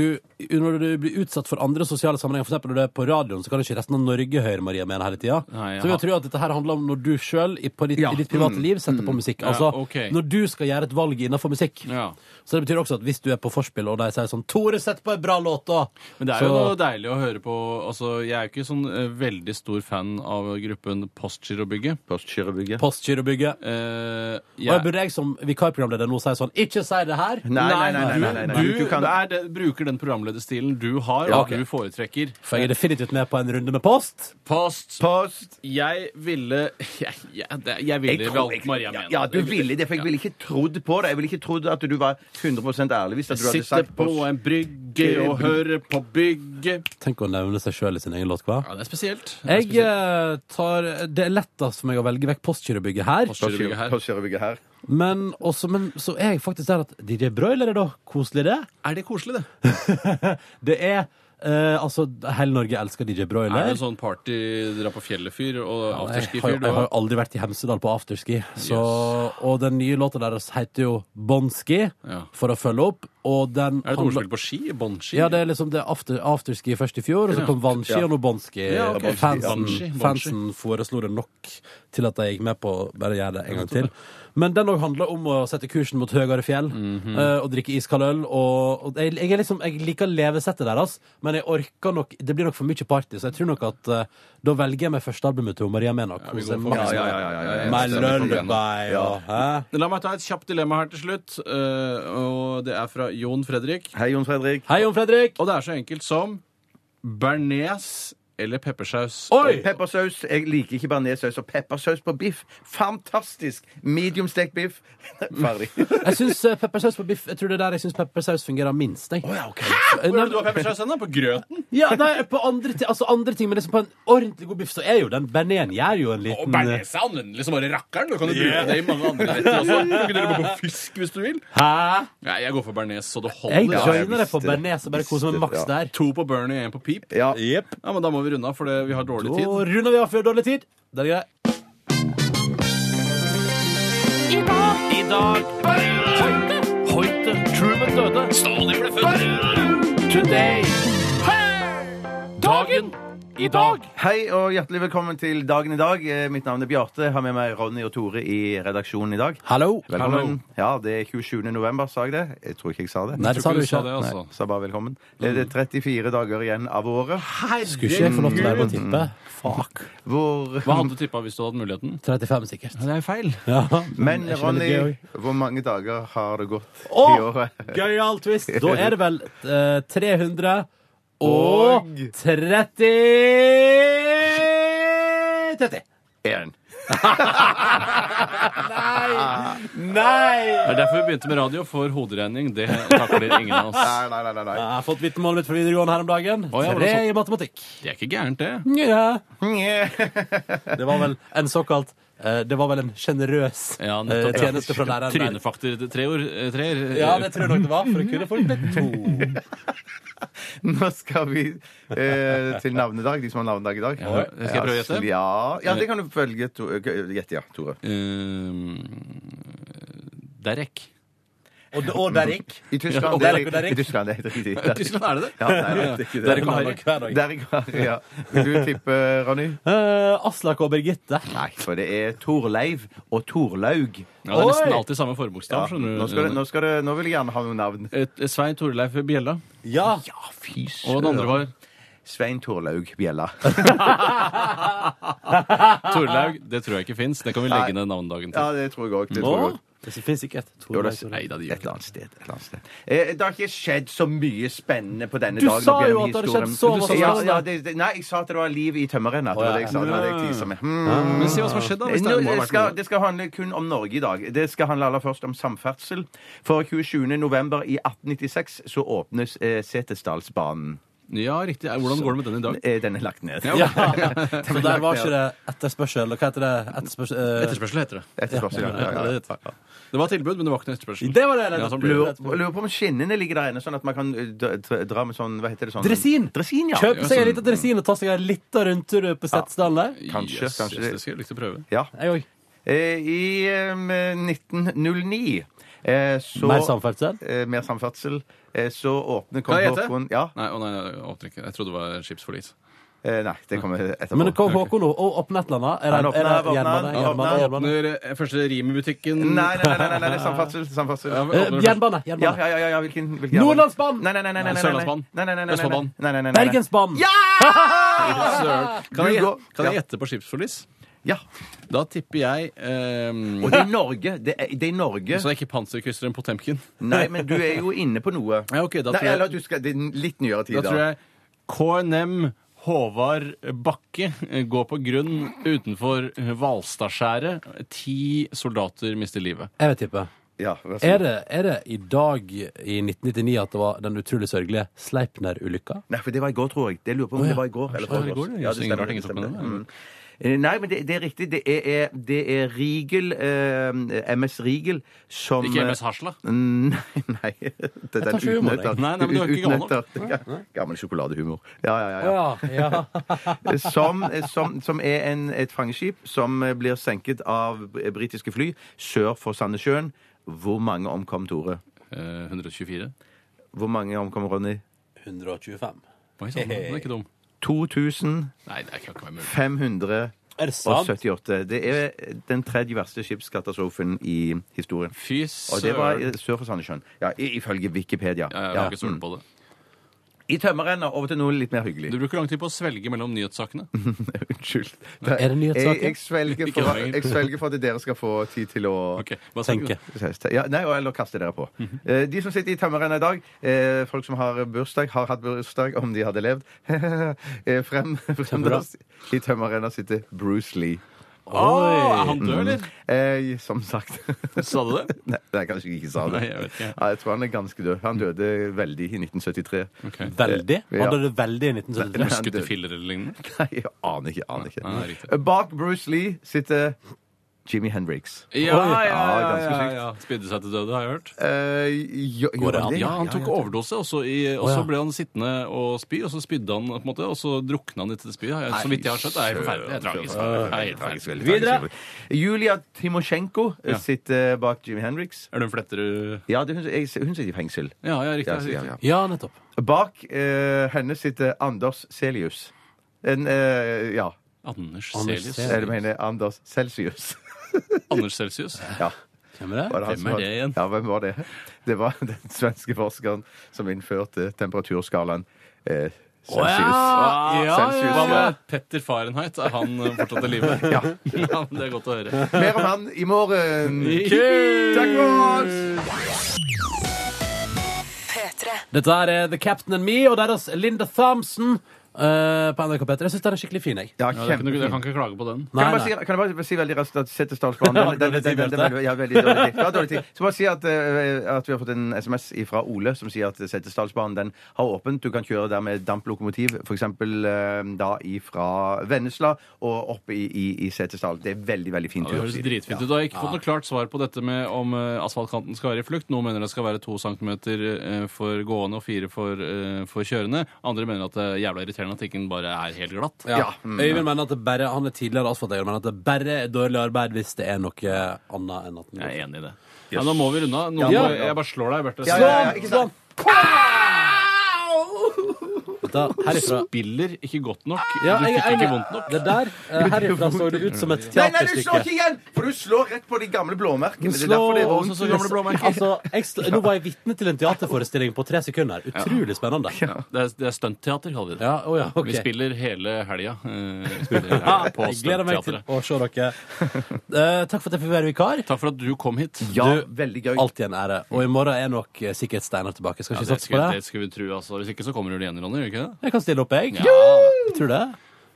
S4: når du blir utsatt for andre sosiale sammenhenger, for eksempel når du er på radioen, så kan ikke resten av Norge høre Maria Mena hele tida.
S5: Nei, jeg
S4: Så jeg
S5: har-
S4: tror at dette her handler om når du sjøl i, på ditt-
S6: Ja, Mm.
S4: i ditt private liv setter på musikk. Altså
S5: ok.
S4: når du skal gjøre et valg innafor musikk.
S5: Ja.
S4: Så det betyr også at hvis du er på forspill, og de sier sånn 'Tore, sett på ei bra låt', da!
S5: Men det er
S4: så,
S5: jo noe deilig å høre på. Altså, jeg er jo ikke sånn eh, veldig stor fan av gruppen Postgirobygget.
S6: Postgirobygget.
S4: Postgirobygget.
S5: Eh,
S4: Og jeg
S5: jeg,
S4: burde jeg som vikarprogramleder nå si sånn 'Ikke si det her'.
S6: Nei, nei, nei. nei, nei, nei, nei.
S5: du,
S6: Du kan-
S5: det er, det, bruker den programlederstilen du har,
S6: Ja,
S5: og
S6: ok.
S5: du foretrekker.
S4: For jeg er definitivt med på en runde med post.
S5: Post!
S6: Post.
S5: Jeg ville Jeg, jeg, det- jeg ville
S6: Jeg tror
S5: valgt
S6: ikke-
S5: Maria
S6: ja,
S5: Mena.
S6: ja, du ville det, for jeg ville ikke trodd på det. Jeg ville ikke trodd at du var 100 ærlig hvis at du
S5: Sitte
S6: hadde sagt
S5: på
S6: post.
S5: en brygge og høre på bygget.
S4: Tenk å nevne seg sjøl i sin egen låt, hva?
S5: Ja, det er spesielt. Det er
S4: Jeg eh, tar, Det er lettest for meg å velge vekk Postgirobygget her.
S5: Postgirobygget her.
S6: Postgirobygget her.
S4: Men, også, men så er jeg faktisk der at DJ Broiler er da koselig, det.
S5: Er det koselig, det?
S4: Det er eh, Altså, hele Norge elsker DJ
S5: Er
S4: Broiler.
S5: det en sånn party, dra på fjellet-fyr og
S4: jeg har,
S5: afterski-fyr?
S4: jeg har jo aldri vært i Hemsedal på afterski. Så, Og den nye låta deres heter jo Bonski,
S5: Ja.
S4: for å følge opp. Og den
S5: Er det et
S4: handler-
S5: ordspill på ski? Båndski?
S4: Ja, det er liksom det er after, afterski først i fjor, og så kom vannski og nå båndski.
S5: Ja, ok.
S4: fansen,
S5: Vannski, vannski.
S4: fansen foreslo det nok til at jeg gikk med på å bare gjøre det en gang til. Men den òg handler om å sette kursen mot høyere fjell
S5: Mhm.
S4: eh, og drikke iskald øl. Og, og jeg, jeg, er liksom, jeg liker levesettet deres, men jeg orker nok Det blir nok for mye party, så jeg tror nok at eh, da velger jeg meg første albumet til Maria Mena.
S5: vi
S4: kose
S5: går for-
S4: meg.
S6: Ja, ja, ja, ja, ja, ja.
S4: My
S6: Jeg stemmer for det.
S4: lullaby og hæ?
S5: La meg ta et kjapt dilemma her til slutt. eh, og Det er fra Jon Fredrik.
S6: Hei, Jon Fredrik.
S4: Hei, Jon Fredrik!
S5: Og det er så enkelt som bearnés eller peppersaus.
S4: Oi!
S6: Peppersaus. Jeg liker ikke bearnéssaus. Og peppersaus på biff. Fantastisk! Mediumstekt biff. Ferdig.
S4: Jeg syns eh, peppersaus på biff Jeg tror det er der jeg syns peppersaus fungerer minst. Jeg.
S5: Hvor er det du har peppersaus hen, da? På grøten?
S4: Ja, nei, på andre, ti- altså andre ting, men liksom på en ordentlig god biff, så er jo den bearnésen gjør jo en
S5: Og
S4: liten
S5: bearnés er anvendelig som Liksom bare rakkeren. Du kan jo bruke det i mange andre retter også. Du kan gjøre det på fisk hvis du vil.
S4: Hæ?
S5: Nei, jeg går for bearnés, så det
S4: Jeg
S5: holder.
S6: jeg
S4: joiner deg på
S6: visste det.
S4: bearnés og bare koser meg maks
S6: Visste
S4: der.
S5: To på Bernie og én på Pip.
S6: Ja.
S5: Ja, men Da må vi runde av, for det- vi har dårlig tid.
S4: Og runder vi av før dårlig tid. Det er greit.
S5: I dag Hoite Hoite Truman døde Stalin ble født Today Dagen I dag
S6: Hei og hjertelig velkommen til dagen i dag. Eh, Mitt navn er Bjarte. Jeg har med meg Ronny og Tore i redaksjonen i dag.
S4: Hallo.
S6: Velkommen. Ja, det er 27. november, sa jeg det? Jeg tror ikke jeg sa det.
S4: Nei, det sa du
S5: du sa
S4: ikke.
S5: det, altså.
S6: Sa bare velkommen. Det er 34 dager igjen av året.
S4: Skulle ikke jeg få lov til å være med å tippe?
S6: Mm.
S4: Fuck.
S6: Hvor
S5: Hva hadde du tippet hvis du hadde muligheten?
S4: 35 sikkert.
S5: Det er feil
S4: Ja.
S6: Men
S4: er ikke veldig
S6: Ronny,
S4: gøy.
S6: hvor mange dager har det gått
S4: Å!
S6: i året?
S4: Gøyal twist. Da er det vel eh, 300 og 30 30.
S6: Én.
S4: Nei!
S5: Det er derfor vi begynte med radio For hoderegning Det takler ingen av oss
S6: Nei, nei, nei, nei, nei.
S4: Jeg har fått vitnemålet mitt fra videregående her om dagen.
S5: Å, ja, var det
S4: Tre
S5: sånn?
S4: i matematikk.
S5: Det er ikke gærent det
S4: Det var vel en såkalt eh, Det var vel en sjenerøs
S5: Ja,
S4: eh,
S5: nettopp.
S4: tjeneste fra læreren. der.
S5: Trynefaktor tre ord eh, Treer
S4: Ja, det tror jeg nok det var, for å kunne fått litt to.
S6: Nå skal vi eh, til navnedag, de som har navnedag i dag.
S5: Ja, skal jeg prøve å gjette?
S6: Ja, sl- ja, ja, det kan du følge. To- Gjette, ja, Tore.
S5: Eh, Derek
S4: Og, d- og der gikk.
S6: I Tyskland,
S4: og
S6: det,
S4: Derek og Derek.
S6: I Tyskland det heter riktig.
S5: Tyskland er det det?
S6: Ja, nei, nei, det er ikke det.
S4: Derek og Derek hver dag.
S6: Derek og Harry, ja. Vil du tippe, Ronny?
S4: Eh, Aslak og Birgitte.
S6: Nei, for det er Torleiv og Torlaug.
S5: Ja, det er nesten
S4: Oi!
S5: alltid samme forbokstav
S6: Ja,
S5: skjønner du.
S6: nå, skal det, nå, skal det, nå vil jeg gjerne ha noen navn.
S5: Eh, Svein Torleif Bjella
S4: Ja.
S6: Ja, fy
S5: Og den andre var
S6: Svein Torlaug Bjella.
S5: Torlaug, det tror jeg ikke fins. Det kan vi legge
S6: Nei.
S5: ned navnedagen til.
S6: Ja, det tror jeg òg. Det, tror
S4: Nå?
S6: jeg også.
S4: Det finnes ikke et
S6: Jo,
S4: Torleif.
S6: det er- et eller annet sted. Et eller annet sted. Eh, det har ikke skjedd så mye spennende på denne
S4: Du
S6: dagen.
S4: sa
S6: opp
S4: jo at det
S6: gjennom
S4: har
S6: historien.
S4: skjedd så
S6: Du
S4: masse
S6: sa- ja,
S4: spennende.
S6: ja, det, det, Nei, jeg sa at det var liv i tømmerrenna. Det var det jeg sa. Det var det jeg teaset med.
S4: Mm.
S6: Hmm.
S5: Men si hva som har skjedd, da. Hvis det,
S6: Nå,
S5: må ha
S6: det,
S5: vært
S6: skal,
S5: noe.
S6: det skal handle kun om Norge i dag. Det skal handle aller først om samferdsel. For 27. november i 1896 så åpnes eh, Setesdalsbanen.
S5: Ja, riktig. Eh, Hvordan går det med den i dag?
S6: Eh, den er lagt ned.
S5: Ja.
S4: Så der var ikke det etterspørsel. Hva heter det? Etterspørsel, eh,
S5: Etterspørsel heter det.
S6: Etterspørsel, ja, ja, ja.
S4: det heter det.
S5: Det var tilbud, men det var ikke noe etterspørsel.
S4: Det var det.
S5: Ja, sånn blir
S6: Lurer, lurer på om skinnene ligger der inne, sånn at man kan eh, dra, dra med sånn Hva heter det sånn?
S4: Dresin.
S6: Dresin, ja.
S4: Kjøp seg en
S5: sånn-
S4: liten dresin og ta seg en liten rundtur på Setesdal der.
S6: Kanskje,
S5: Yes,
S6: kanskje
S5: yes,
S6: det-
S5: det skal jeg lykke til å prøve.
S6: ja.
S4: Jeg òg.
S6: Eh, I em, 1909 eh, så
S4: Mer samferdsel.
S6: Eh, mer samferdsel. Eh, så åpner
S5: Kan
S6: Kong
S5: jeg gjette?
S6: Haakon ja,
S5: Nei, å nei, jeg åpner ikke. Jeg trodde det var skipsforlis.
S6: eh, Nei, det kommer etterpå.
S4: Men kom Håkon nå, og åpne et eller annet. Er
S6: Han
S4: det- er det
S6: åpner,
S4: jernbane?
S6: åpner,
S4: Jernbane?
S6: åpner.
S4: jernbane?
S5: Når eh, første rim i butikken
S6: nei, nei, nei, nei, nei, nei, det er samferdsel. samferdsel.
S5: Ja,
S6: Ja,
S4: Eh,
S5: åpner først-
S4: Jernbane.
S6: ja,
S4: jernbane.
S6: ja, ja, ja hvilken, hvilken
S4: Nordlandsbanen!
S6: Nei, nei, nei. nei, nei, nei, nei,
S5: Sørlandsbanen.
S6: Nei, nei, nei, nei, nei, nei,
S5: Østfoldbanen.
S6: nei, nei, nei, nei.
S4: Bergensbanen!
S6: Ja!
S5: Søren. Kan jeg, gjette-
S6: Du går-
S5: kan jeg
S6: Ja.
S5: gjette på skipsforlis?
S6: ja!
S5: Da tipper jeg ehm,
S6: Og det er Norge. Det er, det er Norge.
S5: Så det er ikke panserkrysser enn Potemkin?
S6: Nei, men du er jo inne på noe.
S5: Ja, ok, da
S6: Nei,
S5: tror jeg-
S6: eller at du skal, Det er litt nyere tid,
S5: Da tror jeg KNM Håvard Bakke eh, går på grunn utenfor Hvalstadskjæret. Ti soldater mister livet.
S4: Jeg vil tippe.
S6: Ja, vær så god.
S4: Er det, er det i dag i 1999 at det var den utrolig sørgelige Sleipner-ulykka?
S6: Nei, for det var i går, tror jeg. Det lurer på om det var i går. Eller
S5: det var i
S6: forgårs.
S5: går, det.
S6: Ja,
S5: Jøss, ingen rart ingen tok med det,
S6: Mm. Eh, Nei, men det, det er riktig. Det er, er, det er Riegel, eh, MS Riegel, som
S5: Ikke MS Hasla.
S6: Mm, Nei, nei. Det er
S4: tar ikke
S6: den
S4: humor, jeg.
S6: utnøtter.
S5: Nei, nei, men du er ikke gammel nok.
S6: Gammel sjokoladehumor. Ja, ja, ja. ja.
S4: Ja, ja.
S6: Som, eh, som, som er en, et fangeskip som eh, blir senket av br- britiske fly sør for Sandnessjøen. Hvor mange omkom, Tore?
S5: Eh, 124.
S6: Hvor mange omkom, Ronny?
S4: 125.
S5: Oi, sånn. Den er ikke dum.
S6: 2578.
S5: Nei, det kan ikke være mulig.
S4: Er det
S6: og
S4: sant?
S6: 78. Det er den tredje verste skipskatastrofen i historien.
S5: Fy
S6: Og det var i-
S5: søren.
S6: sør for Sandnessjøen. Ja, i- ifølge Wikipedia.
S5: Ja, jeg
S6: Ja,
S5: har ikke stolt
S6: mm.
S5: på det.
S6: I tømmerrenna over til noe litt mer hyggelig.
S5: Du bruker lang tid på å svelge mellom nyhetssakene.
S6: Unnskyld.
S4: Er det nyhetssaker?
S6: Jeg, jeg, svelger
S5: Ikke
S6: for,
S5: lenger.
S6: jeg svelger for at dere skal få tid til å
S5: Ok, Mhm. hva skal
S4: Tenke.
S6: Ja, nei, og- eller kaste dere på. Eh, De som sitter i tømmerrenna i dag, eh, folk som har bursdag, har hatt bursdag om de hadde levd. Eh, Frem, fremdeles i tømmerrenna sitter Bruce Lee.
S5: Å,
S6: Ah,
S5: er han død, eller?
S6: Eh, som sagt.
S5: Sa du det?
S6: Nei, nei, kanskje jeg ikke sa det.
S5: Nei, jeg vet ikke.
S6: Ja, jeg tror han er ganske død. Han døde veldig i 1973.
S5: Ok.
S4: Veldig?
S6: Ja.
S4: Hadde det veldig i 1973?
S5: Skutt i filler eller lignende?
S6: Nei, jeg aner ikke. aner ikke. Eh,
S5: Nei, riktig.
S6: Bak Bruce Lee sitter Jimmy Hendrix.
S5: Ja, ja, ja,
S6: Ja, ganske
S5: ja,
S6: sykt.
S5: ja. Spydde seg til døde, har jeg hørt.
S6: Eh, jo,
S4: Går det an?
S5: Ja, han tok overdose, og så, i, og
S4: Å,
S5: så
S4: ja.
S5: ble han sittende og spy, og så spydde han, på en måte, og så drukna han i dette spyet. Jeg- Så vidt jeg har skjønt, det er helt forferdelig. Det er tragisk. Det er helt
S6: Tragisk,
S5: forferdelig.
S6: veldig tragisk. Julia Timosjenko eh,
S5: Ja.
S6: sitter bak Jimmy Hendrix.
S5: Er du en fletterud?
S6: Ja, det, hun, jeg, hun sitter i fengsel.
S5: Ja, ja,
S6: Ja,
S5: riktig.
S6: ja,
S5: riktig.
S6: ja.
S4: Ja, nettopp.
S6: Bak eh, henne sitter Anders Celius. En eh, Ja,
S5: Anders
S4: Anders
S5: Celius.
S4: Celius.
S6: jeg mener Anders Celsius.
S5: Anders Celsius.
S6: Ja.
S4: Hvem er det?
S6: Var han
S5: Hvem
S6: som
S5: er
S6: var-
S5: det igjen?
S6: Altså, Ja, hvem var det? Det var den svenske forskeren som innførte temperaturskalaen eh, Celsius.
S4: ja, ja,
S6: Celsius,
S5: Hva
S6: ja.
S5: med Petter Fahrenheit? Er han eh, fortsatt i live? Ja. men Det er godt å høre.
S6: Mer om han i morgen.
S5: Takk for oss!
S2: P3.
S4: Dette her er The Captain and Me og deres Linda Thompson eh, på NRK P3. Jeg syns den er skikkelig fin, jeg.
S6: Ja,
S5: Ja, det er ikke
S6: kjempefint.
S5: noe- jeg kan ikke klage på den.
S4: Nei,
S6: Kan jeg, bare
S4: nei.
S6: si, kan jeg bare si veldig raskt at Setesdalsbanen den- den- den- den- den- den- Ja, veldig dårlig tid. Ja, dårlig tid. Så bare si at, eh, at vi har fått en SMS fra Ole som sier at Setesdalsbanen den har åpent. Du kan kjøre der med damplokomotiv, f.eks. da ifra Vennesla og opp i, i, i Setesdal. Det er veldig, veldig fin
S5: Ja, det høres
S6: tur.
S5: dritfint ut. Jeg har ikke fått noe klart svar på dette med om eh, asfaltkanten skal være i flukt. Noen mener det skal være to centimeter eh, for gående og fire for, eh, for kjørende. Andre mener at det er jævla irriterende at ikke den bare er helt glatt.
S4: Ja.
S6: Mm.
S4: Øyvind mener at det bare han er tidligere asfalteier, men at det bare er dårlig arbeid hvis det er noe annet enn at den
S5: Jeg er enig i det. Ja, nå må vi runde av. Nå
S6: Ja.
S5: må- Jeg bare slår deg, Berte.
S6: Ja, ja, ja, ikke sant?
S4: Au! Dette herifra
S5: Spiller ikke godt nok.
S4: ja,
S5: du
S4: jeg,
S5: fikk
S4: jeg,
S5: ikke vondt nok.
S4: Det der, eh, herifra så det ut som et
S6: Nei, nei, du slår
S4: teaterstykke.
S6: ikke igjen! For du slår rett på de gamle blåmerkene. Det er derfor det er
S5: Slå
S6: vondt.
S5: så gamle blåmerker.
S4: Altså, jeg, sl- nå var jeg vitne til en teaterforestilling på tre sekunder. Utrolig spennende.
S5: Ja, Det er, det er stuntteater, kaller vi det.
S4: Ja, å ja, ok.
S5: Vi spiller hele eh, helga
S4: Ja,
S5: på
S4: jeg gleder meg til
S5: stuntteatret.
S4: å se dere. Eh, takk for at jeg fikk være vikar.
S5: Takk for at du kom hit.
S6: Ja,
S4: Du-
S6: veldig gøy.
S4: Alltid en ære. Og i morgen er nok eh, sikkert Steinar tilbake. Skal
S5: Ja,
S4: ikke
S5: det,
S4: satse på
S5: skulle,
S4: det?
S5: det skulle vi tro, altså. Hvis ikke så kommer du igjen, Ronny. Gjør du ikke det?
S4: Jeg kan stille opp, jeg. Jeg tror det.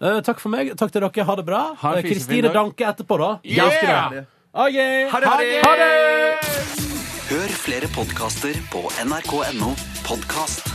S4: Eh, takk for meg. Takk til dere. Ha det bra.
S5: Ha en
S4: Eh,
S5: fisefin
S4: Kristine
S5: dag.
S4: Danke etterpå, da. Ja, skal du ha.
S6: Yeah!
S4: Ok.
S6: Ha det!
S3: Hør flere podkaster på nrk.no podkast.